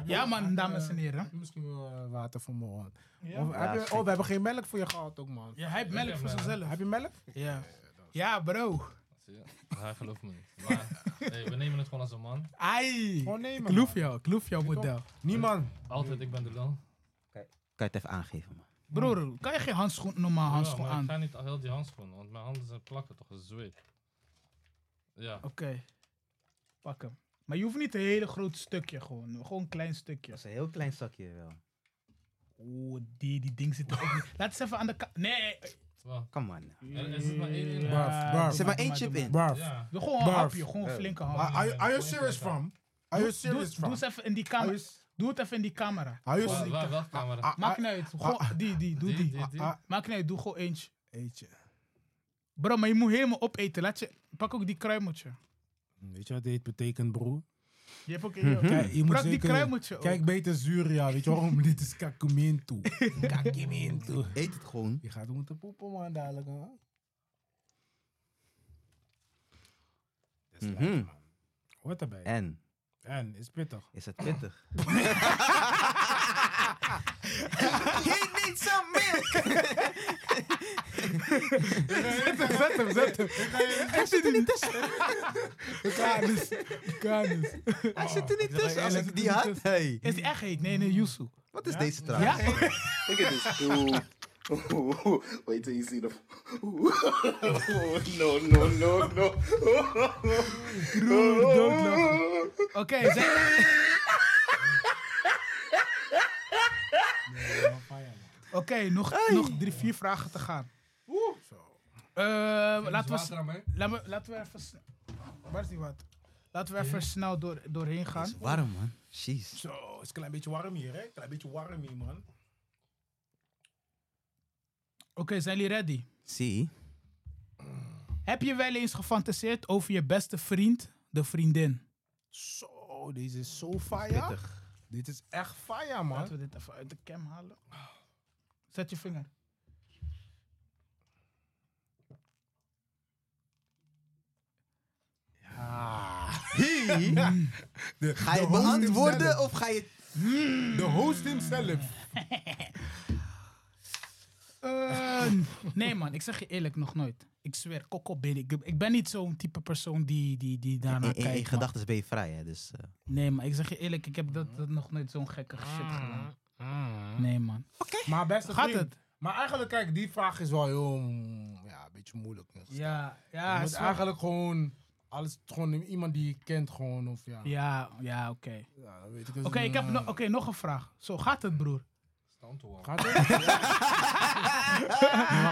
S1: Ja, man, dames en heren.
S2: eh, Misschien wel eh, water voor mijn hand.
S1: ja.
S2: Of,
S4: Ja,
S2: heb je,
S4: gek.
S2: oh, we hebben geen melk voor je gehad ook, man.
S1: Ja, hij heeft melk voor
S3: Ja, man.
S1: zichzelf.
S2: Heb je melk?
S1: Ja. ja, bro.
S3: Zie je? Hij gelooft me niet. Maar nee, we nemen het gewoon als een man.
S1: Ai.
S2: Gewoon nemen,
S1: Ik loef
S2: man.
S1: jou, ik loef jouw
S2: Weet je
S1: model.
S2: Niemand.
S3: Altijd, ik ben de lul.
S4: Kan je het even aangeven, man?
S1: Broer, kan je geen handschoen, normaal
S3: Ja,
S1: handschoen
S3: maar
S1: aan?
S3: Ik
S1: Oké.
S3: ga niet al heel die handschoenen, want mijn handen zijn plakken toch, dat is zweet. Ja.
S1: Pak hem. Maar je hoeft niet een hele groot stukje gewoon. Gewoon een klein stukje.
S4: Dat is een heel klein zakje wel.
S1: Oeh, Oh, die, die ding zit er ook niet. Laat eens even aan de kant. Nee.
S3: Wel.
S4: Come on. now.
S3: Er er zit maar één in.
S2: Ja. Barf, barf.
S1: doe
S2: Zet
S4: maar
S1: doe
S4: één
S1: doe
S4: chip in.
S2: Barf.
S3: Ja.
S1: Doe gewoon een
S2: Barf.
S1: hapje, gewoon een
S4: Eh,
S1: flinke
S2: Are,
S1: hapje.
S2: are, are you serious, fam? Are you
S1: Doe,
S2: serious,
S1: doe
S2: fam?
S1: eens even in die
S2: Are
S1: camera.
S2: you, s-
S1: Doe het even in die camera.
S2: are you,
S3: Wel-
S2: s-
S3: wel- welke camera?
S2: Dus Ah,
S1: Maakt niet uit. Gewoon die, die, doe die.
S3: die, die.
S2: ah,
S1: Maakt niet uit, doe gewoon eentje.
S2: Eetje.
S1: Bro, maar je moet helemaal opeten. Laat je, pak ook die kruimeltje.
S2: Weet je wat dit betekent, broer?
S1: Je hebt ook
S2: Kijk, [LAUGHS] je moet
S1: Brak die
S2: zeker-
S1: kruimeltje ook.
S2: Kijk beter zuur, ja. Weet je waarom? [LAUGHS] dit
S1: [LAUGHS]
S2: is kakumintu. kakumintu.
S4: Eet het gewoon.
S2: Je gaat moeten poepen, man, dadelijk, man. Dat is
S4: Mhm.
S2: lekker, man. Hoort erbij. En,
S4: En,
S2: is pittig.
S4: is het [LAUGHS] pittig? He needs some [LAUGHS] milk!
S2: zet hem, zet hem, zet hem. Hij zit er niet tussen. Kanis, [LAUGHS] kanis.
S4: Hij zit
S1: Oh,
S4: er niet tussen. Als ik die had, hey.
S1: Is die echt heet? Nee, nee, Yusu.
S4: Wat is deze trouwens?
S1: Ja?
S6: Look at this dude. [LAUGHS] Wait till you see the. [LAUGHS] oh, [LAUGHS] no, no, no, no.
S1: Broer, doodlachen. Oké, zeg- [LAUGHS] Oké, nog, nog drie, vier vragen te gaan. Oeh. laten, we, s-
S3: Water aan mij.
S1: laat me- laten we even... sn- Waar is die wat? Laten we even snel door, doorheen gaan.
S4: Het is warm, man. Jeez.
S2: Zo, het is een klein beetje warm hier, hè? Klein beetje warm hier, man.
S1: Oké, zijn jullie ready?
S4: Zie.
S1: Heb je wel eens gefantaseerd over je beste vriend, de vriendin?
S2: Zo, deze is zo fire. Dit is echt fire, man.
S1: Laten we dit even uit de cam halen. Zet je vinger.
S2: Ah.
S4: [LAUGHS] Ga je beantwoorden of ga je...
S2: De host himself.
S1: Eh, nee man, ik zeg je eerlijk, nog nooit. Ik zweer, kokko ben ik. Ik ben niet zo'n type persoon die, die, die daarnaar
S4: In, in, in
S1: kijkt. man.
S4: gedachten ben je vrij, hè. Dus, eh.
S1: Nee, maar ik zeg je eerlijk, ik heb dat, dat nog nooit zo'n gekke shit gedaan. Nee man.
S2: Maar beste
S1: Gaat
S2: vriend.
S1: het?
S2: Maar eigenlijk, kijk, die vraag is wel heel... mm, Ja, een beetje moeilijk.
S1: Ja,
S2: je
S1: ja,
S2: moet
S1: is wel-
S2: eigenlijk gewoon... Alles, gewoon iemand die je kent gewoon, of ja.
S1: ja, ja, oké.
S2: Ja, dan weet ik
S1: Oké, ik heb nog, oké, nog een vraag. Zo gaat het, broer.
S3: Stand te
S2: [LAUGHS]
S3: houden.
S2: Gaat het? Die man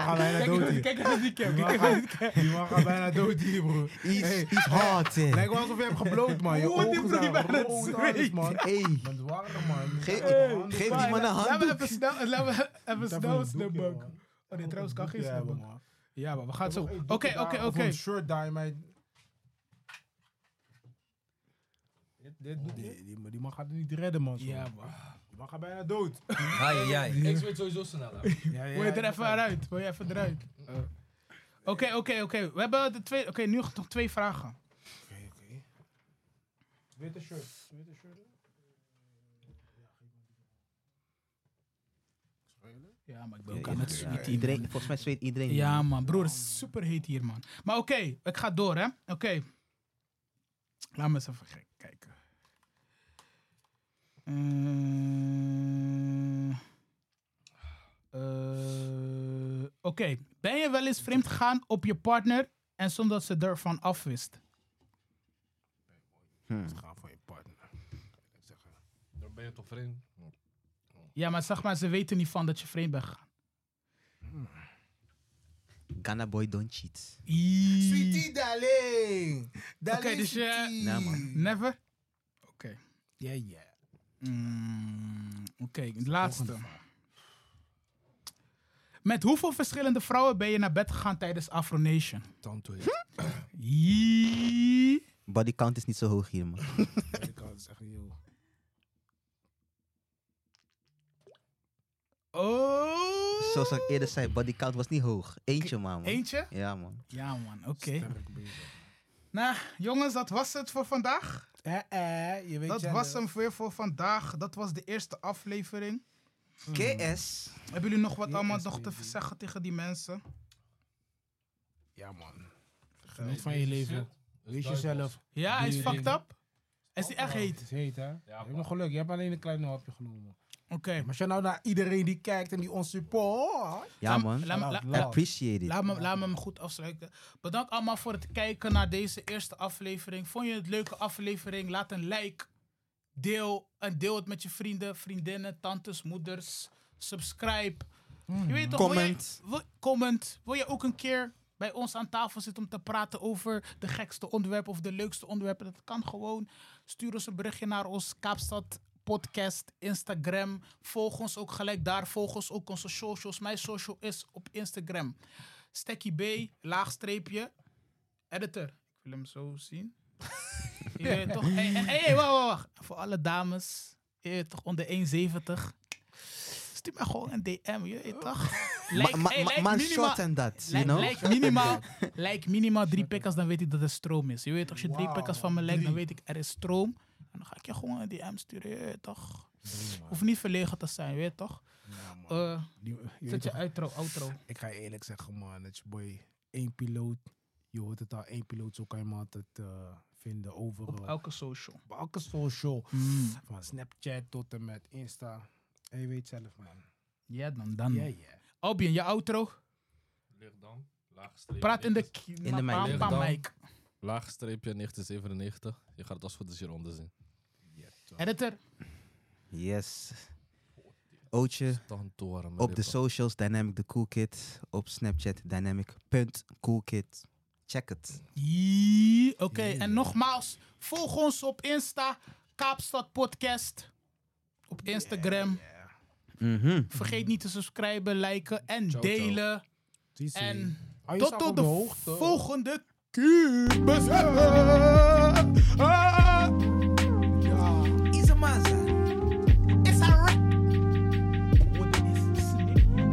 S2: gaat bijna dood hier.
S1: Kijk even die cam.
S2: Die
S1: Kijk
S2: man
S1: even
S2: gaat- Die man gaat bijna dood hier, bro.
S4: Iets,
S2: Hey,
S4: iets hard, hè.
S2: Lijkt wel alsof je hebt gebloot, man. Je
S1: Oeh, die
S2: ogen
S1: broer die
S2: zijn
S1: bijna
S2: rood, alles, man.
S4: Hey.
S2: Het warm, man.
S4: Geef,
S2: Handen
S4: geef die man een
S1: Laten we
S4: handdoek.
S1: even snel,
S2: [LAUGHS]
S1: laten we even
S2: Even
S1: snel
S2: een doekje,
S1: snapbuk.
S2: man.
S1: Oh nee, trouwens kan geen
S2: Doekje hebben,
S1: snapbuk.
S2: man.
S1: Ja, maar we gaan zo.
S2: Hey,
S1: Oké,
S2: doekje
S1: oké,
S2: daar,
S1: oké.
S2: of een shirt daar, maar... Die, die, man- die man gaat het niet redden, man. zo.
S1: Ja, man.
S2: Die man gaat bijna dood.
S7: Ai, ai, ai.
S3: Ik zweet sowieso
S2: [LAUGHS]
S3: sneller.
S2: Ja, ja,
S1: Wil je er
S2: ja.
S1: even eruit? Wil je even eruit?
S2: Eh.
S1: Oké, oké, oké. We hebben de twee. Oké, nu nog twee vragen.
S2: Oké, oké. Witte shirt. Witte shirt.
S1: Ja, maar ik
S4: Ja,
S1: ben ook aan het
S4: ja,
S1: zweeten.
S4: iedereen, volgens mij zweet iedereen.
S1: Ja, man, broer, het is super heet hier, man. Maar oké, ik ga door, hè? Oké. Laat me eens even gek kijken. Eh, eh, oké, ben je wel eens vreemd gegaan op je partner en zonder dat ze ervan afwist?
S4: Hmm.
S2: Ga voor je partner.
S3: Dan ben je toch vreemd.
S1: Ja, maar zeg maar, ze weten niet van dat je vreemd bent gegaan.
S4: Ghana boy don't cheat.
S1: Ie.
S2: Sweetie, darling.
S1: Oké, dus je...
S4: Ja, man.
S1: Never? Oké.
S2: eh, Ja, ja.
S1: Mm, Oké, de laatste. Met hoeveel verschillende vrouwen ben je naar bed gegaan tijdens Afro Nation?
S2: Tanto [LAUGHS] is.
S1: Jee.
S4: Body count is niet zo hoog hier, man.
S2: Ik kan het echt niet, joh.
S1: Oh.
S4: Zoals ik eerder zei, body count was niet hoog. Eentje maar, man.
S1: Eentje?
S4: Ja, man.
S1: Ja, man. Oké. Nou, jongens, dat was het voor vandaag.
S2: Eh, eh, je weet
S1: Dat
S2: jij
S1: was
S2: wel.
S1: hem weer voor vandaag. Dat was de eerste aflevering.
S4: KS.
S1: Hebben jullie nog wat
S2: Yes,
S1: allemaal nog te
S2: Hmm. baby.
S1: zeggen tegen die mensen?
S2: Ja, man. Geniet van je leven. Wees jezelf.
S1: Ja, hij is
S2: Nee,
S1: fucked
S2: nee.
S1: up. Is hij echt
S2: Het
S1: heet?
S2: Oh. is heet, hè? je hebt
S3: man.
S2: nog geluk. Je hebt alleen een kleine hapje genomen.
S1: Oké.
S2: Maar als je nou naar iedereen die kijkt en die ons support...
S4: Ja,
S1: Laat-
S4: man.
S1: laat me-
S2: Shout out,
S1: laat-
S2: love.
S4: Appreciate it.
S1: Laat me, laat me hem goed afsluiten. Bedankt allemaal voor het kijken naar deze eerste aflevering. Vond je het leuke aflevering? Laat een like. Deel en deel het met je vrienden, vriendinnen, tantes, moeders. Subscribe. Je weet toch,
S4: Comment.
S1: Wil je, wil- comment. Wil je ook een keer bij ons aan tafel zitten om te praten over de gekste onderwerpen of de leukste onderwerpen? Dat kan gewoon. Stuur ons een berichtje naar ons Kaapstad podcast, Instagram. Volg ons ook gelijk daar. Volg ons ook onze socials. Mijn social is op Instagram. Stekkie B, laagstreepje, editor. Ik wil hem zo
S2: [LAUGHS]
S1: zien. Je weet toch? Hey, en- hey, wacht, wacht, wacht. Voor alle dames, je weet toch onder 1,70. Stuur mij gewoon een DM, je weet toch?
S2: Oh.
S1: Like,
S4: Maar ma,
S1: hey, like
S4: maar
S1: minimaal-
S4: short en dat, you
S1: like-
S4: know?
S1: like
S4: [LAUGHS]
S1: minimaal, like minimaal drie pikkers, dan weet ik dat er stroom is. Je weet, als je drie
S2: Wauw,
S1: pikkers van me lijkt, dan
S2: drie.
S1: weet ik er is stroom. En dan ga ik je gewoon een DM sturen, je weet toch? Hoef niet verlegen te zijn, je weet toch? Eh,
S2: Die- je weet
S1: zet je
S2: toch,
S1: outro, outro.
S2: Ik ga je eerlijk zeggen, man. Het is boy. één piloot. Je hoort het al. één piloot. Zo kan je hem altijd eh, vinden
S1: Op
S2: overal.
S1: elke social.
S2: Op elke social.
S1: Mm.
S2: Van Snapchat tot en met Insta. En je weet zelf, man.
S1: Ja, dan, dan.
S2: Ja, ja.
S1: Albion, je outro.
S3: Ligt dan. Laagstreepje.
S1: Praat in de...
S4: de mic.
S1: pa- pa-
S3: Dan.
S1: mic.
S3: Laagstreepje 1997. Je gaat het als goed is hieronder zien.
S1: Editor.
S4: Yes. Ootje.
S3: Tantoren.
S4: Op de socials, Dynamic the Cool Kid. Op Snapchat, dynamic.coolkid. Check het.
S1: Jee, Oké, en nogmaals, volg ons op Insta, Kaapstad Podcast. Op Instagram.
S4: Mhm.
S1: Vergeet niet te subscriben, liken en
S3: Ciao, ciao.
S1: delen.
S2: Zie, zie.
S1: En
S2: Ah, je
S1: tot
S2: staat
S1: tot
S2: op
S1: de
S2: hoogte.
S1: volgende keer. Bezet!